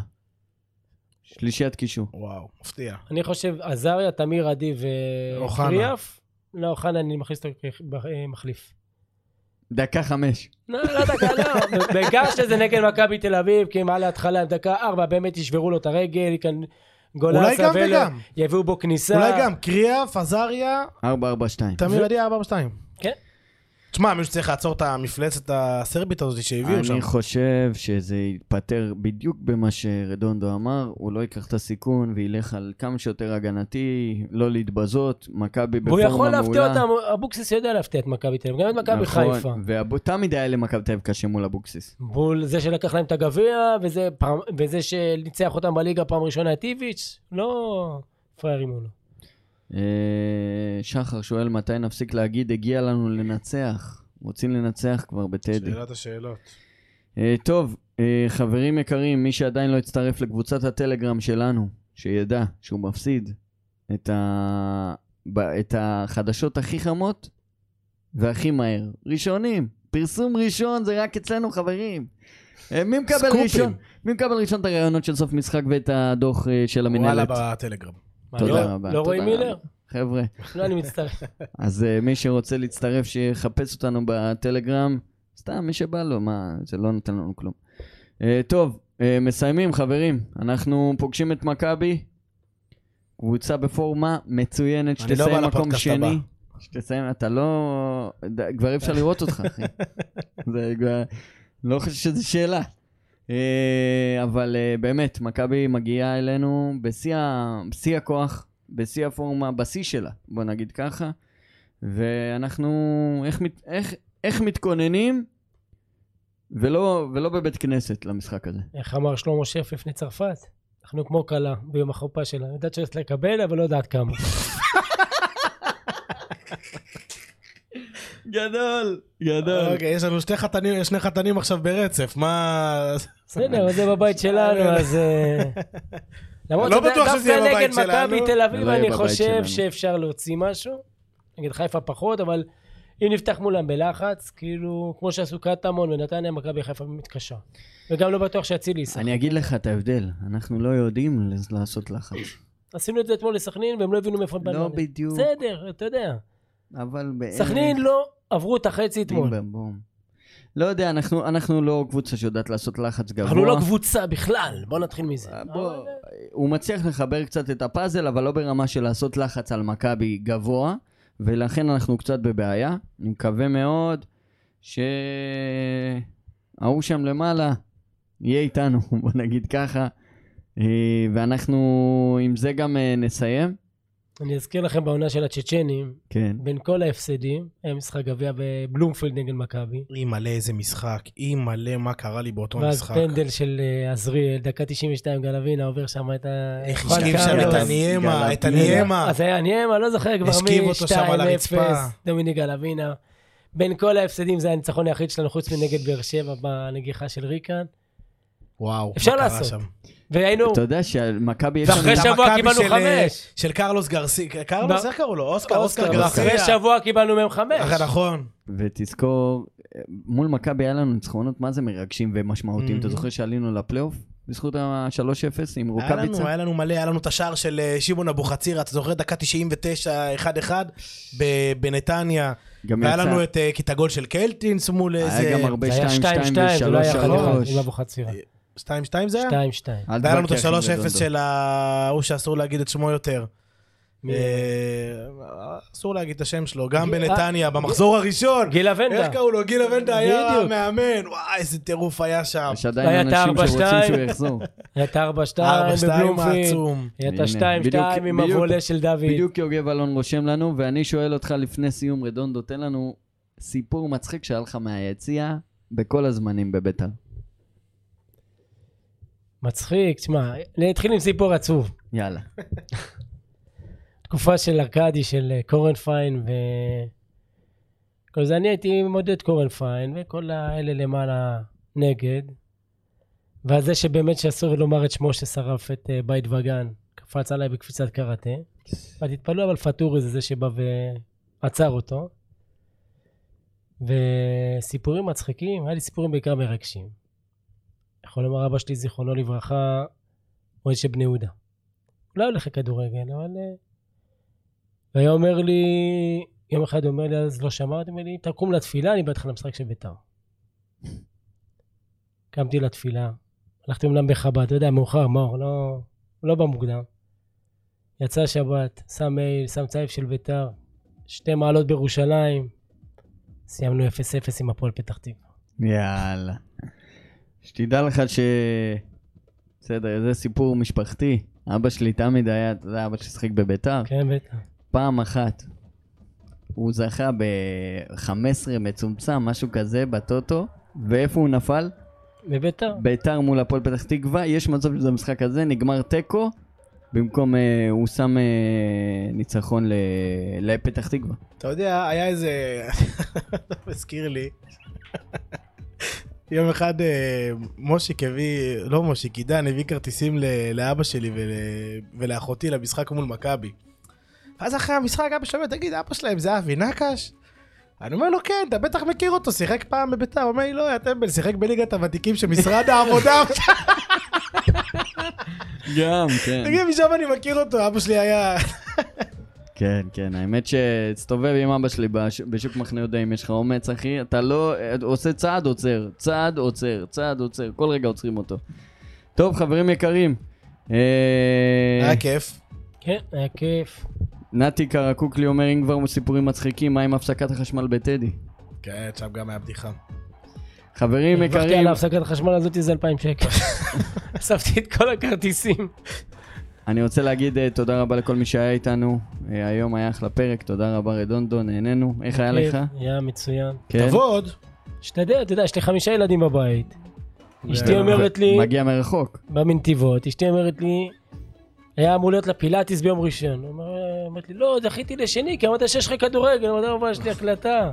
שלישיית קישור.
וואו, מפתיע.
אני חושב, עזריה, תמיר עדי
אוחנה.
וקריאף. לא, אוחנה, אני מכניס אותו אה, כמחליף.
דקה חמש.
לא, לא דקה, לא. בעיקר שזה נגד מכבי תל אביב, כי מעל להתחלה, דקה ארבע, באמת ישברו לו את הרגל, כאן
אולי
גולסה
גם
ולה-
וגם.
יביאו בו כניסה.
אולי גם, קריאף, עזריה,
ארבע, ארבע, שתיים.
תמיר עדי 442.
כן.
תשמע, מישהו צריך לעצור את המפלצת הסרבית הזאת שהביאו שם.
אני חושב שזה יתפטר בדיוק במה שרדונדו אמר, הוא לא ייקח את הסיכון וילך על כמה שיותר הגנתי, לא להתבזות, מכבי
והוא
בפורמה מעולה.
יכול להפתיע אותם, אבוקסיס יודע להפתיע את מכבי תל אביב, גם את מכבי חיפה.
נכון, ותמיד היה למכבי תל אביב קשה מול אבוקסיס.
מול זה שלקח להם את הגביע, וזה, פעם, וזה שניצח אותם בליגה פעם ראשונה את איביץ', לא פראיירים מולו.
אה, שחר שואל מתי נפסיק להגיד הגיע לנו לנצח. רוצים לנצח כבר בטדי.
שאלת השאלות.
אה, טוב, אה, חברים יקרים, מי שעדיין לא הצטרף לקבוצת הטלגרם שלנו, שידע שהוא מפסיד את ה... ב- את החדשות הכי חמות והכי מהר. ראשונים, פרסום ראשון זה רק אצלנו חברים. אה, מי מקבל
סקופים.
ראשון? מי מקבל ראשון את הראיונות של סוף משחק ואת הדוח אה, של
וואלה
המנהלת?
בטלגרם.
מה,
תודה
לא-
רבה.
לא
תודה
רואים
רבה.
מילר?
חבר'ה,
לא, אני מצטרף.
אז אה, מי שרוצה להצטרף שיחפש אותנו בטלגרם, סתם מי שבא לו, מה, זה לא נותן לנו כלום. אה, טוב, אה, מסיימים חברים, אנחנו פוגשים את מכבי, קבוצה בפורמה מצוינת,
אני לא בא
שתסיים מקום
לפודקאסט
שני.
הבא.
שתסיים, אתה לא... ד- כבר אי אפשר לראות אותך, אחי. זה כבר... לא חושב שזו שאלה. אה, אבל אה, באמת, מכבי מגיעה אלינו בשיא ה- בשיא הכוח, בשיא הפורמה, בשיא שלה, בוא נגיד ככה. ואנחנו... איך מת- איך- איך מתכוננים, ולא ולא בבית כנסת למשחק הזה.
איך אמר שלמה שף לפני צרפת? אנחנו כמו כלה ביום החופה שלה. יודעת שהולכת לקבל, אבל לא יודעת כמה.
גדול! גדול.
אוקיי, יש לנו שתי חתנים, שני חתנים עכשיו ברצף, מה...
בסדר, אבל זה בבית שלנו, אז... אה, למרות
לא
שזה
בטוח שזה יהיה
דווקא נגד
בבית שלנו.
מכבי תל אביב,
לא יהיה
אני
בבית
חושב
שלנו.
שאפשר להוציא משהו. נגד חיפה פחות, אבל אם נפתח מולם בלחץ, כאילו, כמו שעשו קטמון ונתניה, מכבי חיפה מתקשה. וגם לא בטוח שאצילי ישחק.
אני אגיד לך את ההבדל, אנחנו לא יודעים לעשות לחץ.
עשינו את זה אתמול לסכנין, והם לא הבינו מאיפה הם
לא
באנו.
בדיוק, אה,
בסדר, אתה יודע.
אבל בערך...
סכנין לא עברו את החצי אתמול.
בים בום. לא יודע, אנחנו, אנחנו לא קבוצה שיודעת לעשות לחץ גבוה.
אנחנו לא קבוצה בכלל, בוא נתחיל מזה.
אה, בוא, הוא מצליח לחבר קצת את הפאזל, אבל לא ברמה של לעשות לחץ על מכבי גבוה, ולכן אנחנו קצת בבעיה. אני מקווה מאוד שההוא שם למעלה יהיה איתנו, בוא נגיד ככה. אה, ואנחנו עם זה גם אה, נסיים.
אני אזכיר לכם בעונה של הצ'צ'נים,
כן.
בין כל ההפסדים, היה משחק גביע בבלומפילד נגד מכבי.
אימא'לה איזה משחק, אימא'לה מה קרה לי באותו
ואז
משחק.
פנדל של אה, עזריאל, דקה 92, גלווינה עובר שם את ה...
איך
חואן
השכיב שם את
קרלוס.
הניימה, את הניימה.
אז היה הניימה, לא זוכר כבר
אה. השכיב
מי,
אותו שם על
2-0,
הרצפה.
דומיני גלווינה. בין כל ההפסדים זה הניצחון היחיד שלנו, חוץ מנגד באר שבע בנגיחה של ריקן.
וואו,
אפשר
מה קרה
לעשות.
שם.
והיינו,
אתה יודע שמכבי יש...
ואחרי
לנו-
את
שבוע
המכבי
קיבלנו
של-
אה,
חמש.
של קרלוס גרסי, קרלוס,
ב-
איך קראו לו? אוסקר,
אוסקר,
אוסקר גרסיה.
אחרי שבוע קיבלנו מהם חמש.
אה, נכון.
ותזכור, מול מכבי היה לנו ניצחונות, מה זה מרגשים ומשמעותיים.
Mhm.
אתה זוכר שעלינו לפלייאוף בזכות ה-3-0 עם
היה לנו,
רוקאביצה?
היה לנו מלא, היה לנו את השער של אה, שמעון אבוחצירא, אתה זוכר? דקה 99, 1-1 ב- בנתניה.
גם
והיה
יצא,
לנו את אה, כי את הגול של קלטינס מול
היה
איזה...
גם הרבה
זה היה 2-2, זה לא היה
2-2
חד-אחד, עם
ו-3-3.
אבוחצירא.
אה, 2-2 זה היה?
2-2.
והיה לנו את ה-3-0 של ההוא שאסור להגיד את שמו יותר.
מי?
אה, אסור להגיד את השם שלו, גם
גיל- אה,
בנתניה, במחזור הראשון.
גילה
איך
ונדה.
קראו לו? גיל אבנדה היה
בדיוק.
מאמן. וואי, איזה טירוף היה שם.
יש עדיין
היה את
אנשים שרוצים
ה-
שהוא יחזור.
היה את 4-2
4-2
בבלומפילד.
העצום.
היה את
הנה,
ה-2-2
בדיוק-
עם
בדיוק-
הוולה של דוד.
בדיוק יוגב אלון רושם לנו, ואני שואל אותך לפני סיום, רדונדו, תן לנו סיפור מצחיק שהיה לך מהיציע בכל הזמנים בביתר.
מצחיק, תשמע, נתחיל עם סיפור עצוב.
יאללה.
תקופה של ארכדי, של אה, קורנפיין ו... כל זה, אני הייתי עם עודד קורנפיין, וכל האלה למעלה נגד. ואז זה שבאמת שאסור לומר את שמו ששרף את אה, בית וגן, קפץ עליי בקפיצת קראטה. ותתפלאו, אבל פאטורי זה זה שבא ועצר אותו. וסיפורים מצחיקים, היה לי סיפורים בעיקר מרגשים. יכול לומר אבא שלי, זיכרונו לברכה, אוהד של בני יהודה. לא הולך לכדורגל, אבל... אה, והיה אומר לי, יום אחד הוא אומר לי, אז לא שמעתי, אומר לי, תקום לתפילה, אני בא איתך למשחק של בית"ר. קמתי לתפילה, הלכתי אומנם בחב"ד, אתה יודע, מאוחר, מאור, לא, לא בא מוקדם. יצא שבת, שם מייל, שם צייף של בית"ר, שתי מעלות בירושלים, סיימנו 0-0 עם הפועל פתח תקווה.
יאללה. שתדע לך ש... בסדר, זה סיפור משפחתי. אבא שלי תמיד היה, אתה יודע, אבא שלי שיחק בביתר.
כן, בטח.
פעם אחת הוא זכה ב-15 מצומצם, משהו כזה, בטוטו. ואיפה הוא נפל?
בבית"ר.
ביתר מול הפועל פתח תקווה. יש מצב שזה המשחק הזה, נגמר תיקו. במקום, אה, הוא שם אה, ניצחון ל... לפתח תקווה.
אתה יודע, היה איזה... אתה מזכיר לי. יום אחד אה, מושיק הביא, לא מושיק, עידן הביא כרטיסים ל- לאבא שלי ול- ולאחותי למשחק מול מכבי. ואז אחרי המשחק אבא שלו אומר, תגיד, אבא שלהם זה אבי נקש? אני אומר לו, כן, אתה בטח מכיר אותו, שיחק פעם בביתר. הוא אומר לי, לא, יא טמבל, שיחק בליגת הוותיקים של משרד העבודה.
גם, כן.
תגיד, משם אני מכיר אותו, אבא שלי היה...
כן, כן, האמת שהסתובב עם אבא שלי בש... בשוק מחנה יהודה, אם יש לך אומץ, אחי, אתה לא... אתה עושה צעד עוצר, צעד עוצר, צעד עוצר, כל רגע עוצרים אותו. טוב, חברים יקרים, אה...
היה כיף.
כן, היה כיף.
נתי קרקוקלי אומר, אם כבר סיפורים מצחיקים, מה עם הפסקת החשמל בטדי?
כן, שם גם היה בדיחה.
חברים
הרווחתי על
יקרים,
הפסקת החשמל הזאת איזה 2,000 שקל. אספתי את כל הכרטיסים.
אני רוצה להגיד אה, תודה רבה לכל מי שהיה איתנו. אה, היום היה אחלה פרק, תודה רבה רדונדו, נהנינו. איך היה לך?
היה מצוין.
כן.
אוקיי. תבוא עוד.
שתדע, אתה יודע, יש לי חמישה ילדים בבית. אשתי אומרת לי,
אה, מגיע מרחוק.
במנתיבות, אשתי אומרת לי, היה אמור להיות לה פילאטיס ביום ראשון. הוא אומר- אומרת לי, לא, דחיתי לשני, כי אמרת שיש לך כדורגל, אמרתי לה, אבל יש לי הקלטה.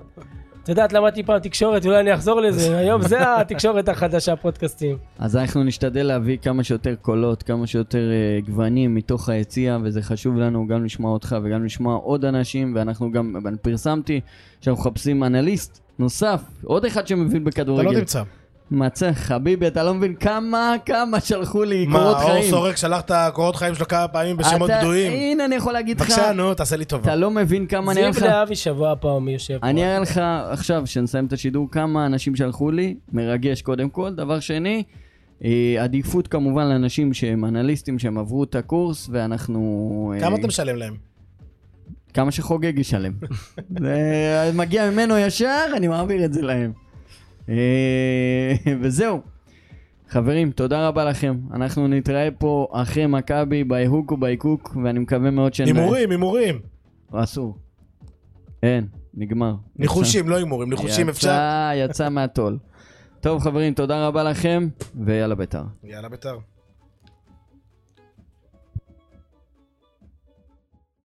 את יודעת, למדתי פעם תקשורת, אולי אני אחזור לזה, היום זה התקשורת החדשה, הפודקאסטים.
אז אנחנו נשתדל להביא כמה שיותר קולות, כמה שיותר אה, גוונים מתוך היציע, וזה חשוב לנו גם לשמוע אותך וגם לשמוע עוד אנשים, ואנחנו גם, אני פרסמתי שאנחנו מחפשים אנליסט נוסף, עוד אחד שמבין
אתה לא
בכדורגל.
תמצא.
מצא, חביבי, אתה לא מבין כמה, כמה שלחו לי
מה,
קורות
אור
חיים.
סורק שלח את הקורות חיים שלו כמה פעמים בשמות
אתה-
בדויים?
הנה, אני יכול להגיד לך,
בבקשה, נו, תעשה לי טובה.
אתה לא מבין כמה אני אראה
זיו
לך.
להבי שבוע פעם יושב פה.
אני אראה לך עכשיו, כשנסיים את השידור, כמה אנשים שלחו לי, מרגש קודם כל. דבר שני, אה, עדיפות כמובן לאנשים שהם אנליסטים, שהם עברו את הקורס, ואנחנו... אה,
כמה אתה משלם להם?
כמה שחוגג ישלם. זה מגיע ממנו ישר, אני מעביר את זה להם. אה, וזהו. חברים, תודה רבה לכם. אנחנו נתראה פה אחרי מכבי, בהיהוק ובהיקוק, ואני מקווה מאוד ש...
הימורים, הימורים.
אסור. אין, נגמר.
ניחושים, לא הימורים, ניחושים אפשר.
יצא, יצא מהתול. טוב חברים, תודה רבה לכם, ויאללה בית"ר.
יאללה ביתר.